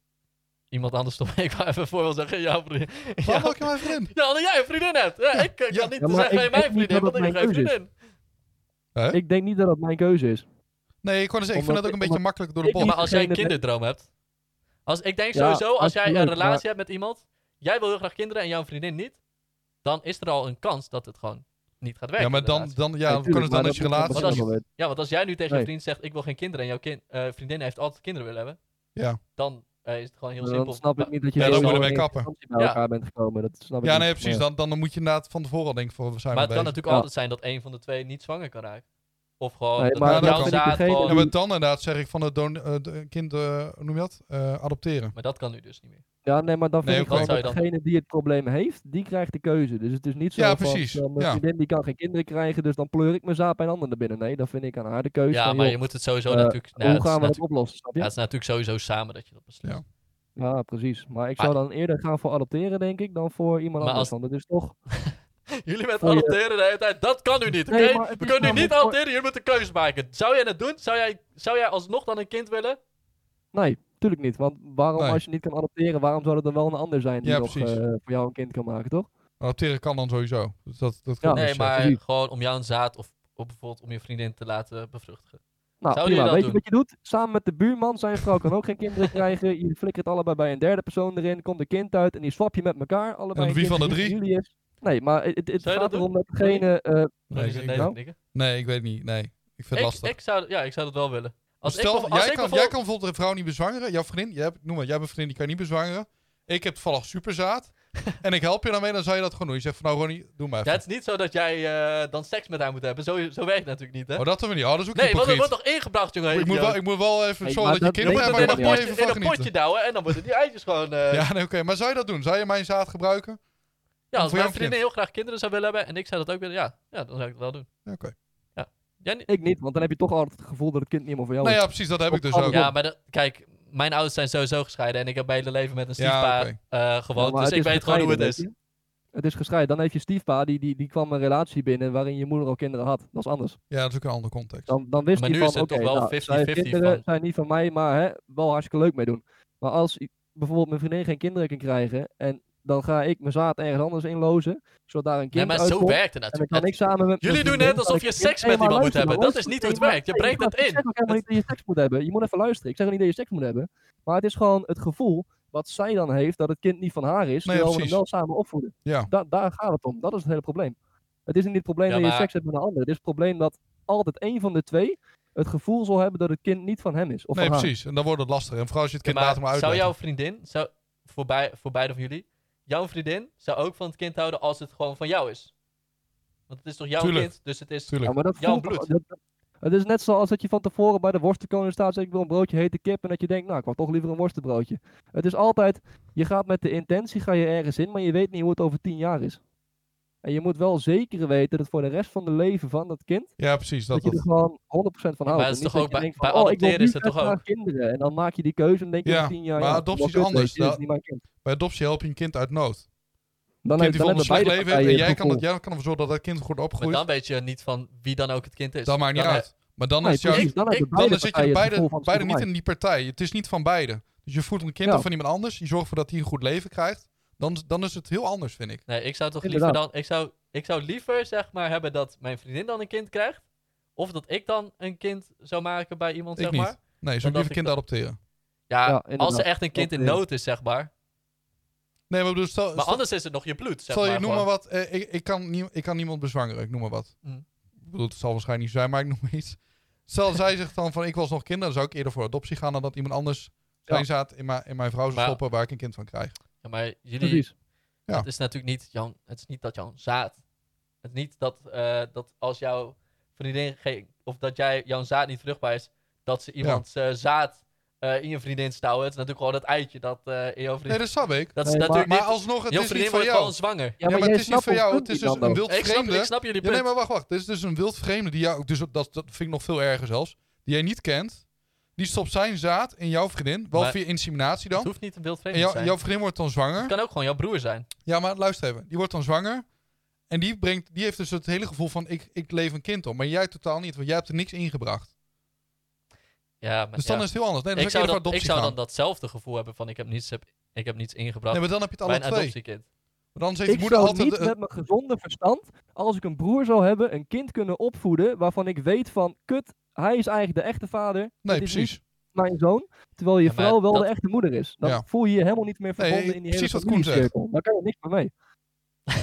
iemand anders stoppen? ik wou even een voorbeeld zeggen. Jouw vriendin.
Waarom
Ja,
ook mijn vriendin?
ja, omdat jij een vriendin hebt. Ja, ik eh, kan niet
Ja, maar
zeggen
ik
bij mijn
denk niet
vriendin,
dat
want ik heb geen
dat mijn keuze is.
vriendin.
hè?
Ik denk niet dat dat mijn keuze is.
Nee, ik, kon zeggen, ik vind
Omdat
dat ook
ik-
een beetje
omdat
makkelijk door de
ik
bocht.
Maar als jij een
degene ben-
kinderdroom hebt. Als, ik denk
Ja,
sowieso, als jij een
absoluut,
relatie
maar-
hebt met iemand, jij wil heel graag kinderen en jouw vriendin niet, dan is er al een kans dat het gewoon niet gaat werken.
Ja, maar
de relatie.
dan, dan, ja,
Nee,
we kunnen het
tuurlijk, maar
dan uit je
dat moet
relatie...
Want als-
wel weten.
Ja, want als jij nu tegen je
Nee.
vriend zegt: Ik wil geen kinderen. en jouw kind, eh, vriendin heeft altijd kinderen willen hebben.
Ja.
Dan eh, is het gewoon heel
Maar
simpel.
Dan snap ik
Nou,
niet dat je
Ja,
zo
dan
snel
moeten we
in
mee kappen.
instantie bij
Ja.
elkaar bent gekomen. Dat snap ik
Ja,
niet.
nee, precies.
Maar-
Dan, dan moet je inderdaad van tevoren al denken van, we zijn
Maar het
mee
kan
bezig.
natuurlijk
Ja.
altijd zijn dat één van de twee niet zwanger kan raken. Of gewoon.
Nee,
dat
maar
jouw
dan ben
ik
zaad
degene
gewoon-
Ja, maar dan inderdaad zeg ik van het don- eh, de- kind, eh, hoe noem je dat? Eh, adopteren.
Maar dat kan nu dus niet meer.
Ja, nee, maar dan vind
Nee, oké.
ik gewoon
Wat
dat
zou je dan-
degene die het probleem heeft, die krijgt de keuze. Dus het is niet zo
Ja,
van,
precies,
van, mijn
ja.
vriendin die kan geen kinderen krijgen, dus dan pleur ik mijn zaap bij een ander naar binnen. Nee, dan vind ik aan haar de keuze
Ja,
van,
maar
joh,
je moet het sowieso
eh,
natuurlijk. nou, het,
hoe
is
gaan we dat
natuurlijk
oplossen, snap je?
ja, het is natuurlijk sowieso samen dat je dat beslist.
Ja.
Ja, precies. Maar ik zou dan eerder gaan voor adopteren, denk ik, dan voor iemand
Maar
anders.
als-
Want het is toch...
Jullie met
Voor je-
adopteren de hele tijd, dat kan nu niet. Oké,
Nee, maar het
we
is
kunnen nu
namelijk
niet
voor-
adopteren, jullie moeten een keuze maken. Zou jij dat doen? Zou jij, zou jij alsnog dan een kind willen?
Nee, tuurlijk niet. Want waarom,
Nee.
als je niet kan adopteren, waarom zou er dan wel een ander zijn die
Ja,
nog
precies.
eh, voor jou een kind kan maken, toch?
Adopteren kan dan sowieso. Dus dat, dat
Ja.
kan
Nee,
dus, eh,
maar
precies.
gewoon om jouw zaad of, of bijvoorbeeld om je vriendin te laten bevruchtigen.
Nou,
Zouden
prima.
jullie dat
Weet
doen?
je wat je doet? Samen met de buurman, zijn vrouw kan ook geen kinderen krijgen. Je flikkert allebei bij een derde persoon erin, komt een kind uit en die swap je met elkaar. Allebei
En wie
een kind
van de
die niet
drie?
Jullie is. Nee, maar het, het, het
Zou je dat
gaat
doen?
erom dat degene... eh,
Nee,
Nee,
ik-
nee,
ik-
dat knikken.
Nee, ik weet niet. Nee, ik vind het
ik,
lastig.
ik zou, ja, ik zou dat wel willen. Als
Stel,
ik, bev- als
jij,
ik
kan, jij
bijvoorbeeld-
kan bijvoorbeeld een vrouw niet bezwangeren. Jouw vriendin, jij hebt, noem maar, jij hebt een vriendin die kan je niet bezwangeren. Ik heb toevallig superzaad. en ik help je daarmee, dan zou je dat gewoon doen. Je zegt van, nou Ronnie, doe maar
Ja,
even.
het is niet zo dat jij eh, dan seks met haar moet hebben. Zo, zo werkt het natuurlijk niet, hè?
Oh, dat doen we niet. Oh, dat is ook
nee, want er
hypocriet.
wordt toch ingebracht, jongen.
ik, moet wel, ik moet wel even
Hey,
zorgen
maar
dat je
dat
kinderen hebt,
weet
maar ik
in
mag
een
niet
ik wel.
potje,
even
in
van
een potje
genieten.
douwen en dan worden die eitjes gewoon... eh,
Ja, nee, oké. Maar zou je dat doen? Zou je mijn zaad gebruiken?
ja, als
voor
mijn
jouw
vriendin
kind.
heel graag kinderen zou willen hebben en ik zou dat ook willen, ja, ja dan zou ik het wel doen.
Ja, Oké.
Jij niet?
ik niet, want dan heb je toch altijd het gevoel dat het kind niet meer voor jou
Nou
is.
ja, precies. Dat heb ik dus
Ja,
ook.
Ja, maar dat- kijk, mijn ouders zijn sowieso gescheiden en ik heb mijn hele leven met een
Ja,
stiefpa
oké.
eh, gewoond,
Ja, maar
dus
het
ik
is
weet gewoon hoe het
gescheiden,
is.
weet je. Het is gescheiden. Dan heeft je stiefpa, die, die, die kwam een relatie binnen waarin je moeder al kinderen had. Dat is anders.
Ja, dat is ook een andere context.
Dan, dan wist
Maar
hij
nu
van,
is het toch
oké,
wel
nou,
50-50
zij heeft kinderen
van-
zijn niet van mij, maar hè, wel hartstikke leuk mee doen. Maar als i- bijvoorbeeld mijn vriendin geen kinderen kan krijgen en dan ga ik mijn zaad ergens anders inlozen, zodat daar een
Nee,
kind
maar
uitkomt.
zo werkt het
en dan
natuurlijk.
kan ik samen met
Jullie
met
doen
mijn
net
vriendin,
alsof
kan
je
ik-
seks
Nee,
met
maar
iemand moet
luister,
hebben.
maar
Dat is
luister,
niet hoe het
nee, maar
werkt. Je
nee,
breekt
maar
dat
Ik zeg
in.
ook helemaal niet dat je seks moet hebben. Je moet even luisteren. Ik zeg ook niet dat je seks moet hebben. Maar het is gewoon het gevoel wat zij dan heeft dat het kind niet van haar is,
Nee,
terwijl we hem
precies.
wel samen opvoeden.
Ja.
Da- daar gaat het om. Dat is het hele probleem. Het is niet het probleem
Ja,
dat je
maar-
seks hebt met een ander. Het is het probleem dat altijd één van de twee het gevoel zal hebben dat het kind niet van hem is. Of
Nee,
van haar.
precies. En dan wordt het lastig. En vooral als je het kind
Maar
later maar
zou
uitlegt.
jouw vriendin, zou, voor, bij, voor beide van jullie, jouw vriendin zou ook van het kind houden als het gewoon van jou is? Want het is toch jouw
Tuurlijk.
kind, dus het is...
Tuurlijk.
Ja, maar dat
Jouw
voelt toch-
bloed.
dat- dat- het is net zoals dat je van tevoren bij de worstenkoning staat en zegt ik wil een broodje hete kip. En dat je denkt, nou ik wil toch liever een worstenbroodje. Het is altijd, je gaat met de intentie ga je ergens in, maar je weet niet hoe het over tien jaar is. En je moet wel zeker weten dat voor de rest van de leven van dat kind,
Ja, precies.
dat,
Dat, dat.
je er gewoon 100% van houdt.
maar
En
het is
niet
toch
dat
ook
je
bij-
denkt van,
bij
oh, ik wil
adopteren is
nu
het toch
echt naar
ook?
kinderen. En dan maak je die keuze en denk je
Ja,
in tien jaar,
maar
ja,
adoptie is
wat kut,
anders.
weet je, dit is
Da-
niet mijn kind.
Bij adoptie help je een kind uit nood. kind
Dan, heb-
die
dan
voor
hebben
een slecht
beide
leven heeft.
partijen
En
het
jij kan,
gevoel.
dat, jij kan ervoor zorgen dat dat kind goed
Maar
opgroeit.
dan weet je niet van wie dan ook het kind is.
dat maakt niet
Dan-
uit. Maar dan
Nee,
is juist...
precies, dan
ik-
hebben
dan
Dan,
beide
dan zit je
partijen het
beide,
gevoel van,
beide
het is
niet in die partij. Het is niet van beide. Dus je voedt een kind
Ja.
of van iemand anders. Je zorgt ervoor dat hij een goed leven krijgt. Dan, dan is het heel anders, vind ik.
Nee, ik zou toch liever
Inderdaad.
dan... Ik zou, ik zou liever, zeg maar, hebben dat mijn vriendin dan een kind krijgt. Of dat ik dan een kind zou maken bij iemand,
Ik
zeg
niet.
maar.
Nee,
Dan
zo'n liever
dacht
kind adopteren.
Ja,
Ja,
als
inderdaad.
er echt een kind in
Dat is-
nood is, zeg maar.
Nee, maar ik bedoel, stel,
Maar
stel,
anders is het nog je bloed, zeg
stel je,
maar.
noem maar
gewoon.
wat. eh, ik, ik, kan nie- ik kan niemand bezwangeren, ik noem maar wat.
Mm.
Ik bedoel, het zal waarschijnlijk niet zo zijn, maar ik noem maar iets. Stel, zij zegt dan van, ik was nog kinder. Dan zou ik eerder voor adoptie gaan dan dat iemand anders zijn
Ja.
zaad in, mijn- in mijn vrouw zou
Maar-
stoppen waar ik een kind van krijg.
Ja, maar jullie...
Precies.
Ja.
Het is natuurlijk niet, jouw, het is niet dat jouw zaad. Het is niet dat, eh, dat als jouw vriendin geen, of dat jij jouw zaad niet vruchtbaar is, dat ze iemands eh, zaad eh, in je vriendin stouwen. Het is natuurlijk gewoon dat eitje dat eh, in jouw vriendin.
Nee, dat snap ik.
dat is
Nee, maar-
natuurlijk
Maar
niet.
alsnog, het
jouw
is niet
vriendin
van
wordt
jou.
gewoon zwanger.
Ja,
Ja, maar
jij
het is niet
snapt
van
ons
jou.
punt
Het is
niet
dus een
dan ook.
wild
Ik snap, ik
vreemde.
snap jullie
Ja,
punt.
nee, maar wacht, wacht. Dit is dus een wild vreemde die jou... Dus dat, dat dat vind ik nog veel erger zelfs. Die jij niet kent. Die stopt zijn zaad in jouw vriendin. Wel
Maar-
via inseminatie
Het
dan.
hoeft niet een wild
En
vreemde te
jou-
zijn.
jouw vriendin wordt dan zwanger.
Het kan ook gewoon jouw broer zijn.
Ja, maar luister even. Die wordt dan zwanger. En die, brengt, die heeft dus het hele gevoel van... Ik, ik leef een kind op. Maar jij totaal niet. Want jij hebt er niks ingebracht.
Ja, maar
Dus dan
ja.
is het heel anders. Nee, dan
ik zou,
eerder
dan,
voor
ik
adoptie
zou dan
gaan.
datzelfde gevoel hebben van ik heb niets, heb, ik heb niets ingebracht
Nee, maar dan heb je het
bij
alle
een
twee.
adoptiekind.
Maar dan heeft
Ik
je moeder
zou
altijd...
niet
eh,
met mijn gezonde verstand, als ik een broer zou hebben, een kind kunnen opvoeden waarvan ik weet van, kut, hij is eigenlijk de echte vader,
nee,
dit is niet-
precies.
mijn zoon, terwijl je
Ja, maar
vrouw wel
dat-
de echte moeder is. Dan
Ja.
voel je je helemaal niet meer verbonden
Nee,
in die
precies
hele
wat Koen zegt.
familiecirkel. Dan kan je niks meer mee.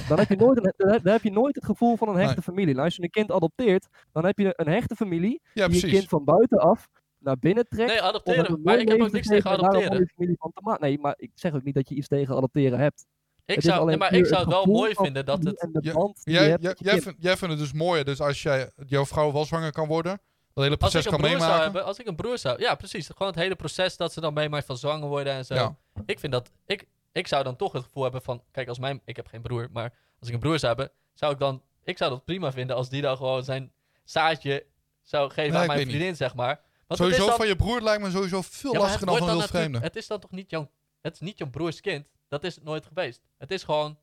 Dan heb, je nooit een, dan heb- dan heb je nooit het gevoel van een hechte
Nee.
familie. Nou, als je een kind adopteert, dan heb je een hechte familie
Ja,
die je
precies.
kind van buitenaf naar binnen
Nee,
trekt. om hem een
adopteren. Maar
mooi
ik heb ook
leven te
niks
geven
tegen
en daar een
adopteren.
mooie familie van te maken. Nee, maar ik zeg ook niet dat je iets tegen adopteren hebt.
Ik
Het is
zou, nee,
alleen
maar
puur
ik zou het wel
gevoel
mooi
van
vinden dat
familie
het
en de
Ja,
band die je
Jij,
hebt
jij,
met je
jij,
kind.
vindt, jij vindt het dus mooier. Dus als jij, jouw vrouw wel zwanger kan worden. Dat hele
Als ik
proces
een
kan
broer zou
meemaken.
hebben, als ik een broer zou... Ja, precies. Gewoon het hele proces dat ze dan meemaakt van zwanger worden en zo.
Ja.
Ik vind dat... Ik, ik zou dan toch het gevoel hebben van... Kijk, als mijn... Ik heb geen broer, maar als ik een broer zou hebben, zou ik dan... Ik zou dat prima vinden als die dan gewoon zijn zaadje zou geven
Nee,
aan
ik
mijn
weet niet.
vriendin, zeg maar. Want het is
Sowieso
dan,
van je broer lijkt me sowieso veel
Ja, maar het
lastiger dan
wordt
van
dan
wild vreemden.
natuurlijk- Het is dan toch niet jouw... Het is niet jouw broers kind. Dat is het nooit geweest. Het is gewoon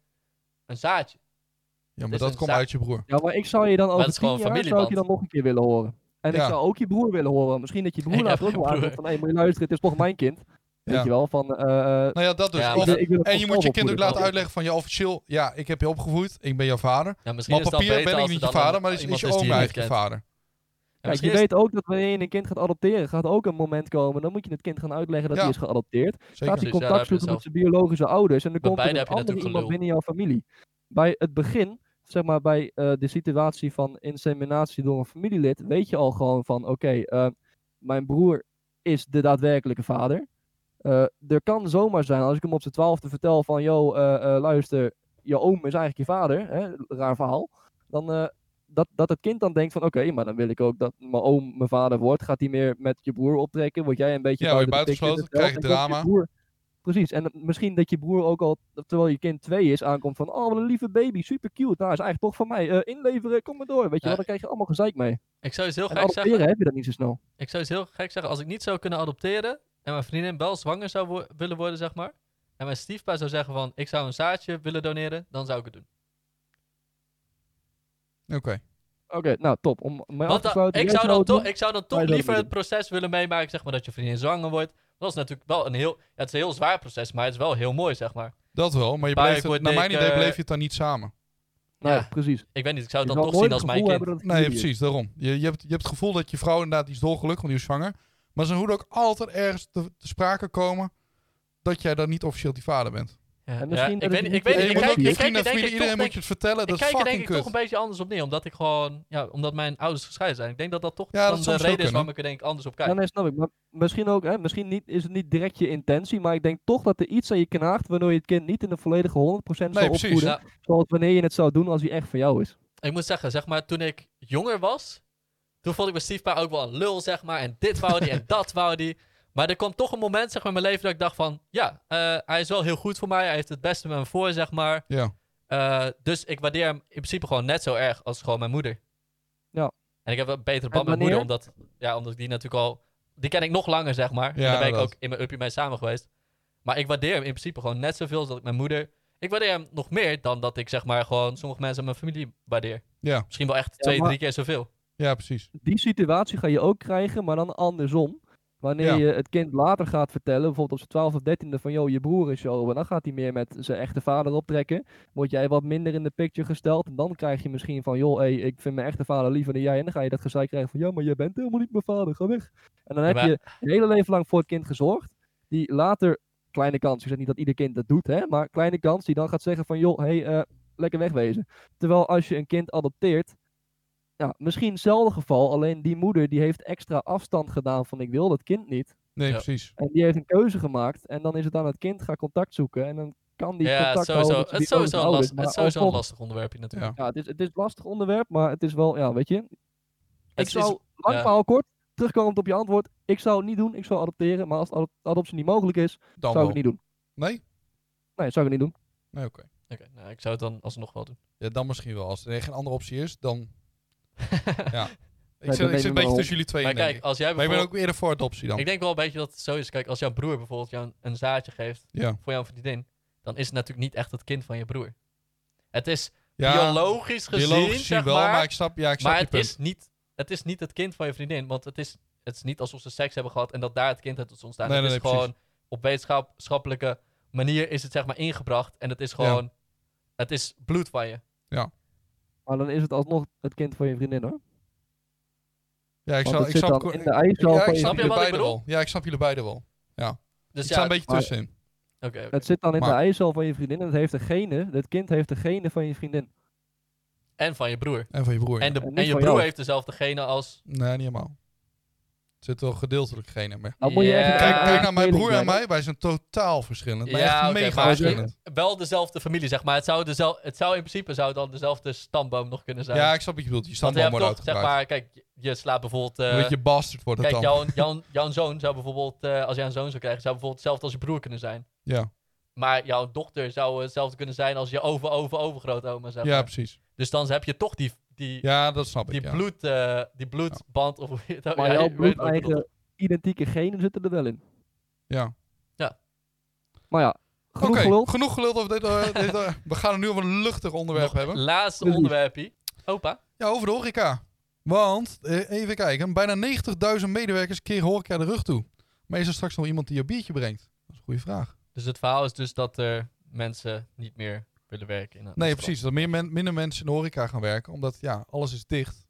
een zaadje.
Ja, maar
is
dat
een
komt
zaak.
uit je broer.
Ja, maar ik zou je dan over
dat is
tien
gewoon
jaar zou ik
familieband.
je dan nog een keer willen horen. En
Ja.
ik zou ook je broer willen horen. Misschien dat je broer
Ik
later
heb
ook
geen
wel aangeeft
broer.
van... Hé, moet je luisteren, het is toch mijn kind. Weet
Ja.
je wel, van... eh, eh,
Nou ja, dat dus.
Ja,
Of-
maar-
ik wil het
en je
gewoon
moet je
zelf
kind ook
opvoeden.
laten uitleggen van je officieel, ja, ik heb je opgevoed, ik ben jouw vader.
Ja, misschien
Maar op
is het dan
papier
beter
ben ik
als
niet
er
je
dan
vader, maar
een-
het
iemand
is je
die
oom
je niet
eigenlijk je
kent.
vader.
Ja,
Kijk, je
misschien is-
weet ook dat wanneer je een kind gaat adopteren, gaat ook een moment komen. Dan moet je het kind gaan uitleggen dat
Ja.
hij is geadopteerd.
Zeker.
Gaat hij
Precies, Dus ja, daar
contact
heb je het
zoeken met
zelf.
zijn biologische ouders. En dan
Bij
komt er
beide
een
heb je
andere
natuurlijk
iemand
gelul.
binnen jouw familie. Bij het begin, zeg maar bij eh, de situatie van inseminatie door een familielid, weet je al gewoon van: oké, eh, mijn broer is de daadwerkelijke vader. Eh, er kan zomaar zijn, als ik hem op zijn twaalfde vertel van: yo, eh, eh, luister, je oom is eigenlijk je vader. Hè? Raar verhaal. Dan, eh, dat, dat het kind dan denkt van oké, maar dan wil ik ook dat mijn oom mijn vader wordt. Gaat hij meer met je broer optrekken? Word jij een beetje
Ja, word je
buiten de picture in
buitengesloten,
het
krijg
veld?
je
En
drama.
komt je broer- Precies, en dat- misschien dat je broer ook al, terwijl je kind twee is, aankomt van oh wat een lieve baby, super cute. Nou, is eigenlijk toch van mij. Eh, inleveren, kom maar door. Weet je
Ja.
wel, dan krijg je allemaal gezeik mee.
Ik zou eens heel
En
gek zeggen...
adopteren heb je dat niet zo snel.
Ik zou iets heel gek zeggen. Als ik niet zou kunnen adopteren en mijn vriendin wel zwanger zou wo- willen worden, zeg maar. En mijn stiefpa zou zeggen van, ik zou een zaadje willen doneren, dan zou ik het doen.
Oké.
Oké, nou top. Om mij af
Want
te
dan-
sluiten.
ik,
jij
zou dan
het doen.
toch, ik zou dan
Wij
toch
zouden
liever
het
het proces willen meemaken, zeg maar, dat je vriendin zwanger wordt. Dat is natuurlijk wel een heel, ja, het is een heel zwaar proces, maar het is wel heel mooi, zeg maar.
Dat wel, maar je
Maar
bleef
ik
het-
word
naar mijn
dik,
idee
eh,
bleef je het dan niet samen.
Nou,
Ja.
precies.
Ik weet niet, ik zou het
Je
dan toch
zal
zien
nooit
als
het
mijn
gevoel
kind.
hebben dat het
Nee,
jullie is.
precies, daarom. Je, je, hebt, je hebt het gevoel dat je vrouw inderdaad die is dolgelukkig, want die is zwanger. Maar ze moet ook altijd ergens te, te sprake komen dat jij dan niet officieel die vader bent.
Ja,
En misschien
ik
dat
weet niet,
het
ik
niet-
weet
Ja,
niet,
je
ik
moet
kijk-
ook
ik
je
kijk
vrienden,
er denk
vrienden,
ik
iedereen
toch
moet je
denk-
het vertellen.
ik
Dat is
kijk er denk
fucking
ik toch een
kut.
beetje anders op neer, omdat ik gewoon, ja, omdat mijn ouders gescheiden zijn. Ik denk dat dat toch
Ja, dat
dan
is
de
soms
reden
ook
is waarom
een,
ik er denk ik anders op
Ja,
kijk.
nee, snap ik. Maar misschien ook, hè, misschien niet, is het niet direct je intentie, maar ik denk toch dat er iets aan je knaagt waardoor je het kind niet in de volledige 100%
Nee,
zal
precies.
opvoeden.
Ja.
Zoals wanneer je het zou doen als hij echt van jou is.
Ik moet zeggen, zeg maar, toen ik jonger was, toen vond ik mijn stiefpa ook wel een lul, zeg maar. En dit wou die en dat wou die. Maar er kwam toch een moment, zeg maar, in mijn leven dat ik dacht van, ja, eh, hij is wel heel goed voor mij. Hij heeft het beste met me voor, zeg maar.
Ja.
Eh, dus ik waardeer hem in principe gewoon net zo erg als gewoon mijn moeder.
Ja.
En ik heb wel een betere
En
band met mijn moeder,
wanneer?
omdat, ja, omdat ik die natuurlijk al... Die ken ik nog langer, zeg maar.
Ja,
en daar ben ik
dat.
ook in mijn uppie mee samen geweest. Maar ik waardeer hem in principe gewoon net zoveel als dat ik mijn moeder... Ik waardeer hem nog meer dan dat ik, zeg maar, gewoon sommige mensen in mijn familie waardeer.
Ja.
Misschien wel echt twee,
maar-
drie keer zoveel.
ja, precies.
Die situatie ga je ook krijgen, maar dan andersom. Wanneer
Ja.
je het kind later gaat vertellen, bijvoorbeeld op zijn 12 of 13e van joh, je broer is jou, en dan gaat hij meer met zijn echte vader optrekken. Word jij wat minder in de picture gesteld, en dan krijg je misschien van joh, hey, ik vind mijn echte vader liever dan jij. En dan ga je dat gezeik krijgen van ja, maar jij bent helemaal niet mijn vader, ga weg. En dan
Ja,
heb
maar-
je je hele leven lang voor het kind gezorgd, die later, kleine kans, ik zeg niet dat ieder kind dat doet, hè, maar kleine kans, die dan gaat zeggen van joh, hey, eh, lekker wegwezen. Terwijl als je een kind adopteert, ja, misschien hetzelfde geval, alleen die moeder die heeft extra afstand gedaan van ik wil dat kind niet.
Nee,
Ja.
precies.
En die heeft een keuze gemaakt en dan is het aan het kind, ga contact zoeken en dan kan die
ja,
contact
sowieso.
houden.
Het is sowieso, een last, het is sowieso een lastig onderwerpje natuurlijk.
Ja.
Ja, het is, het is een lastig onderwerp, maar het is wel, ja, weet je.
Het
Ik
is-
zou, lang
ja.
verhaal kort, terugkomend op je antwoord, ik zou het niet doen, ik zou adopteren, maar als adop- adoptie niet mogelijk is,
Dan
zou ik
wel.
het niet doen.
Nee?
Nee, zou ik het niet doen.
Nee, oké.
Oké, nou, ik zou het dan alsnog wel doen.
Ja, dan misschien wel. Als er geen andere optie is, dan... Ja. Ik
dan
zit, ik zit
neem je
een
maar
beetje
op.
tussen jullie twee
Maar
in, denk
kijk,
ik.
als jij
Maar ik ben
bijvoorbeeld...
ook eerder voor adoptie dan.
Ik denk wel een beetje dat het zo is. Kijk, als jouw broer bijvoorbeeld jou een, een zaadje geeft
Ja.
voor jouw vriendin, dan is het natuurlijk niet echt het kind van je broer. Het is
Ja,
biologisch gezien,
biologisch
zeg
wel,
maar,
maar ik snap, ja, ik snap
maar
je
het,
punt.
is niet, het is niet het kind van je vriendin, want het is, het is niet alsof ze seks hebben gehad en dat daar het kind uit is ontstaan.
Nee,
het
nee,
is
nee,
gewoon op wetenschappelijke manier is het zeg maar ingebracht en het is gewoon, het is bloed van je.
Maar dan is het alsnog het kind van je vriendin hoor.
Ja, ik
Want
snap,
het
ik
zit
snap,
dan
ko-
in de ijszaal
ja,
van
ik
je
snap
Snap je
jullie
wat ik
beiden
bedoel?
wel. Ja, ik snap jullie beiden wel.
Dus
Ik
ja,
sta een beetje
maar-
tussenin.
oké, oké.
Het zit dan in de
Maar-
eicel van je vriendin en het heeft de genen, het kind heeft de genen van je vriendin.
en van je broer.
En van je broer. ja.
En, de,
En niet
en je
van
broer
jou.
heeft dezelfde genen als...
Nee, niet helemaal. Het zit wel gedeeltelijk genen.
Eh,
Maar...
Dan moet je echt
Ja.
een
Kijk,
eigen
kijk naar mijn
tweeling
broer en
zijn, hè?
mij. Wij zijn totaal verschillend. Maar
Ja,
echt
oké,
mega
maar-
verschillend.
wel dezelfde familie, zeg maar. Het zou, dezel, het zou in principe zou dan dezelfde stamboom nog kunnen zijn.
Ja, ik snap wat je bedoelt. Je
Want
stamt
je hebt
allemaal
toch, zeg
uitgebreid.
maar, kijk, je- je slaat bijvoorbeeld... eh,
Een beetje bastard wordt het
kijk,
dan.
jouw, jouw, jouw zoon zou bijvoorbeeld, eh, als jij een zoon zou krijgen, zou bijvoorbeeld hetzelfde als je broer kunnen zijn.
Ja.
Maar jouw dochter zou hetzelfde kunnen zijn als je over, over, overgrootoma, zeg
ja,
maar.
precies.
Dus dan heb je toch die, die,
Ja, dat snap
die,
ik. Ja.
bloed, eh, die bloedband, of hoe je het ook...
Maar
ja,
jouw eh,
je weet wat ik bedoel.
bloedeigen identieke genen zitten er wel in.
Ja.
Maar ja,
Oké,
genoeg gelul.
genoeg geluld over dit. eh, dit, eh, we gaan het nu over een luchtig onderwerp
Nog
hebben.
Laatste
Precies.
onderwerpje. Opa.
Ja, over de horeca. Want, eh, even kijken, bijna 90.000 medewerkers keren horeca de rug toe. Maar is er straks nog iemand die je biertje brengt? Dat is een goede vraag.
Dus het verhaal is dus dat er mensen niet meer willen werken in een
Nee,
restaurant.
precies. Dat meer men- minder mensen in de horeca gaan werken. Omdat, ja, alles is dicht.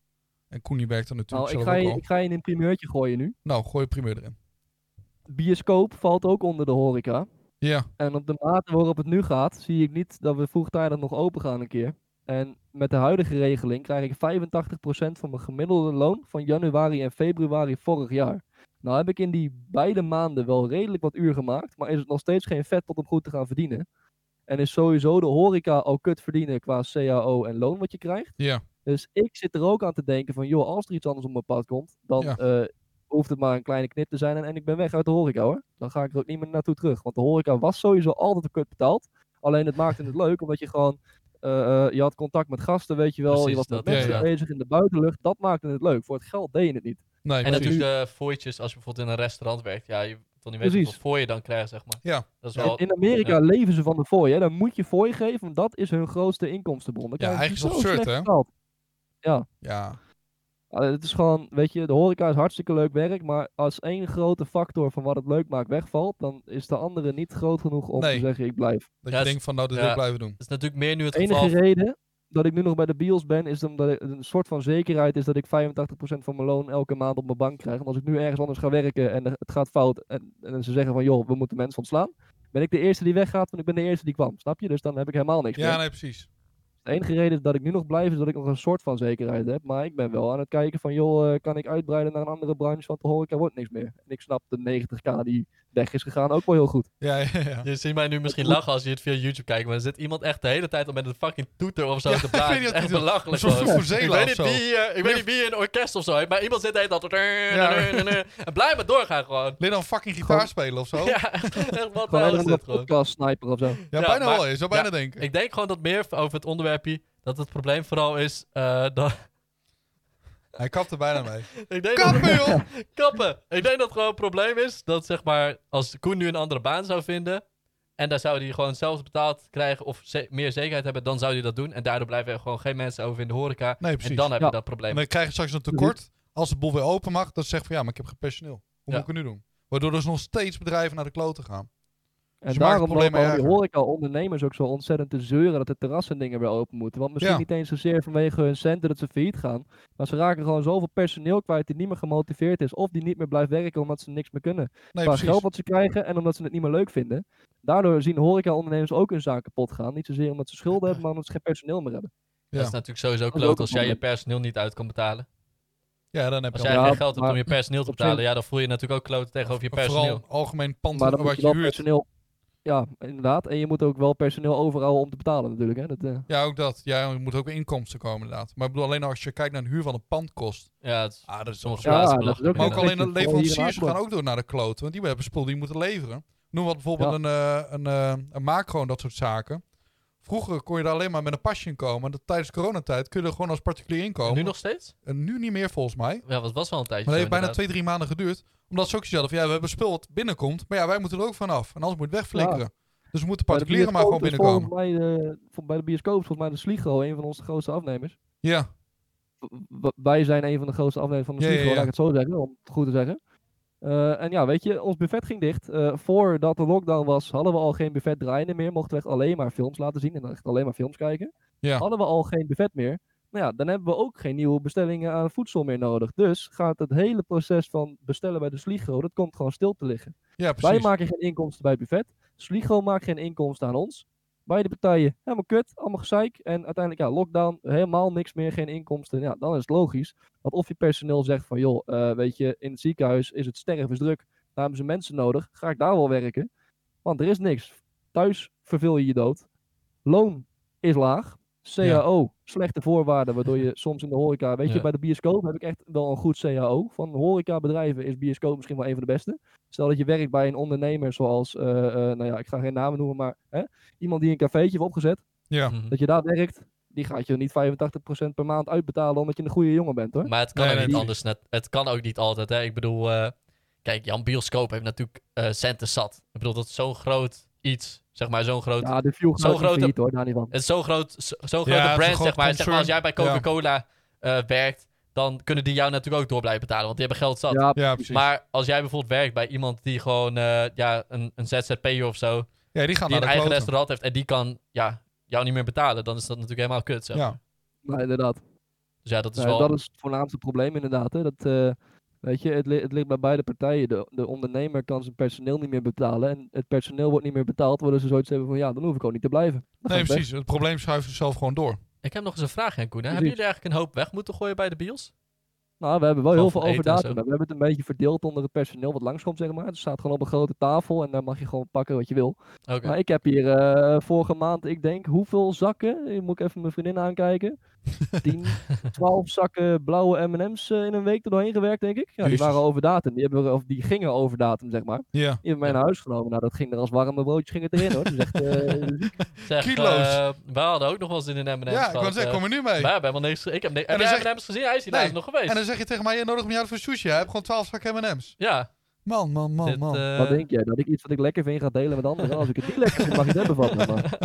En Koen die werkt er natuurlijk
Nou, ik
zelf
ga,
ook
je,
al.
ik ga je in een primeurtje gooien nu.
Nou, gooi je primeur erin.
Bioscoop valt ook onder de horeca.
Ja,
En op de mate waarop het nu gaat, zie ik niet dat we vroegtijdig nog open gaan een keer. En met de huidige regeling krijg ik 85% van mijn gemiddelde loon van januari en februari vorig jaar. Nou heb ik in die beide maanden wel redelijk wat uur gemaakt, maar is het nog steeds geen vet tot om goed te gaan verdienen. En is sowieso de horeca al kut verdienen qua cao en loon wat je krijgt.
ja.
Dus ik zit er ook aan te denken van, joh, als er iets anders op mijn pad komt, dan
Ja.
eh, hoeft het maar een kleine knip te zijn en, en ik ben weg uit de horeca hoor. Dan ga ik er ook niet meer naartoe terug, want de horeca was sowieso altijd een kut betaald. Alleen het maakte het leuk, omdat je gewoon, eh, eh, je had contact met gasten, weet je wel,
Precies,
je was met
dat, ja,
mensen
ja.
bezig in de buitenlucht, dat maakte het leuk. Voor het geld deed je het niet.
En
Nee, precies.
natuurlijk de fooitjes, als je bijvoorbeeld in een restaurant werkt. Ja, je wil niet weten
Precies.
hoeveel fooi je dan krijgt, zeg maar.
Ja.
Dat is
Ja.
wel...
In Amerika leven ze van de fooi, hè. Dan moet je fooi geven, want dat is hun grootste inkomstenbron. Dan
Ja,
krijgen ze
eigenlijk is het
zo
absurd,
slecht
hè?
betaald.
Ja.
Eh, het is gewoon, weet je, de horeca is hartstikke leuk werk, maar als één grote factor van wat het leuk maakt wegvalt, dan is de andere niet groot genoeg om
Nee.
te zeggen ik blijf.
Dat
Ja,
je
het-
denkt van, nou, dit
ja.
wil ik blijven doen.
is natuurlijk meer nu het
De enige
geval...
reden dat ik nu nog bij de bios ben, is omdat er een soort van zekerheid is dat ik 85% van mijn loon elke maand op mijn bank krijg. En als ik nu ergens anders ga werken en er- het gaat fout en, en ze zeggen van joh, we moeten mensen ontslaan, ben ik de eerste die weggaat, want ik ben de eerste die kwam. Snap je? Dus dan heb ik helemaal niks meer.
Ja, nee, precies.
De enige reden dat ik nu nog blijf is dat ik nog een soort van zekerheid heb. Maar ik ben wel aan het kijken van, joh, eh, kan ik uitbreiden naar een andere branche? Want de horeca wordt niks meer. En ik snap de 90k die weg is gegaan ook wel heel goed.
Ja, ja, ja.
Je ziet mij nu misschien lachen als je het via YouTube kijkt, maar er zit iemand echt de hele tijd al met een fucking toeter of zo te praten.
weet
Het
niet wat
is echt
hij doet.
belachelijk
Een soort
gewoon.
vuvuzela
Ik weet
of
niet
zo.
wie, eh, ik weet niet wie een orkest of zo heeft, maar iemand zit de hele tijd... al- En blijf maar doorgaan gewoon.
Leer dan fucking gitaar
Gewoon-
spelen of zo. Ja,
Ja, echt, echt wat de
Gewoon
hel
een
is
andere
dit gewoon.
podcast sniper of zo.
Ja,
bijna
maar-
wel. Je zou bijna denken.
Ik denk gewoon dat meer over het onderwerpje, dat het probleem vooral is eh, dat...
Hij kapt er bijna mee.
Ik denk dat,
Kappen, joh!
kappen! Ik denk dat gewoon het probleem is dat zeg maar, als Koen nu een andere baan zou vinden... En daar zou hij gewoon zelfs betaald krijgen of ze- meer zekerheid hebben, dan zou hij dat doen. En daardoor blijven er gewoon geen mensen over in de horeca.
Nee, precies.
En dan heb
Ja.
je dat probleem.
En dan krijg je straks een tekort. Als de boel weer open mag, dan zeg je van ja, maar ik heb geen personeel.
Ja.
Hoe moet ik het nu doen? Waardoor dus nog steeds bedrijven naar de kloten gaan.
En
het
daarom
probleem
lopen al die
erger.
horeca-ondernemers ook zo ontzettend te zeuren dat de terrassen dingen weer open moeten. Want misschien
Ja.
niet eens zozeer vanwege hun centen dat ze failliet gaan. Maar ze raken gewoon zoveel personeel kwijt die niet meer gemotiveerd is. Of die niet meer blijft werken omdat ze niks meer kunnen.
Nee,
qua
precies.
geld wat ze krijgen en omdat ze het niet meer leuk vinden. Daardoor zien horeca-ondernemers ook hun zaken kapot gaan. Niet zozeer omdat ze schulden hebben, maar omdat ze geen personeel meer hebben.
Ja.
Dat is natuurlijk sowieso
is
kloot
ook
als
een
jij je
probleem.
personeel niet uit kan betalen.
Ja, dan heb
Als
je
jij
al-
Ja,
geen geld hebt om
maar
je personeel te
op zich-
betalen, ja, dan voel je je natuurlijk ook kloten tegenover je
vooral
personeel.
een algemeen pand
Maar dan moet
wat
je
je
wel
huurt.
personeel... Ja, inderdaad. En je moet ook wel personeel overhouden om te betalen natuurlijk. Hè. Dat, eh,
Ja, ook dat. Ja, er moeten ook weer inkomsten komen inderdaad. Maar ik bedoel, alleen als je kijkt naar de huur van een pandkost.
Ja, het is-
Ah, dat is
Soms
ongeveer.
Ja, dat is
dat
belachelijk,
Maar ook
Ja.
alleen de
een beetje-
leveranciers
vooral hier
gaan
in
ook door naar de kloten. Want die hebben spul die moeten leveren. Noem wat bijvoorbeeld
Ja.
een, eh, een, eh, een macro en dat soort zaken. Vroeger kon je daar alleen maar met een pasje in komen. En dat- tijdens coronatijd kun je er gewoon als particulier in komen.
nu nog steeds?
En nu niet meer volgens mij.
Ja, dat was wel een tijdje
Maar
zo
dat heeft bijna
inderdaad.
twee, drie maanden geduurd. Omdat ze ook zelf, ja, we hebben spul wat binnenkomt. Maar ja, wij moeten er ook vanaf. En anders moet het wegflikkeren. Dus we moeten
Bij de
particulieren maar gewoon
bioscoop is
binnenkomen.
Volgens mij, eh, vol- bij de bioscoop is volgens mij de Sligo een van onze grootste afnemers.
Ja,
W- wij zijn een van de grootste afnemers van de
Ja, ja,
Sligo, laat
ja.
ik het zo zeggen, om het goed te zeggen. Eh, en ja, weet je, ons buffet ging dicht. Eh, voordat de lockdown was, hadden we al geen buffet draaiende meer. Mochten we echt alleen maar films laten zien en dan echt alleen maar films kijken.
Ja.
Hadden we al geen buffet meer. Nou ja, dan hebben we ook geen nieuwe bestellingen aan voedsel meer nodig. Dus gaat het hele proces van bestellen bij de Sligo, dat komt gewoon stil te liggen.
ja precies.
Wij maken geen inkomsten bij het buffet. Sligo maakt geen inkomsten aan ons. Beide partijen helemaal kut, allemaal gezeik. En uiteindelijk, ja, lockdown, helemaal niks meer, geen inkomsten. Ja, dan is het logisch. Want of je personeel zegt van, joh, eh, weet je, in het ziekenhuis is het stervensdruk. Daar hebben ze mensen nodig. Ga ik daar wel werken? Want er is niks. Thuis verveel je je dood. Loon is laag. CAO, slechte voorwaarden, waardoor je soms in de horeca... Weet
Ja.
je, bij de bioscoop heb ik echt wel een goed CAO. Van horecabedrijven is bioscoop misschien wel een van de beste. Stel dat je werkt bij een ondernemer zoals, eh, eh, nou ja, ik ga geen namen noemen, maar hè, iemand die een cafeetje heeft opgezet,
Ja.
Mhm.
dat je daar werkt, die gaat je niet 85% per maand uitbetalen omdat je een goede jongen bent hoor.
Maar het kan
Nee,
ook
nee,
niet
precies.
anders. net- Het kan ook niet altijd. Hè? Ik bedoel, eh, kijk, Jan Bioscoop heeft natuurlijk eh, centen zat. Ik bedoel, dat is zo'n groot iets. Zeg maar, zo'n groot.
Ja, de view gaat
Zo'n
niet
grote-
failliet, hoor, daar niet van.
Het is zo'n groot, zo- zo'n
Ja, het
grote
is
brand,
gewoon
zeg maar. Zeg maar. Als jij
concern.
bij
Ja.
Coca-Cola eh, werkt, dan kunnen die jou natuurlijk ook door blijven betalen, want die hebben geld zat.
Ja,
Ja, precies.
maar als jij bijvoorbeeld werkt bij iemand die gewoon eh, ja, een, een ZZP'er of zo,
ja, die gaan
die een
naar de
eigen
kloten.
restaurant heeft en die kan ja, jou niet meer betalen, dan is dat natuurlijk helemaal kut. Zeg. maar.
Ja.
maar inderdaad.
Dus ja, dat is
Nee,
wel.
Dat is het voornaamste probleem inderdaad. Hè. Dat, eh, weet je, het, li- het ligt bij beide partijen. De, de ondernemer kan zijn personeel niet meer betalen en het personeel wordt niet meer betaald, worden ze zoiets hebben van, ja, dan hoef ik ook niet te blijven. Dan ga
Nee,
ik
precies. Het probleem schuift zichzelf gewoon door.
Ik heb nog eens een vraag, Henk Koen. hè. Hebben
Precies.
jullie eigenlijk een hoop weg moeten gooien bij de bios?
Nou, we hebben wel
Gewoon
heel
van
veel
eten en
overdatum.
zo.
We hebben het een beetje verdeeld onder het personeel wat langskomt, zeg maar. Dus Het staat gewoon op een grote tafel en daar mag je gewoon pakken wat je wil.
Oké.
Maar ik heb hier eh, vorige maand, ik denk, hoeveel zakken? Eh, Moet ik even mijn vriendin aankijken. 10, 12 zakken blauwe M&M's eh, in een week er doorheen gewerkt, denk ik. Ja, die
Jezus.
waren over datum. Die, hebben we, of die gingen over datum, zeg maar.
Ja.
Die hebben mij
Ja.
naar huis genomen. Nou, dat ging er als warme broodjes ging het erin, hoor. Dat is echt, eh,
Zeg,
Kilo's.
eh, wij hadden ook nog wel zin in M&M's.
Ja, ik
gehad,
wou zeggen,
eh.
kom er nu mee.
Wij hebben helemaal niks... Ik heb, ne- heb
dan
jij
zeg-
M&M's gezien? Hij is hier
Nee.
laatst nog geweest.
En dan zeg je tegen mij, je nodig me uit voor sushi. Hij heeft gewoon 12 zakken M&M's.
Ja.
Man, man, man,
dit,
man.
eh,
Oh, wat denk jij? Dat ik iets wat ik lekker vind ga delen met anderen? Als ik het niet lekker vind, mag ik het hebben van me. maar-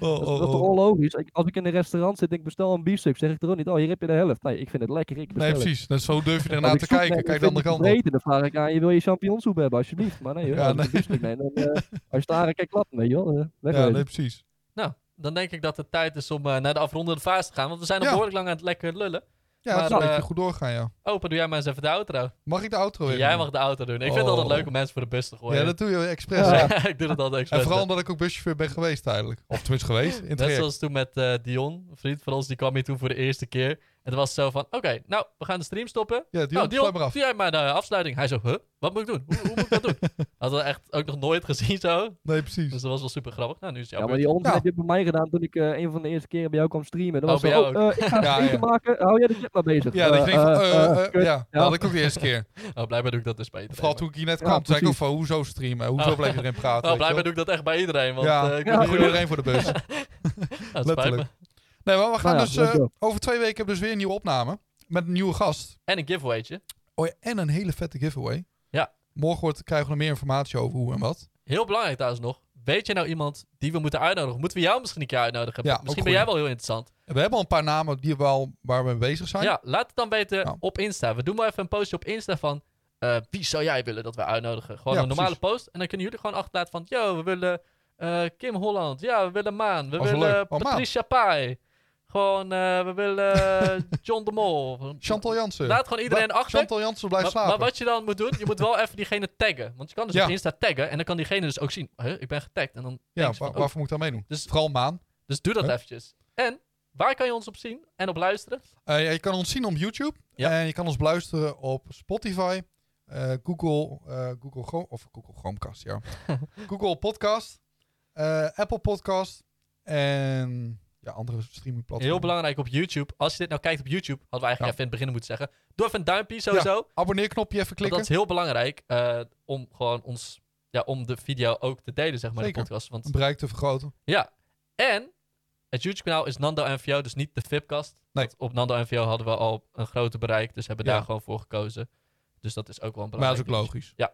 Oh,
Dus Dat is
oh,
dat is toch
oh.
onlogisch? Ik- als ik in een restaurant zit en ik bestel een biefstuk, zeg ik er ook niet, oh, hier heb je de helft. Nee, ik vind het lekker, ik bestel
Nee,
het.
precies. Dus zo durf je
Als
ernaar
ik
te
soep
kijken.
neem,
Kijk de
vind
andere
ik het
kant op.
vreten, dan vraag ik aan je, wil je champignonsoep hebben, alsjeblieft? Maar nee hoor,
Ja,
als ik
nee.
een biefstuk neem, dan eh, als je daar een keer klapt mee, joh. eh,
Ja,
wegwezen.
nee, precies.
Nou, dan denk ik dat het tijd is om eh, naar de afrondende fase te gaan. Want we zijn al
Ja.
behoorlijk lang aan het lekker lullen.
Ja,
Maar,
het is een
eh,
beetje goed doorgaan, ja.
Open, doe jij maar eens even de outro.
Mag ik de outro weer?
Jij
doen?
mag de auto doen. Ik vind het altijd
Oh.
leuk om mensen voor de bus te gooien.
Ja, dat doe je expres.
Ja.
hè?
ik doe dat altijd expres.
En vooral omdat ik ook buschauffeur ben geweest tijdelijk. Of tenminste geweest, in het
Net
traject.
zoals toen met eh, Dion, een vriend van ons, die kwam hier toen voor de eerste keer. En het was zo van, oké, nou, we gaan de stream stoppen.
Ja, die
nou,
sluit maar af.
doe jij maar de afsluiting. Hij zo, huh? Wat moet ik doen? Hoe, hoe moet ik dat doen? Hadden we echt ook nog nooit gezien zo.
Nee, precies.
Dus dat was wel super grappig. Nou, nu is het
Ja,
jouw
maar
beurt.
die onzin
Ja.
heb je bij mij gedaan toen ik eh, een van de eerste keren bij jou kwam streamen.
Oh,
Dan was
bij
zo,
jou
oh, eh, ik ga
Ja,
eten
ja.
maken, hou jij de clip maar bezig.
Ja, dat
Eh,
ging van,
eh,
eh,
eh,
eh,
kut.
ja, dat had ik ook de eerste keer.
Nou, blijkbaar doe ik dat dus bij iedereen.
Vooral toen ik hier net
Ja,
kwam, toen zei ik ook
precies.
van, hoezo streamen? Hoezo
Oh.
blijf je erin
maar-
praten?
Nou,
weet je
blijkbaar doe ik dat echt bij iedereen. Want
Ja.
eh, ik weet
wel?
Ja,
niet
Goed
hoe-
iedereen voor de bus.
Nou, het spijt me.
Letterlijk. Nee, maar we gaan
Nou
dus...
ja, let's
eh,
go.
over twee weken hebben we dus weer een nieuwe opname. Met een nieuwe gast.
En een giveawaytje.
Oh ja, en een hele vette giveaway.
Ja.
Morgen wordt, krijgen we nog meer informatie over hoe en wat.
Heel belangrijk trouwens nog. Weet je nou iemand die we moeten uitnodigen? Moeten we jou misschien een keer uitnodigen?
Ja, ook
misschien ben jij
goeie.
wel heel interessant.
We hebben al een paar namen die we al, waar we mee bezig zijn.
Ja, laat het dan weten
Ja.
op Insta. We doen wel even een postje op Insta van... eh, wie zou jij willen dat we uitnodigen? Gewoon
Ja,
een normale
precies.
post. En dan kunnen jullie gewoon achterlaten van... Yo, we willen eh, Kim Holland. Ja, we willen Maan. We
Oh, zo
willen
leuk. Oh, Maan.
Patricia Pai. Gewoon, eh, we willen eh, John de Mol.
Chantal Jansen.
Laat gewoon iedereen
Wa-
achter.
Chantal Jansen
Maar,
blijft
maar
slapen.
wat je dan moet doen, je moet wel even diegene taggen. Want je kan dus
Ja.
op Insta taggen. En dan kan diegene dus ook zien... Huh, ik ben getagd. En dan
ja,
denkt ze
wa-
van, oh,
waarvoor moet ik daar meedoen?
Dus-
Vooral Maan.
Dus doe dat
Huh?
eventjes. En waar kan je ons op zien en op luisteren?
Eh, ja, je kan ons zien op YouTube.
Ja.
En je kan ons beluisteren op Spotify, eh, Google, eh, Google, Chrome, of Google Chromecast, ja. Google Podcast, eh, Apple Podcast en ja, andere streamingplatforms.
Heel belangrijk op YouTube. Als je dit nou kijkt op YouTube, hadden we eigenlijk even
Ja.
in het begin moeten zeggen. Doe even een duimpje sowieso. want
Abonneerknopje even
dat
klikken.
is heel belangrijk eh, om gewoon ons, ja, om de video ook te delen, zeg maar,
Zeker.
de podcast. Want
Om bereik te vergroten.
ja. En het YouTube kanaal is Nando NVO, dus niet de Fipcast.
Nee.
Want op Nando NVO hadden we al een groter bereik, dus hebben
Ja.
daar gewoon voor gekozen. Dus dat is ook wel een
Maar dat
belangrijk.
is ook logisch.
Ja.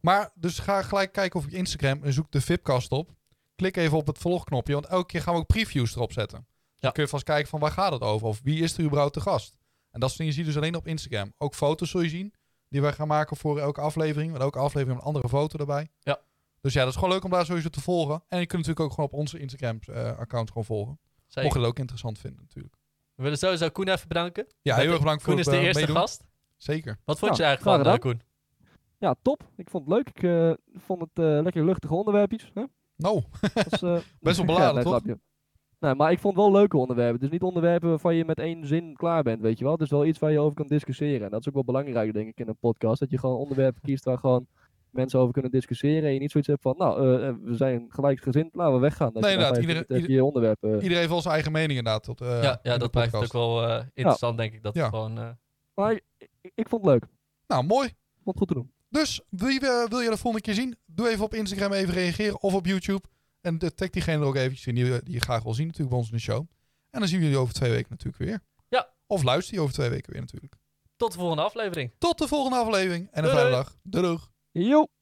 Maar dus ga gelijk kijken op je Instagram en zoek de Vipcast op. Klik even op het volgknopje, want elke keer gaan we ook previews erop zetten. Dus Dan kun je vast kijken van waar gaat het over of wie is er überhaupt te gast. En dat soort dingen zie je dus alleen op Instagram. Ook foto's zul je zien die wij gaan maken voor elke aflevering. Want elke aflevering heeft een andere foto erbij.
Ja.
Dus ja, dat is gewoon leuk om daar sowieso te volgen. En je kunt natuurlijk ook gewoon op onze Instagram-account gewoon volgen.
Zeker.
Mocht je het ook interessant vinden natuurlijk.
We willen sowieso Koen even bedanken.
Ja,
Dat-
heel erg bedankt voor
Koen is
het
de
eh,
eerste
meedoen. Nou,
gast.
Zeker.
Wat vond
Ja,
je er eigenlijk
graag
van, eh, Koen?
Ja, top. Ik vond het leuk. Ik eh, vond het eh, lekker luchtige onderwerpjes. Hè?
Nou,
Dat is, eh,
best wel
ja,
beladen,
nee,
toch?
grapje. Nee, maar ik vond wel leuke onderwerpen. Dus niet onderwerpen waarvan je met één zin klaar bent, weet je wel. Dus wel iets waar je over kan discussiëren. En dat is ook wel belangrijk, denk ik, in een podcast. Dat je gewoon onderwerpen kiest waar gewoon mensen over kunnen discussiëren. En je niet zoiets hebt van, nou, eh, eh, we zijn gelijkgezind, laten we weggaan. Dat
Nee,
je na
inderdaad,
vijf
iedereen-
minuten heb je je onderwerp. eh.
Iedereen heeft wel zijn eigen mening inderdaad. Tot, eh,
ja, ja
in de
dat maakt het ook
podcast.
wel eh, interessant, denk ik. Dat
Ja.
het gewoon... eh,
Maar ik, ik- ik vond het leuk. Ik
Nou, mooi.
vond het goed te doen.
Dus wie eh, wil je de volgende keer zien? Doe even op Instagram even reageren of op YouTube. En de tag diegene er ook eventjes in die, je- die je graag wil zien natuurlijk bij ons in de show. En dan zien we jullie over twee weken natuurlijk weer.
Ja.
Of luister je over twee weken weer natuurlijk.
tot de volgende aflevering.
Tot de volgende aflevering en
Doei,
een
doei.
fijne dag. Doei doei.
Joep!